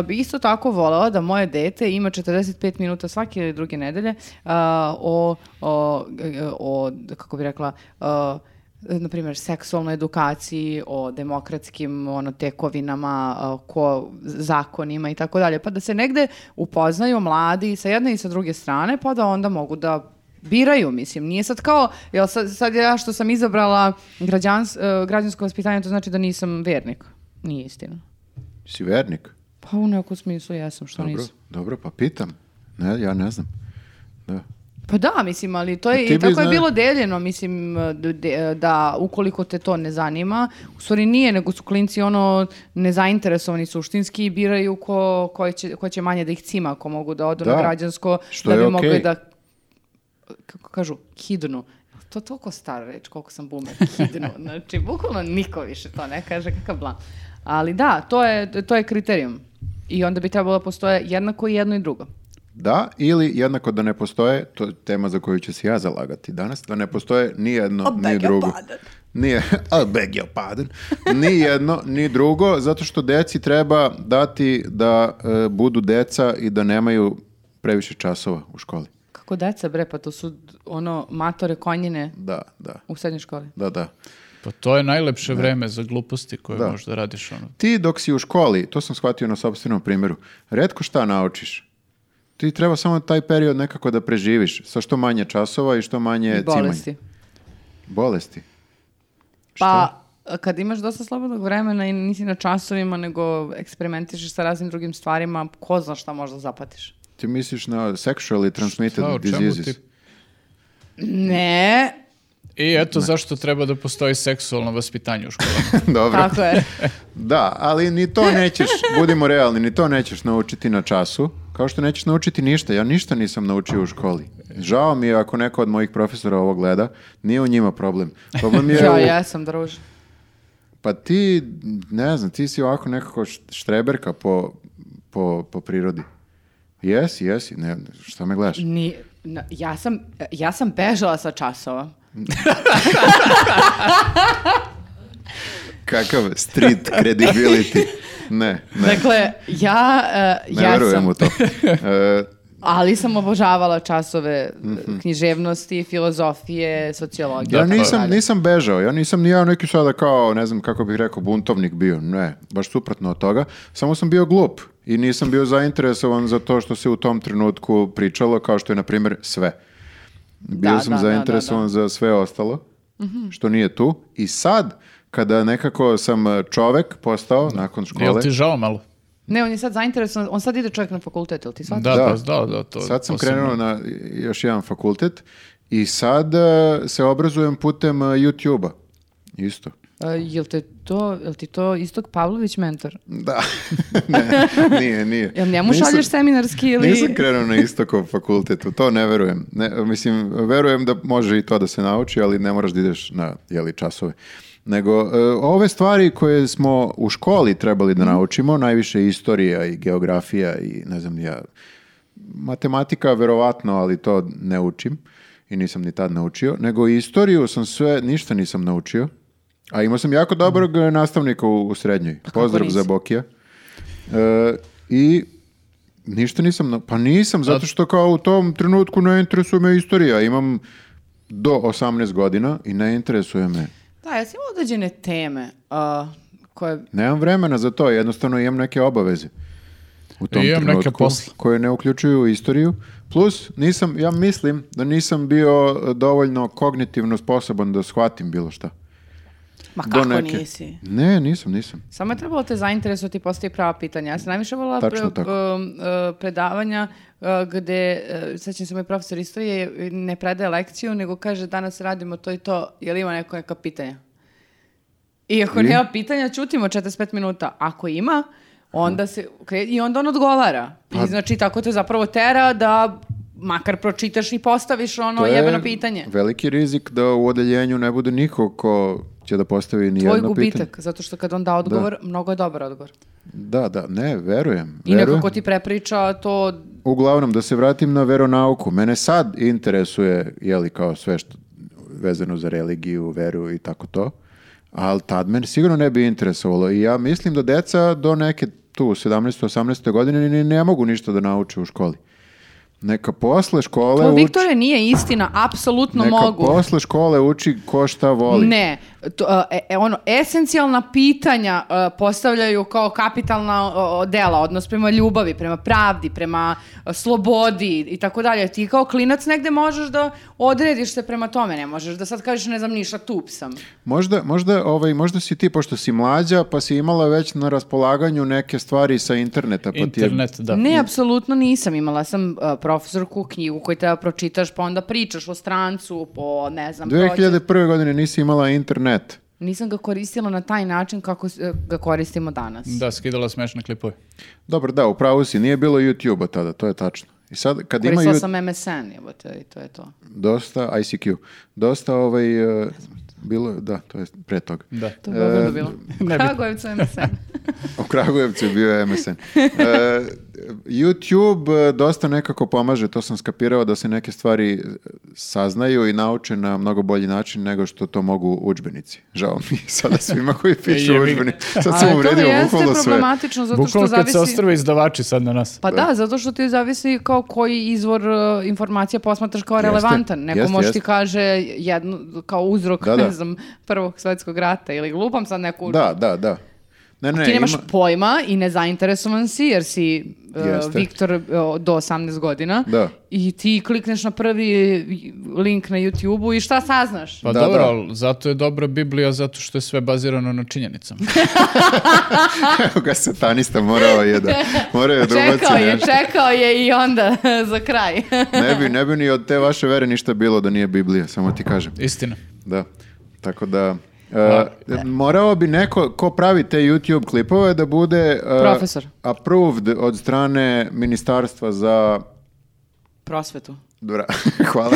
A: uh, bi isto tako volela da moje dete ima 45 minuta svake ili druge nedelje uh, o, o, o, kako bi rekla, uh, na primjer, seksualnoj edukaciji, o demokratskim ono, tekovinama, a, ko, zakonima i tako dalje, pa da se negde upoznaju mladi sa jedne i sa druge strane, pa da onda mogu da biraju, mislim, nije sad kao, jel sad, sad ja što sam izabrala građans, e, građansko vaspitanje, to znači da nisam vernik. Nije istina.
B: Si vernik?
A: Pa u nekom smislu jesam, što
B: Dobro,
A: nisam.
B: dobro, pa pitam. Ne, ja ne znam. Da.
A: Pa da, mislim, ali to
B: A
A: je,
B: ti
A: i
B: bi
A: tako je
B: zna-
A: bilo deljeno, mislim, de- da ukoliko te to ne zanima, u stvari nije, nego su klinci ono nezainteresovani suštinski i biraju ko, koje će, ko će manje da ih cima, ako mogu da odu
B: Da.
A: na građansko,
B: Što
A: da
B: je
A: bi
B: okej.
A: mogli da, kako kažu, kidnu. To je toliko stara reč, koliko sam bumer, kidnu. Znači, bukvalno niko više to ne kaže, kakav blan. Ali da, to je, to je kriterijum. I onda bi trebalo da postoje jednako i jedno i drugo.
B: Da, ili jednako da ne postoje, to je tema za koju ću se ja zalagati danas, da ne postoje ni jedno, ni drugo. Nije, I beg your pardon. Ni jedno, ni drugo, zato što deci treba dati da e, budu deca i da nemaju previše časova u školi.
A: Kako deca, bre, pa to su ono matore konjine
B: Da, da,
A: u srednjoj školi.
B: da, da.
C: Pa to je najlepše vreme za gluposti koje
B: Da.
C: možda radiš. Ono.
B: Ti dok si u školi, to sam shvatio na sobstvenom primjeru, redko šta naučiš. Ti treba samo taj period nekako da preživiš sa što manje časova i što manje
A: I bolesti.
B: cimanja. Bolesti.
A: Pa, kad imaš dosta slobodnog vremena i nisi na časovima, nego eksperimentišeš sa raznim drugim stvarima, ko zna šta možda zapatiš.
B: Ti misliš na sexually transmitted
C: Šta, o čemu
B: diseases?
C: ti-
A: Ne,
C: I eto zašto treba da postoji seksualno vaspitanje u školi.
B: Dobro.
A: tako je.
B: Da, ali ni to nećeš, budimo realni, ni to nećeš naučiti na času, kao što nećeš naučiti ništa. Ja ništa nisam naučio u školi. Žao mi je ako neko od mojih profesora ovo gleda, nije u njima problem. Problem je
A: Ja,
B: u-
A: jesam, druže.
B: Pa ti, ne znam, ti si ovako nekako št- štreberka po, po, po prirodi. Jesi, jesi, ne, šta me gledaš?
A: Ni, na- ja, sam, ja sam bežala sa časova.
B: Kakav street credibility. Ne, ne,
A: Dakle, ja uh,
B: ne verujem
A: jesam,
B: u to. E,
A: ali sam obožavala časove
B: Mhm.
A: uh, književnosti, filozofije, sociologije.
B: ja
A: i tako
B: nisam,
A: dalje.
B: nisam bežao, ja nisam ni ja neki sada kao, ne znam kako bih rekao, buntovnik bio, ne, baš suprotno od toga, samo sam bio glup i nisam bio zainteresovan za to što se u tom trenutku pričalo, kao što je, na primjer, sve. Bio
A: Da,
B: sam
A: da, da, da,
B: zainteresovan
A: da.
B: za sve ostalo, što nije tu. I sad, kada nekako sam e, čovek postao, nakon
C: Jel
B: škole,
C: ti žao malo?
A: Ne, on je sad zainteresovan, on sad ide čovjek na fakultet, ili ti
C: Da,
A: sad?
C: da,
B: Da.
C: pa, da, da, to
B: sad sam
C: posebno.
B: krenuo na još jedan fakultet i sad e, se obrazujem putem e, YouTube-a. Isto.
A: E, jel, te to, jel ti to Istok Pavlović mentor?
B: Da, ne, nije, nije.
A: Jel njemu
B: Nisam-
A: šalješ seminarski ili...
B: Nisam krenuo na istokov fakultetu, to ne verujem. Ne, mislim, verujem da može i to da se nauči, ali ne moraš da ideš na jeli, časove. Nego, e, ove stvari koje smo u školi trebali da naučimo, najviše istorija i geografija i ne znam ni ja, matematika verovatno, ali to ne učim i nisam ni tad naučio, nego istoriju sam sve, ništa nisam naučio, a imao sam jako dobrog e, nastavnika u, u srednjoj.
A: kako
B: Pozdrav
A: nisi?
B: za Bokija. E, I ništa nisam, na- pa nisam, zato što kao u tom trenutku ne interesuje me istorija. Imam do 18 godina i ne interesuje me.
A: Da, ja sam imala određene teme a, koje...
B: Nemam vremena za to, jednostavno imam neke obaveze. U tom
C: I imam neke
B: trenutku
C: posle.
B: koje ne uključuju istoriju. Plus, nisam, ja mislim da nisam bio e, dovoljno kognitivno sposoban da shvatim bilo šta.
A: Ma
B: Do
A: kako
B: neke.
A: nisi?
B: Ne, nisam, nisam.
A: Samo je trebalo te zainteresovati i postoji prava pitanja. Ja sam najviše volila
B: Tačno
A: pre-
B: tako.
A: um, uh, predavanja uh, gde, uh, sećam se, moj profesor istorije uh, ne predaje lekciju, nego kaže danas radimo to i to, je li ima neko neka pitanja? I ako
B: I?
A: nema pitanja, čutimo 45 minuta. Ako ima, onda se, kre- i onda on odgovara.
B: Pa
A: I znači, tako te zapravo tera da makar pročitaš i postaviš ono jebeno pitanje.
B: veliki rizik da u odeljenju ne bude niko ko će da postavi ni
A: Tvoj
B: jedno pitanje.
A: gubitak, zato što kad on da odgovor, mnogo je dobar odgovor.
B: Da, da, ne, verujem.
A: I
B: verujem.
A: nekako ti prepriča to
B: Uglavnom, da se vratim na veronauku. Mene sad interesuje, jeli, kao sve što vezano za religiju, veru i tako to. Ali tad mene sigurno ne bi interesovalo. I ja mislim da deca do neke tu 17. 18. godine ni ne mogu ništa da nauče u školi. Neka posle škole
A: To,
B: uči...
A: Viktore, nije istina, apsolutno
B: Neka
A: mogu.
B: posle škole uči ko šta voli.
A: Ne, to, e, e, ono, esencijalna pitanja e, postavljaju kao kapitalna o, o, dela, odnos prema ljubavi, prema pravdi, prema e, slobodi i tako dalje. Ti kao klinac negde možeš da odrediš se prema tome, ne možeš da sad kažeš ne znam ništa, tup sam.
B: Možda, možda, ovaj, možda si ti, pošto si mlađa, pa si imala već na raspolaganju neke stvari sa interneta. Pa ti je-
C: Internet, da.
A: Ne, apsolutno nisam. Imala sam e, profesorku knjigu koju treba pročitaš, pa onda pričaš o strancu, po ne znam, prođe-
B: 2001. godine nisi imala internet.
A: Nisam ga koristila na taj način kako s- e, ga koristimo danas.
C: Da, skidala smešne klipove.
B: Dobro, da, upravo si, nije bilo YouTube-a tada, to je tačno. I sad, kad ima
A: Koristila
B: ju-
A: sam MSN, jebote, i to je to.
B: dosta ICQ, dosta ovaj, e, bilo, je- da, to je pre toga.
C: Da.
A: To bi odavno bilo.
C: ne bi-
A: Kragujevcu MSN.
B: U Kragujevcu je bio MSN. E, YouTube e, dosta nekako pomaže, to sam skapirao da se neke stvari e, saznaju i nauče na mnogo bolji način nego što to mogu udžbenici. Žao mi je sada svima koji pišu
C: Jebi ga.
B: udžbenici. Sad sam
A: Ali to mi
B: uvredio
A: jeste
B: bukvalno sve.
A: problematično, zato što
C: Bukvalno kad
A: zavisi...
C: se ostrve izdavači sad na nas.
A: Pa da, zato što ti zavisi kao koji izvor e, informacija posmatraš kao relevantan. Neko
B: jeste,
A: može ti
B: jeste.
A: kaže jedno, kao uzrok,
B: Da, da.
A: ne znam, prvog svetskog rata ili glupam sad neku...
B: Da, da, da. Ne, ne,
A: ti nemaš
B: ima-
A: pojma i nezainteresovan si jer si e,
B: Jeste.
A: Viktor e, do 18 godina
B: Da.
A: i ti klikneš na prvi link na YouTube-u i šta saznaš?
C: Pa
B: Da,
C: dobro,
B: da.
C: ali zato je dobra Biblija, zato što je sve bazirano na činjenicama.
B: Evo ga satanista morao je da, morao je da
A: čekao
B: ubaci
A: je,
B: nešto.
A: čekao je i onda za kraj.
B: Ne bi, ne bi ni od te vaše vere ništa bilo da nije Biblija, samo ti kažem.
C: Istina.
B: Da, tako da... e, morao bi neko ko pravi te YouTube klipove da bude e,
A: Profesor.
B: approved od strane ministarstva za
A: Prosvetu.
B: Dobra, hvala.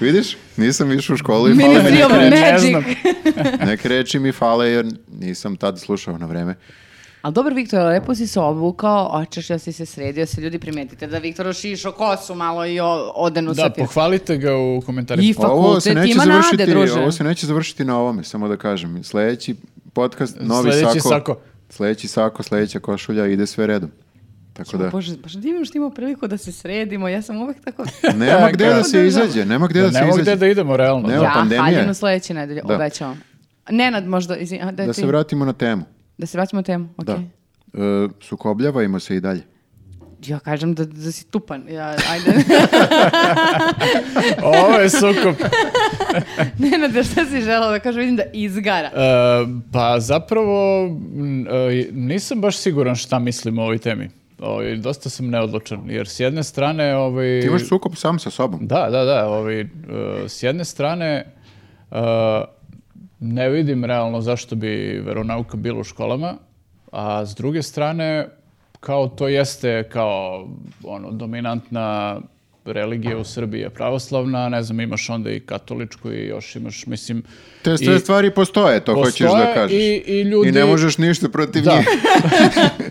B: Vidiš, nisam išao u školu i fale mi
A: Ministry of
B: neke,
C: ne
A: Magic.
C: znam.
B: neke reči mi fale jer nisam tad slušao na vreme.
A: Ali dobar Viktor, lepo si se obukao, očeš da si se sredio, se ljudi primetite da Viktor ošišo kosu malo i o- odenu
C: Da,
A: satira.
C: pohvalite ga u komentarima.
A: I fakultet ima nade, druže.
B: ovo se neće završiti na ovome, samo da kažem. Sljedeći podcast, novi
C: Sljedeći
B: sako,
C: sako.
B: Sljedeći sako, sljedeća košulja, ide sve redom. Tako da,
A: Bože, baš divno što imamo priliku da se sredimo, ja sam uvek tako...
B: nema
C: Tako
B: gde
C: je.
B: da se izađe, nema gde da,
C: Da,
B: se
C: nemo gde
B: izađe.
C: da idemo, realno.
B: Nema.
C: Da.
A: ja,
B: pandemija.
A: haljinu sledeće nedelje,
B: Da.
A: obećavam. Nenad možda, izvin, a, daj
B: Da
A: ti.
B: se vratimo na temu.
A: da se vratimo na temu, ok.
B: Da. E, sukobljavajmo se i dalje.
A: Ja kažem da, da si tupan, ja, ajde.
C: Ovo je E, sukup.
A: Nenad, ja šta si želao da kažem, vidim da izgara.
C: E, pa zapravo m, e, nisam baš siguran šta mislim o ovoj temi. Ovaj, dosta sam neodlučan, jer s jedne strane... Ovaj,
B: Ti imaš sukob sam sa sobom.
C: Da, da, da. Ovaj, e, s jedne strane, e, ne vidim realno zašto bi veronauka bila u školama, a s druge strane, kao to jeste kao ono, dominantna religija u Srbiji je pravoslavna, ne znam, imaš onda i katoličku i još imaš, mislim...
B: Te sve
C: i-
B: stvari postoje, to hoćeš da
C: Postoje
B: kažeš.
C: i- i ljudi-
B: ne možeš ništa protiv
C: Da.
B: njih.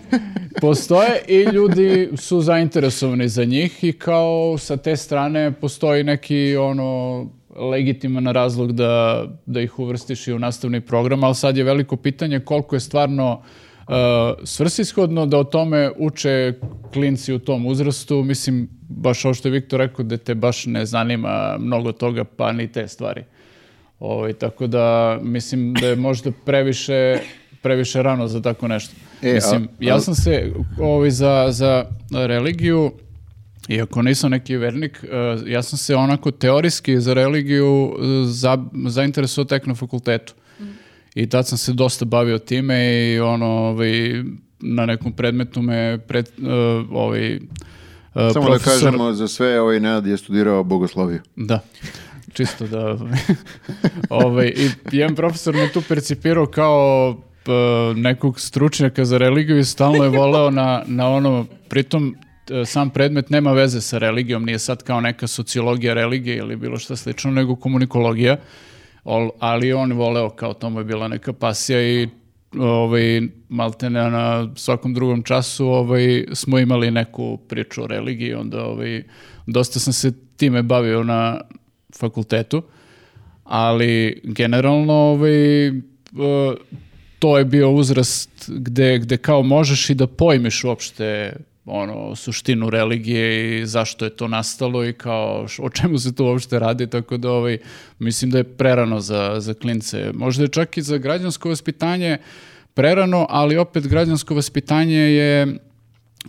C: Postoje i ljudi su zainteresovani za njih i kao sa te strane postoji neki ono legitiman razlog da, da ih uvrstiš i u nastavni program, ali sad je veliko pitanje koliko je stvarno uh, svrsishodno da o tome uče klinci u tom uzrastu. Mislim, baš ovo što je Viktor rekao, da te baš ne zanima mnogo toga, pa ni te stvari. Ovaj, tako da mislim da je možda previše, previše rano za tako nešto.
B: E, a-
C: mislim, ja sam se ovaj, za, za religiju, iako nisam neki vernik, eh, ja sam se onako teorijski za religiju eh, za, zainteresuo tek na fakultetu. I tad sam se dosta bavio time i ono, ovaj, na nekom predmetu me pred, eh, ovaj, eh,
B: Samo da
C: profesor-
B: kažemo za sve, ovaj Nenad je studirao bogosloviju.
C: da. Čisto da... ovaj, I jedan profesor me tu percipirao kao p- nekog stručnjaka za religiju i stalno je voleo na, na ono... Pritom, t- sam predmet nema veze sa religijom, nije sad kao neka sociologija religije ili bilo šta slično, nego komunikologija. Ol- ali je on voleo, kao to mu je bila neka pasija i ovaj, maltene na svakom drugom času ovaj, smo imali neku priču o religiji, onda ovaj, dosta sam se time bavio na fakultetu, ali generalno ovaj, eh, to je bio uzrast gde, gde kao možeš i da pojmiš uopšte ono, suštinu religije i zašto je to nastalo i kao š- o čemu se to uopšte radi, tako da ovaj, mislim da je prerano za, za klince. Možda je čak i za građansko vaspitanje prerano, ali opet građansko vaspitanje je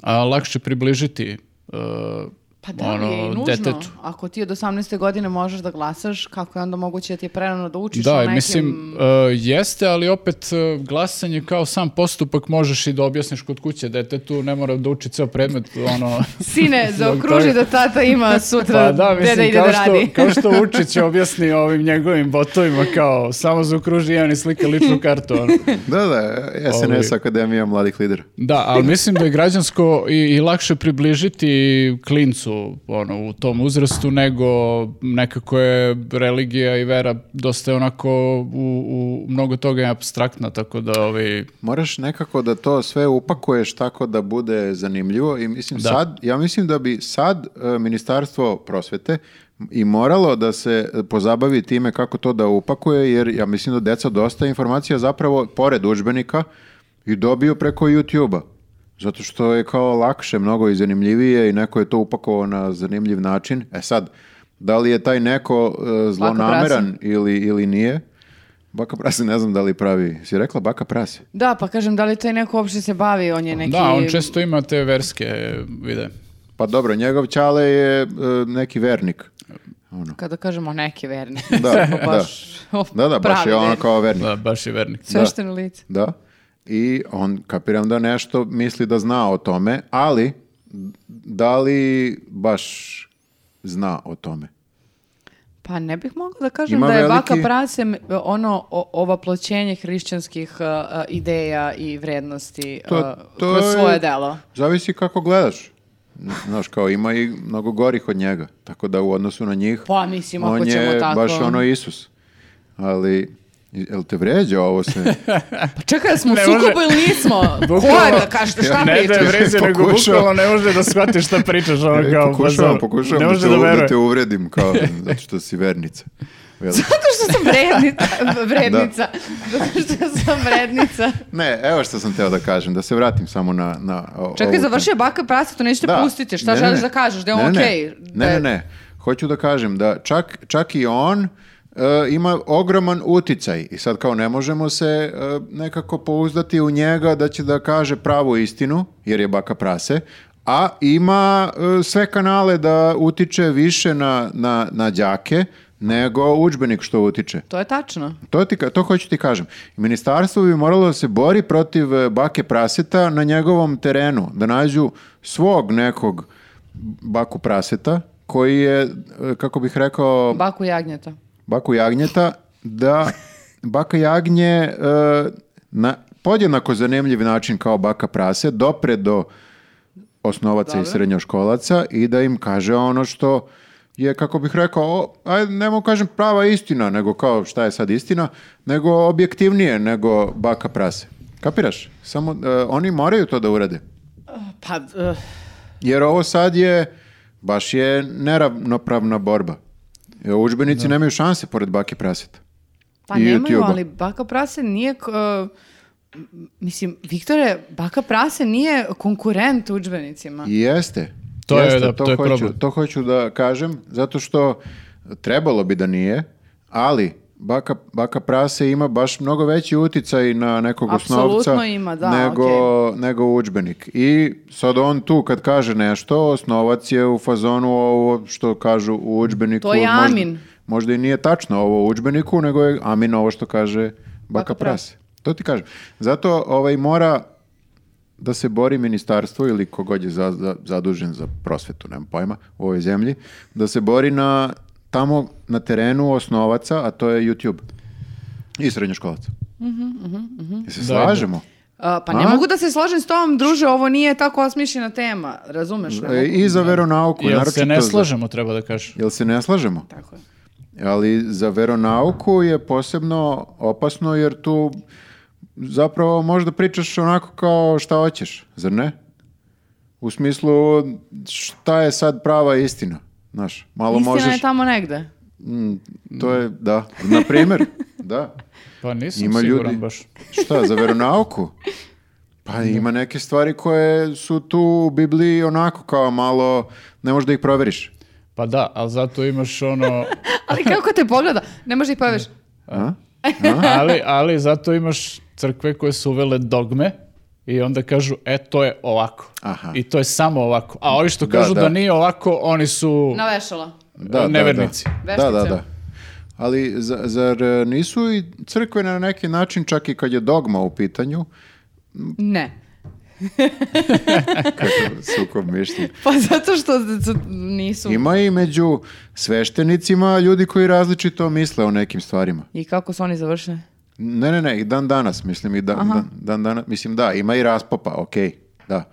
C: a, lakše približiti eh,
A: Pa da, ali je i nužno.
C: Ono, detetu.
A: Ako ti od 18. godine možeš da glasaš, kako je onda moguće da ti je prerano da učiš o
C: Da, i
A: nekim...
C: mislim, e, jeste, ali opet e, glasanje kao sam postupak možeš i da objasniš kod kuće detetu, ne mora da uči ceo predmet, ono...
A: Sine,
C: Zbog
A: zaokruži
C: toga.
A: da tata ima sutra
C: Pa da,
A: deda
C: mislim,
A: ide
C: kao
A: da
C: što,
A: radi.
C: kao što Vučić objasni ovim njegovim botovima, kao samo zaokruži jedan i slika ličnu kartu, ono.
B: Da, da, SNS
C: Ovaj.
B: Akademija mladih lidera.
C: Da, ali mislim da je građansko i, i lakše približiti klincu ono, u tom uzrastu nego nekako je religija i vera dosta je onako u, u mnogo toga je abstraktna, tako da ovi...
B: Moraš nekako da to sve upakuješ tako da bude zanimljivo i mislim sad, ja mislim da bi sad e, Ministarstvo prosvete i moralo da se e, pozabavi time kako to da upakuje jer ja mislim da deca dosta informacija zapravo pored udžbenika i dobiju preko YouTube-a. Zato što je kao lakše, mnogo i zanimljivije i neko je to upakovao na zanimljiv način. E sad, da li je taj neko e, zlonameran ili, ili nije? Baka prase, ne znam da li pravi. Si rekla baka prase?
A: Da, pa kažem, da li taj neko uopšte se bavi, on je neki...
C: Da, on često ima te verske vide.
B: Pa dobro, njegov čale je e, neki vernik. Ono.
A: Kada kažemo neki verni.
B: Da,
A: baš,
B: Da, da, baš
A: pravi
B: je ono
A: verni.
B: kao vernik.
C: Da, baš je vernik.
A: Svešteno lice.
B: Da. I on, kapiram da nešto misli da zna o tome, ali da li baš zna o tome?
A: Pa ne bih mogla da kažem
B: Ima
A: da je baka
B: veliki-
A: prase m- ono o, ovaploćenje hrišćanskih uh, uh, ideja i vrednosti
B: To-
A: uh,
B: to
A: kroz
B: je-
A: svoje delo.
B: Zavisi kako gledaš. Znaš, kao ima i mnogo gorih od njega, tako da u odnosu na njih
A: Pa mislim, ako
B: on
A: ćemo
B: je
A: tako...
B: baš ono Isus. Ali, jel te vređa ovo se?
A: Pa čekaj, smo u
C: Ne može-
A: sukobu ili nismo? Ko je
C: Bukvalno-
A: da kažete, šta
C: Ne da je
A: pričaš?
C: vređe, nego
B: Pokušao.
C: bukvalno ne može da shvati šta pričaš. Ono
B: E,
C: kao,
B: pokušavam,
C: pozdrav.
B: pokušavam
C: ne
B: da
C: može
B: te,
C: da
B: u- da
C: veruje.
B: te uvredim, kao, zato što si vernica. Jel?
A: Zato što sam vrednica. vrednica. Zato što sam vrednica.
B: Ne, evo što sam teo da kažem, da se vratim samo na... na o-
A: Čekaj,
B: ovu
A: završio je baka prase, to nećete
B: Da.
A: pustiti. Šta
B: Ne, ne,
A: želiš
B: ne.
A: da kažeš? Da je on
B: Ne, ne,
A: okej? Da
B: Ne,
A: je-
B: ne, ne. Hoću da kažem da čak, čak i on e, ima ogroman uticaj i sad kao ne možemo se e, nekako pouzdati u njega da će da kaže pravu istinu, jer je baka prase, a ima e, sve kanale da utiče više na, na, na đake nego udžbenik što utiče.
A: To je tačno.
B: To, ti, ka- to hoću ti kažem. Ministarstvo bi moralo da se bori protiv e, bake praseta na njegovom terenu, da nađu svog nekog baku praseta koji je, e, kako bih rekao,
A: Baku jagnjeta.
B: baku jagnjeta, da baka jagnje e, na podjednako zanimljiv način kao baka prase dopre do osnovaca i
A: Dobro.
B: srednjoškolaca i da im kaže ono što je, kako bih rekao, o, ajde, ne mogu kažem prava istina, nego kao šta je sad istina, nego objektivnije nego baka prase. Kapiraš? Samo, e, oni moraju to da urade.
A: Pa, eh,
B: Jer ovo sad je, baš je neravnopravna borba. E, Udžbenici nemaju šanse pored bake praseta.
A: pa
B: I
A: nemaju,
B: YouTube-a.
A: ali baka prase nije... k- eh, m- mislim, Viktore, baka prase nije konkurent udžbenicima.
B: Jeste.
C: To je,
B: Jeste,
C: da, to je
B: hoću,
C: problem.
B: To hoću da kažem, zato što trebalo bi da nije, ali baka, baka prase ima baš mnogo veći uticaj na nekog
A: Apsolutno
B: osnovca
A: ima, da,
B: nego, nego udžbenik. I sad on tu kad kaže nešto, osnovac je u fazonu ovo što kažu u udžbeniku.
A: To je
B: možda-
A: Amin.
B: Možda i nije tačno ovo u udžbeniku, nego je Amin ovo što kaže baka,
A: Baka
B: prase. To ti kažem. Zato ovaj, mora da se bori ministarstvo ili kogod je za- za- zadužen za prosvetu, nemam pojma, u ovoj zemlji, da se bori na tamo na terenu osnovaca, a to je YouTube. I srednjoškolaca. Jel se slažemo?
A: Eh, pa ne
B: A?
A: mogu da se složim s tom, druže, ovo nije tako osmišljena tema, razumeš? Ne
B: E,
A: mogu.
B: I za veronauku.
C: Jel
B: naročito
C: se ne
B: za-
C: slažemo, treba da kažeš.
B: Jel se ne slažemo?
A: Tako je.
B: Ali za veronauku je posebno opasno jer tu zapravo možda pričaš onako kao šta hoćeš, zar ne? U smislu šta je sad prava istina, znaš, malo
A: Istina
B: možeš...
A: je tamo negde.
B: Mm, to je, da, na primjer, da.
C: Pa nisam
B: Ima
C: siguran
B: ljudi.
C: baš.
B: Šta, za veronauku? Pa ima neke stvari koje su tu u Bibliji onako kao malo, ne možeš da ih proveriš.
C: Pa da, ali zato imaš ono...
A: Ali kako te pogleda? Ne može ih poveš.
B: A?
C: ali, ali zato imaš crkve koje su uvele dogme i onda kažu, e, to je ovako.
B: Aha.
C: I to je samo ovako. A ovi što
B: Da,
C: kažu da,
B: da.
C: nije ovako, oni su...
A: Na vešala.
B: da,
C: Nevernici.
B: Da, da,
A: Veštice.
B: da. da. Ali za- zar e, nisu i crkve na neki način, čak i kad je dogma u pitanju,
A: Ne.
B: kakav sukob mišljenja,
A: Pa zato što su- nisu.
B: ima i među sveštenicima ljudi koji različito misle o nekim stvarima.
A: I kako su oni završili?
B: Ne, ne, ne, i dan danas, mislim, i dan, dan, dan danas, mislim da, ima i raspopa, okej, da.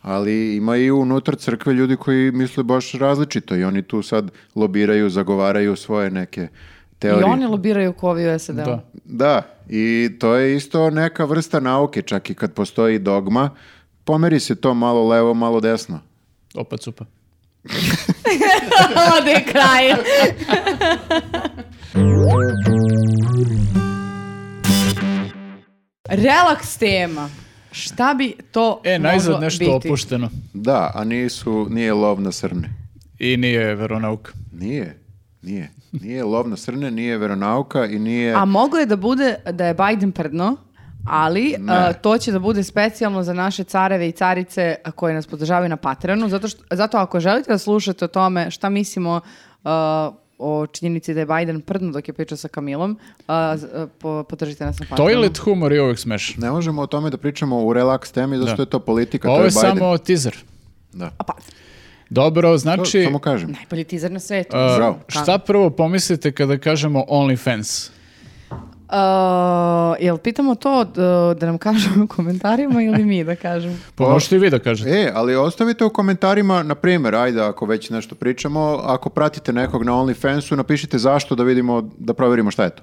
B: Ali ima i unutar crkve ljudi koji misle baš različito i oni tu sad lobiraju, zagovaraju svoje neke teorije.
A: I oni lobiraju ko ovi u SAD-u.
C: Da.
B: Da, i to je isto neka vrsta nauke, čak i kad postoji dogma, pomeri se to malo levo, malo desno.
C: Opa cupa.
A: Ode kraj. Relaks tema. Šta bi to
C: E,
A: moglo
C: najzad nešto
A: biti?
C: opušteno.
B: Da, a nisu, nije lov na srne.
C: I nije veronauka.
B: Nije, nije. Nije lov na srne, nije veronauka i nije...
A: A moglo je da bude da je Biden prdno, ali a, to će da bude specijalno za naše careve i carice koje nas podržavaju na Patreonu, zato, što, zato ako želite da slušate o tome šta mislimo a, o činjenici da je Biden prdno dok je pričao sa Kamilom, a, z- a, po- podržite nas na Patreonu.
C: Toilet humor je uvijek smešan.
B: Ne možemo o tome da pričamo u relaks temi, zato što je to politika, to
C: Ovo
B: je
C: je
B: Biden.
C: samo teaser.
B: Da.
A: A pa,
C: Dobro,
B: To
C: znači,
B: samo kažem.
A: najbolji teaser na svetu.
C: uh,
B: Bravo.
C: šta prvo pomislite kada kažemo OnlyFans?
A: A, jel pitamo to e, da, da nam kažu u komentarima ili mi da kažemo?
C: Pa možete i vi da kažete.
B: E, ali ostavite u komentarima, na primjer, ajde ako već nešto pričamo, ako pratite nekog na OnlyFansu, napišite zašto da vidimo, da provjerimo šta je to.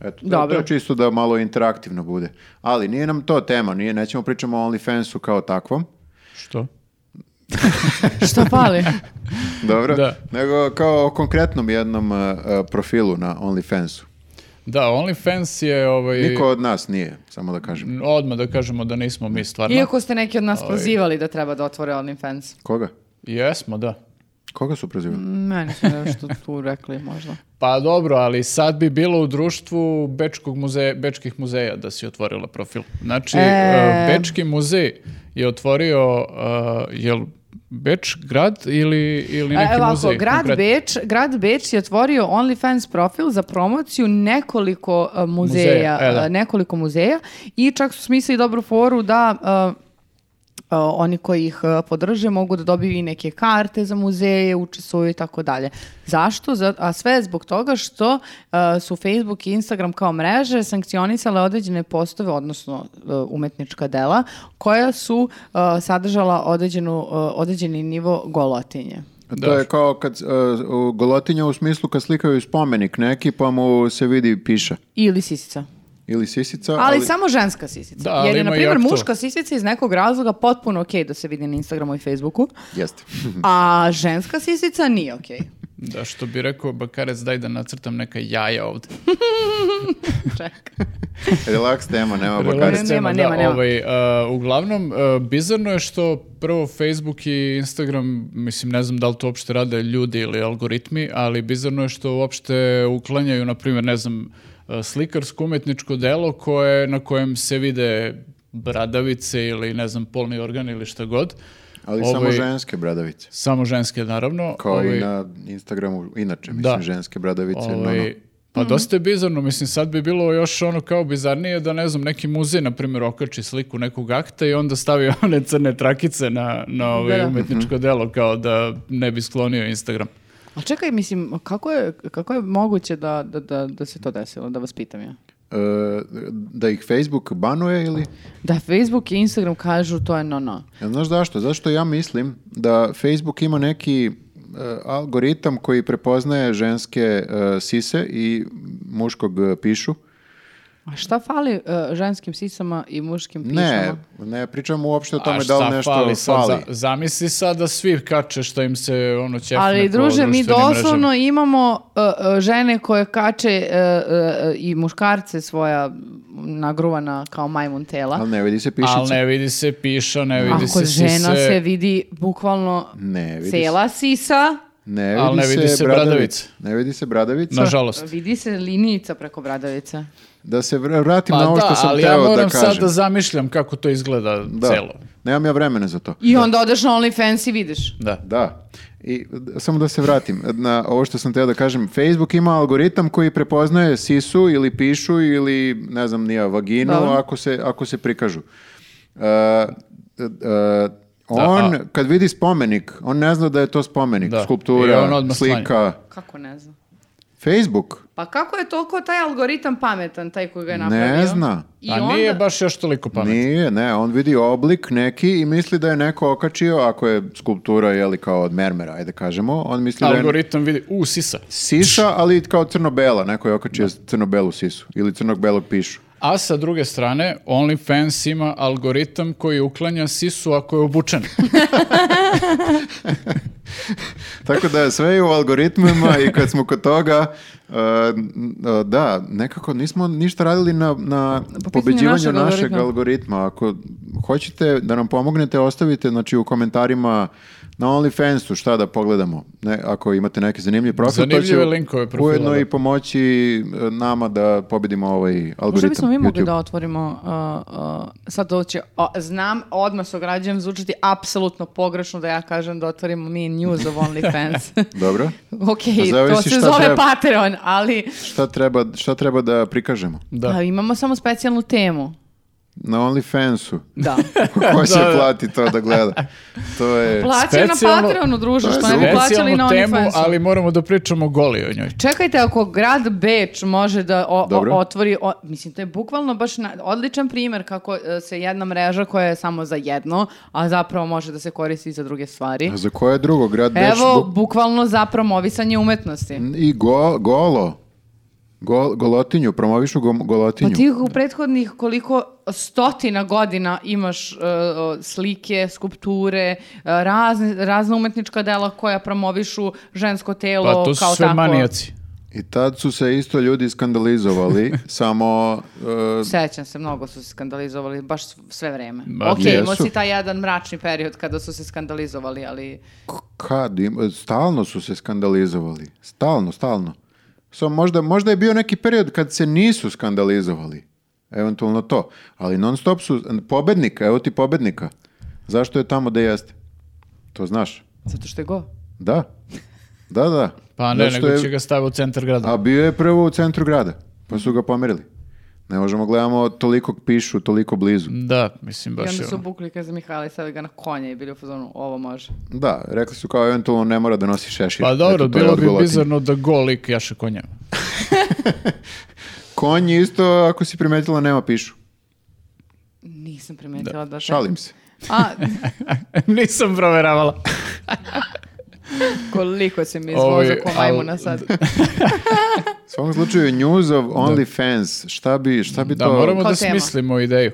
B: Eto, to-
A: Dobro.
B: to je čisto da malo interaktivno bude. Ali nije nam to tema, nije, nećemo pričamo o OnlyFansu kao takvom.
C: Što?
A: Što pali?
B: Dobro.
C: Da.
B: Nego kao o konkretnom jednom e, e, profilu na OnlyFansu.
C: Da, OnlyFans je ovaj...
B: Niko od nas nije, samo da kažem.
C: Odmah da kažemo da nismo mi stvarno.
A: Iako ste neki od nas prozivali da treba da otvore OnlyFans.
B: Koga?
C: Jesmo, da.
B: Koga su
A: Mm,
B: prozivali?
A: Meni su nešto tu rekli možda.
C: Pa dobro, ali sad bi bilo u društvu Bečkog muzeja, Bečkih muzeja da si otvorila profil. Znači,
A: E.
C: e, Bečki muzej je otvorio, e, jel Beč grad ili, ili neki
A: E, Evo
C: muzej?
A: ovako, grad
C: konkretno?
A: Beč, grad Beč je otvorio OnlyFans profil za promociju nekoliko e, muzeja,
C: Muzeja, e, da.
A: e, nekoliko muzeja i čak su smislili dobru foru da e, e, oni koji ih e, podrže mogu da dobiju i neke karte za muzeje, učestvuju i tako dalje. Zašto? Za- a sve je zbog toga što e, su Facebook i Instagram kao mreže sankcionisale određene postove, odnosno e, umetnička dela, koja su e, sadržala određenu, e, određeni nivo golotinje.
B: To je kao kad e, u golotinja u smislu kad slikaju spomenik neki pa mu se vidi piša.
A: Ili sisica.
B: Ili sisica.
A: Ali, samo ženska sisica.
C: Da, ali
A: Jer je, na
C: ima i
A: primjer,
C: jak to.
A: muška sisica iz nekog razloga potpuno okej da se vidi na Instagramu i Facebooku,
B: Jeste.
C: Mhm.
A: a ženska sisica nije okej.
C: Da, što bi rekao Bakarec, daj da nacrtam neka jaja ovde.
A: Čekaj.
B: Relaks tema, nema
C: Relax
A: Nema,
B: bakarec.
C: tema,
A: nema,
C: Pa da,
A: nema.
C: ovaj, e, uglavnom, e, bizarno je što prvo Facebook i Instagram, mislim, ne znam da li to uopšte rade ljudi ili algoritmi, ali bizarno je što uopšte uklanjaju, na primjer, ne znam, e, slikarsko umetničko delo koje, na kojem se vide bradavice ili, ne znam, polni organ ili šta god.
B: Ali samo
C: Ovaj,
B: ženske bradavice.
C: Samo ženske, naravno.
B: Kao
C: Ovaj,
B: i na Instagramu, inače, mislim,
C: Da.
B: ženske bradavice. ono, no,
C: Ovaj,
B: no.
A: Mhm.
C: Pa dosta je bizarno, mislim sad bi bilo još ono kao bizarnije da ne znam neki muzej na primjer okači sliku nekog akta i onda stavi one crne trakice na, na ovaj
A: da.
C: umetničko
B: Mhm.
C: delo kao da ne bi sklonio Instagram.
A: A čekaj, mislim, kako je, kako je moguće da, da, da, da se to desilo, da vas pitam ja?
B: E, da ih Facebook banuje ili...
A: Da Facebook i Instagram kažu to je no-no.
B: Ja, znaš zašto? Zašto ja mislim da Facebook ima neki e, algoritam koji prepoznaje ženske e, sise i muškog e, pišu.
A: A šta fali e, ženskim sisama i muškim pišama?
B: Ne, ne pričamo uopšte o
C: A
B: tome da
C: šta
B: li nešto
C: fali
B: fali.
C: sad? Za- zamisli sad da svi kače što im se ono ćefne
A: Ali,
C: po
A: druže, mi
C: društvenim mrežama.
A: doslovno imamo e, e, žene koje kače e, e, i muškarce svoja nagruvana kao majmun tela.
B: Ali ne vidi se pišica.
C: Ali ne vidi se piša, ne vidi
A: Ako
C: se
A: žena
C: sise,
A: se vidi bukvalno
B: Ne, vidi
A: cela sisa,
B: Ne vidi,
C: Ali ne vidi
B: se,
C: se
B: bradavica.
C: bradavica.
B: Ne vidi se bradavica.
C: nažalost.
A: vidi se linijica preko bradavica.
B: Da se vr- vratim
C: Pa
B: na ovo
C: da,
B: ono što sam
C: ali
B: teo
C: ja
B: da
C: moram
B: kažem.
C: sad da zamišljam kako to izgleda
B: Da.
C: celo.
B: Nemam ja vremena za to.
A: I onda odeš na OnlyFans i vidiš.
C: Da.
B: Da. I d- samo da se vratim na ovo što sam teo da kažem. Facebook ima algoritam koji prepoznaje sisu ili pišu ili ne znam nija vaginu
A: Dobro.
B: ako se, ako se prikažu. Uh, d- d- on, kad vidi spomenik, on ne zna da je to spomenik,
C: Da. I on
B: skulptura,
C: odmah
B: slika.
A: Kako ne znam.
B: Facebook
A: Pa kako je toliko taj algoritam pametan, taj koji ga je napravio?
B: ne zna. Pa
A: I
C: A
A: onda,
C: nije baš još toliko pametno.
B: Nije, ne, on vidi oblik neki i misli da je neko okačio, ako je skulptura, jeli, kao od mermera, ajde kažemo, on misli da je
C: Algoritam vidi, u, sisa.
B: siša, ali kao crno-bela, neko je okačio crno-belu sisu ili crnog-belog pišu.
C: A sa druge strane, OnlyFans ima algoritam koji uklanja sisu ako je obučen.
B: Tako da je sve je u algoritmima i kad smo kod toga, uh, n- uh, da, nekako nismo ništa radili na, na pobeđivanju našeg,
A: Pa našeg
B: algoritma.
A: algoritma.
B: Ako hoćete da nam pomognete, ostavite znači, u komentarima na OnlyFansu, šta da pogledamo. Ne, ako imate neke zanimljive profile, to će
C: Zanimljive linkove profila,
B: ujedno
C: da.
B: i pomoći e, nama da pobedimo ovaj algoritam.
A: Možda bismo mi mogli
B: YouTube.
A: da otvorimo, uh, uh, sad to će, o, znam, odmah se ograđujem, zvučati apsolutno pogrešno da ja kažem da otvorimo mi news of OnlyFans.
B: Dobro.
A: ok,
B: A Pa zavisi
A: to se
B: šta
A: zove
B: treba.
A: Patreon, ali
B: Šta treba, šta treba da prikažemo?
C: Da.
A: a, imamo samo specijalnu temu.
B: Na OnlyFansu.
A: Da.
B: Ko će
C: Da, da.
B: plati to da gleda? To je...
A: Plaćaju na
C: Specijalnu-
A: Patreonu, druže,
B: To je
A: što ne bi plaćali na
C: Specijalnu temu,
A: OnlyFansu.
C: ali moramo da pričamo goli o njoj.
A: Čekajte, ako grad Beč može da o- o-
B: Dobro.
A: otvori, o- mislim, to je bukvalno baš na- odličan primjer kako e, se jedna mreža koja je samo za jedno, a zapravo može da se koristi i za druge stvari.
B: A za koje drugo? Grad Beč
A: Evo,
B: bu-
A: bukvalno za promovisanje umetnosti.
B: i go- golo. Gol- golotinju, promovišu gom-
A: Pa
B: golotinju.
A: ti u prethodnih koliko stotina godina imaš e, o, slike, skulpture, e, razne, razna umetnička dela koja promovišu žensko telo
C: Pa to su
A: kao
C: sve
A: tako.
C: manijaci.
B: I tad su se isto ljudi skandalizovali, samo... e,
A: Sećam se, mnogo su se skandalizovali, baš s- sve vreme.
C: Ma,
A: ok,
B: jesu.
A: imao si taj jedan mračni period kada su se skandalizovali, ali
B: K- Kad? im- Stalno su se skandalizovali. Stalno, stalno. Samo možda, možda je bio neki period kad se nisu skandalizovali. Eventualno to. Ali non stop su... Pobednika, evo ti pobednika. Zašto je tamo da jeste? To znaš.
A: zato što je go.
B: Da. Da, da.
C: Pa ne,
B: Zato što
C: nego
B: je-
C: će ga staviti u centar grada.
B: A bio je prvo u centru grada. Pa su ga pomerili. Ne možemo gledamo toliko pišu, toliko blizu.
C: Da, mislim
A: I
C: baš
A: onda
C: je
A: su
C: ono.
A: bukli kad za Mihajla i stavili ga na konja i bili u fazonu, ovo može.
B: Da, rekli su kao eventualno ne mora da nosi šešir.
C: Pa dobro,
B: Eto, to je
C: bilo bi
B: odgolotinje.
C: bizarno da gol lik jaše konja.
B: Konj isto, ako si primetila, nema pišu.
A: Nisam primetila da.
B: Šalim se.
A: A,
C: Nisam proveravala.
A: koliko se mi
C: Ovo je-
A: izvozio ko
C: al-
A: majmuna sad.
B: U svakom slučaju, news of OnlyFans. Šta bi, šta bi
C: Da,
B: to...
C: moramo
A: Kao
C: da
A: tema.
C: smislimo ideju.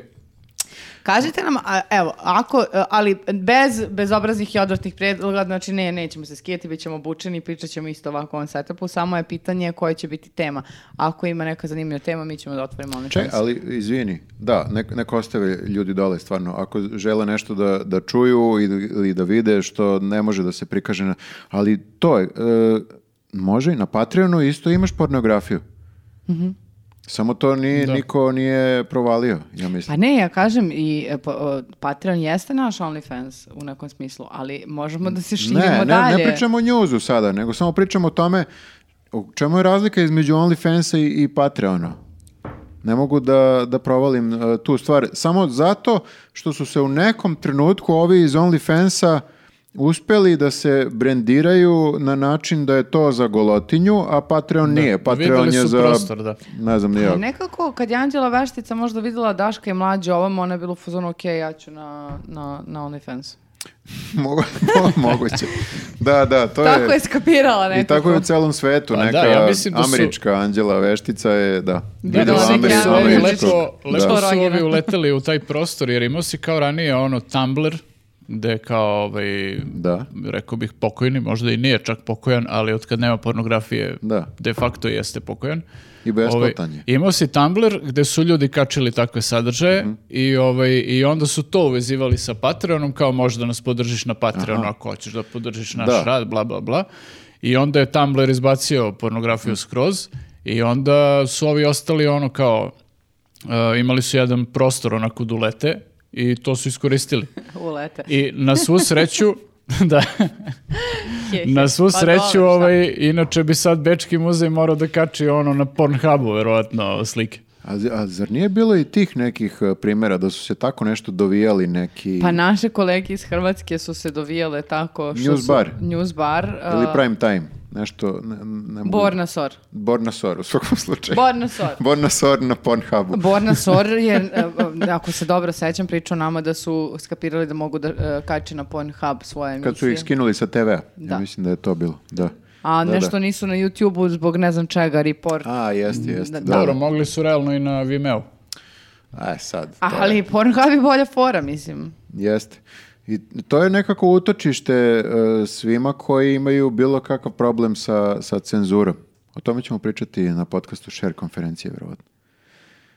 A: Kažite nam, a, evo, ako, e, ali bez bezobraznih i odvratnih predloga, znači ne, nećemo se skijeti, bit ćemo obučeni, pričat ćemo isto ovako o ovom setupu, samo je pitanje koja će biti tema. Ako ima neka zanimljiva tema, mi ćemo da otvorimo ono
B: Ček, ali izvini, da, nek, nek ostave ljudi dole stvarno. Ako žele nešto da, da čuju ili, ili da vide što ne može da se prikaže, na, ali to je, e, može i na Patreonu isto imaš pornografiju. Samo to nije, niko nije provalio, ja mislim.
A: Pa ne, ja kažem i e, pa, o, Patreon jeste naš OnlyFans u nekom smislu, ali možemo da se širimo
B: ne, ne,
A: dalje.
B: ne pričamo o njuzu sada, nego samo pričamo o tome u čemu je razlika između OnlyFansa i, i Patreona. Ne mogu da, da provalim e, tu stvar. Samo zato što su se u nekom trenutku ovi iz OnlyFansa uspeli da se brendiraju na način da je to za golotinju, a Patreon nije. Patreon
C: videli
B: je
C: su
B: za...
C: prostor, da.
B: Ne znam, nije.
A: Ali nekako, kad je Anđela Veštica možda videla Daška i mlađe ovom, ona je bila u fazonu, ok, ja ću na, na, na OnlyFans.
B: Mogu- moguće. Da, da, to
A: Tako je skapirala nekako.
B: I tako je u celom svetu,
C: Pa da,
B: neka
C: ja mislim da su-
B: američka Anđela Veštica je, da,
C: Da, da,
A: Videla
C: da,
A: Ameriku,
C: su ovi
A: Američkog,
C: lepo, lepo
A: Da.
C: su ovi
A: Rođena.
C: uleteli u taj prostor, jer imao si kao ranije ono Tumblr, gde je kao, ovaj,
B: Da.
C: rekao bih pokojni, možda i nije čak pokojan, ali od kad nema pornografije,
B: Da.
C: de facto jeste pokojan.
B: I besplatan
C: Ovaj,
B: je.
C: imao si Tumblr gde su ljudi kačili takve sadržaje
A: Mhm.
C: i, ovaj, i onda su to uvezivali sa Patreonom kao možeš da nas podržiš na Patreonu ako hoćeš da podržiš naš
B: Da.
C: rad, bla, bla, bla. I onda je Tumblr izbacio pornografiju
A: Mhm.
C: skroz i onda su ovi ostali ono kao, e, imali su jedan prostor onako dulete i to su iskoristili.
A: Ulete.
C: I na svu sreću, da,
A: He, he.
C: na svu
A: Pa
C: sreću,
A: dobro, šta?
C: ovaj, inače bi sad Bečki muzej morao da kači ono na Pornhubu, verovatno, slike.
B: A, z- a zar nije bilo i tih nekih e, primjera da su se tako nešto dovijali neki...
A: Pa naše kolege iz Hrvatske su se dovijale tako što
B: News
A: su...
B: bar.
A: News bar. uh,
B: Ili prime time, nešto... Ne, ne mogu-
A: Bornasor.
B: Bornasor, u svakom slučaju.
A: Bornasor.
B: Bornasor na Pornhubu.
A: Borna Sor je, e, e, ako se dobro sećam, pričao nama da su skapirali da mogu da e, kače na Pornhub svoje emisije.
B: Kad su ih skinuli sa TV-a.
A: Da.
B: Ja mislim da je to bilo, da.
A: A
B: Da,
A: nešto
B: da.
A: nisu na YouTube-u zbog ne znam čega, report.
B: A, jeste,
A: Da,
B: jeste. Da,
C: Dobro,
B: da.
C: mogli su realno i na Vimeo.
B: Aj, E, sad. to je-
A: Ali Pornhub je bolja fora, mislim.
B: Jeste. I to je nekako utočište e, svima koji imaju bilo kakav problem sa, sa cenzurom. O tome ćemo pričati na podcastu Share konferencije, vjerovatno.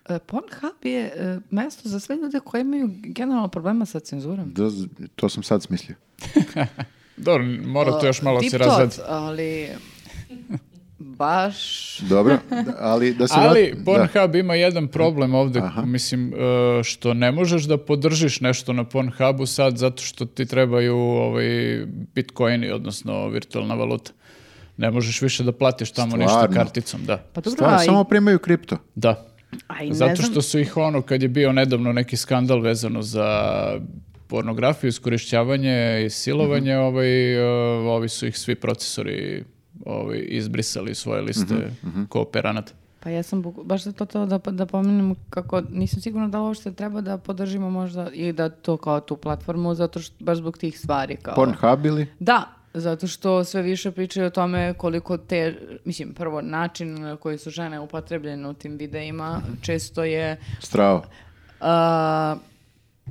A: E, Pornhub je e, mesto za sve ljude koji imaju generalno problema sa cenzurom.
B: Da, z- to sam sad smislio.
C: Dobro, mora to još malo
A: Tip
C: se
A: tot,
C: razradi.
A: ali baš...
B: Dobro, da- ali da se...
C: Ali
B: vrat- da.
C: Pornhub ima jedan problem ovdje, mislim, e, što ne možeš da podržiš nešto na Pornhubu sad zato što ti trebaju ovaj, bitcoini, odnosno virtualna valuta. Ne možeš više da platiš tamo ništa
B: Stvarno?
C: karticom, da.
A: Pa dobro,
B: Stvarno,
A: a i-
B: samo primaju kripto.
C: Da.
A: a i ne
C: Zato
A: znam-
C: što su ih ono, kad je bio nedavno neki skandal vezano za pornografiju, iskorišćavanje i silovanje,
A: Mhm.
C: ovaj, e, ovi su ih svi procesori ovaj, izbrisali iz svoje liste kooperanata.
A: Pa ja sam buk- baš zato to da, da pomenem kako nisam sigurna da li uopšte treba da podržimo možda i da to kao tu platformu zato što baš zbog tih stvari kao.
B: Pornhub ili?
A: Da, zato što sve više pričaju o tome koliko te, mislim, prvo način na koji su žene upotrebljene u tim videima često je
B: Strava.
A: a, Uh,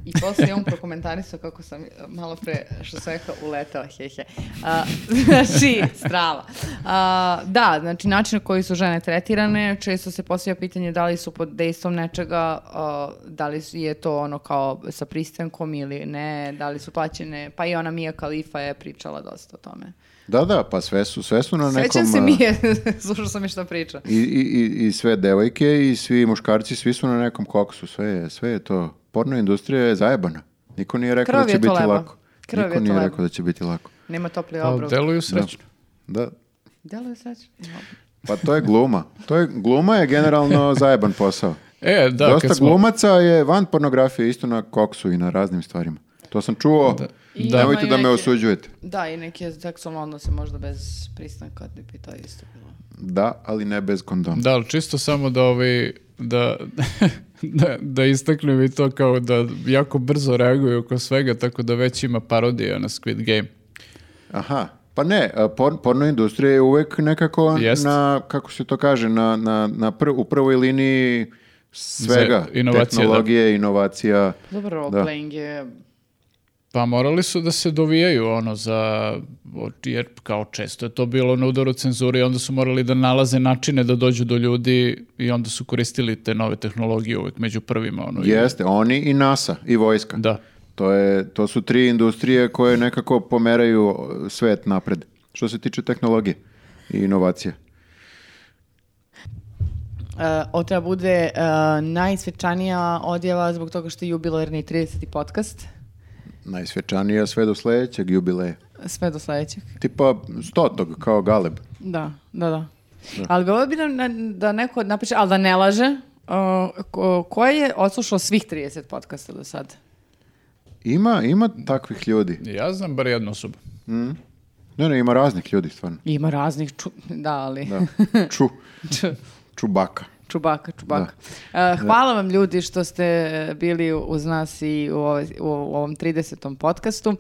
A: I posle je on prokomentarisao kako sam uh, malo pre, što sam rekao, uletela, hehe. A, znači, strava. A, da, znači način na koji su žene tretirane, često se postavlja pitanje da li su pod dejstvom nečega, a, da li su- je to ono kao sa pristankom ili ne, da li su plaćene, pa i ona Mija Kalifa je pričala dosta o tome.
B: Da, da, pa sve su, sve su na nekom... uh,
A: Sećam se
B: a,
A: Mije, slušao sam je šta priča.
B: I, i, i- i sve devojke i svi muškarci, svi su na nekom koksu, sve je, sve je to. Porno industrija je zajebana. Niko nije rekao
A: Krv je
B: da će biti
A: to leba.
B: lako.
A: Krv je
B: Niko
A: to
B: nije
A: leba.
B: rekao da će biti lako.
A: Nema topli
C: Pa,
A: obrok.
C: deluju srećno.
B: Da.
A: Delo je srećno. Dobro.
B: Pa to je gluma. To je, gluma je generalno zajeban posao.
C: E, da,
B: Dosta
C: kad smo-
B: glumaca je van pornografije isto na koksu i na raznim stvarima. To sam čuo.
A: I
B: Nemojte
A: imaju
B: da me
A: neke-
B: osuđujete.
A: Da, i neke seksualne odnose možda bez pristanka, da bi to isto bilo.
B: Da, ali ne bez kondoma.
C: Da, ali čisto samo da ovi, da, da, da istaknem i to kao da jako brzo reaguju oko svega, tako da već ima parodija na Squid Game.
B: Aha. Pa ne, a, por- porno industrija je uvek nekako
C: Jest.
B: na, kako se to kaže, na, na, na pr- u prvoj liniji svega.
C: Za- inovacije,
B: Tehnologije, inovacija.
A: Dobro,
B: Da.
A: roleplaying je... e,
C: Pa morali su da se dovijaju ono za, jer kao često je to bilo na udaru cenzuri, onda su morali da nalaze načine da dođu do ljudi i onda su koristili te nove tehnologije uvek među prvima. Ono, i-
B: Jeste, oni i NASA, i vojska.
C: Da.
B: To, je, to su tri industrije koje nekako pomeraju e, svet napred. Što se tiče tehnologije i inovacije.
A: Uh, ovo treba bude uh, najsvečanija odjava zbog toga što je jubilarni 30. podcast.
B: Najsvečanija sve do sledećeg jubileja.
A: Sve do sledećeg.
B: Tipa stotog, kao Galeb.
A: Da, da, da. Ali bilo bi nam na- da neko napiše, ali da ne laže, uh, ko, ko je odslušao svih 30 podcasta do sad?
B: Ima, ima takvih ljudi.
C: Ja znam bar jednu osobu.
B: Ne, ne, ima raznih ljudi, stvarno.
A: Ima raznih, ču, da, ali...
B: Da. Ču. Čubaka.
A: Čubaka, čubaka. Uh, hvala vam ljudi što ste bili uz nas i u, ovoj- u ovom 30. podcastu. Uh,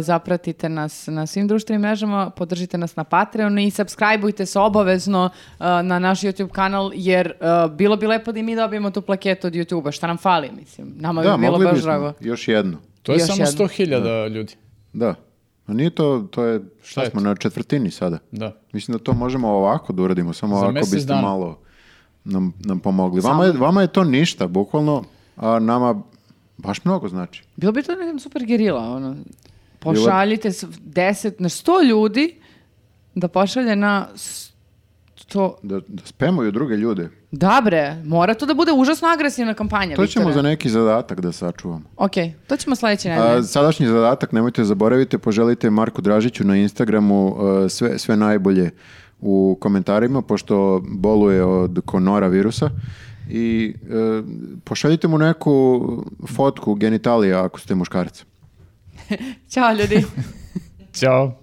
A: zapratite nas na svim društvenim mrežama, podržite nas na Patreonu i subscribeujte se obavezno uh, na naš YouTube kanal jer uh, bilo bi lepo da i mi dobijemo tu plaketu od YouTube-a. Šta nam fali, mislim. Nama
B: Da,
A: bi bilo
B: mogli
A: baš
B: bismo.
A: drago.
B: Još jedno.
C: To je
A: Još
C: samo
A: jednu.
C: 100.000 ljudi.
B: Da. A nije to, to je,
C: Šta
B: šta
C: je
B: smo,
C: to?
B: na četvrtini sada.
C: Da.
B: Mislim da to možemo ovako da uradimo, samo ovako
C: mjesec
B: biste
C: dana.
B: malo nam, nam pomogli. Vama je, vama je to ništa, bukvalno, a nama baš mnogo znači.
A: Bilo bi to nekam super gerila, ono. Pošaljite s- 10, na 100 ljudi da pošalje na 100
B: Da, da spemuju druge ljude.
A: Da bre, mora to da bude užasno agresivna kampanja,
B: To ćemo
A: Viktore.
B: za neki zadatak da sačuvamo.
A: Ok, to ćemo sledeće nedelje.
B: A, sadašnji zadatak, nemojte zaboraviti, poželite Marku Dražiću na Instagramu e, sve, sve najbolje u komentarima, pošto boluje od konora virusa. I e, pošaljite mu neku fotku genitalija ako ste muškarac.
A: Ćao ljudi.
C: Ćao.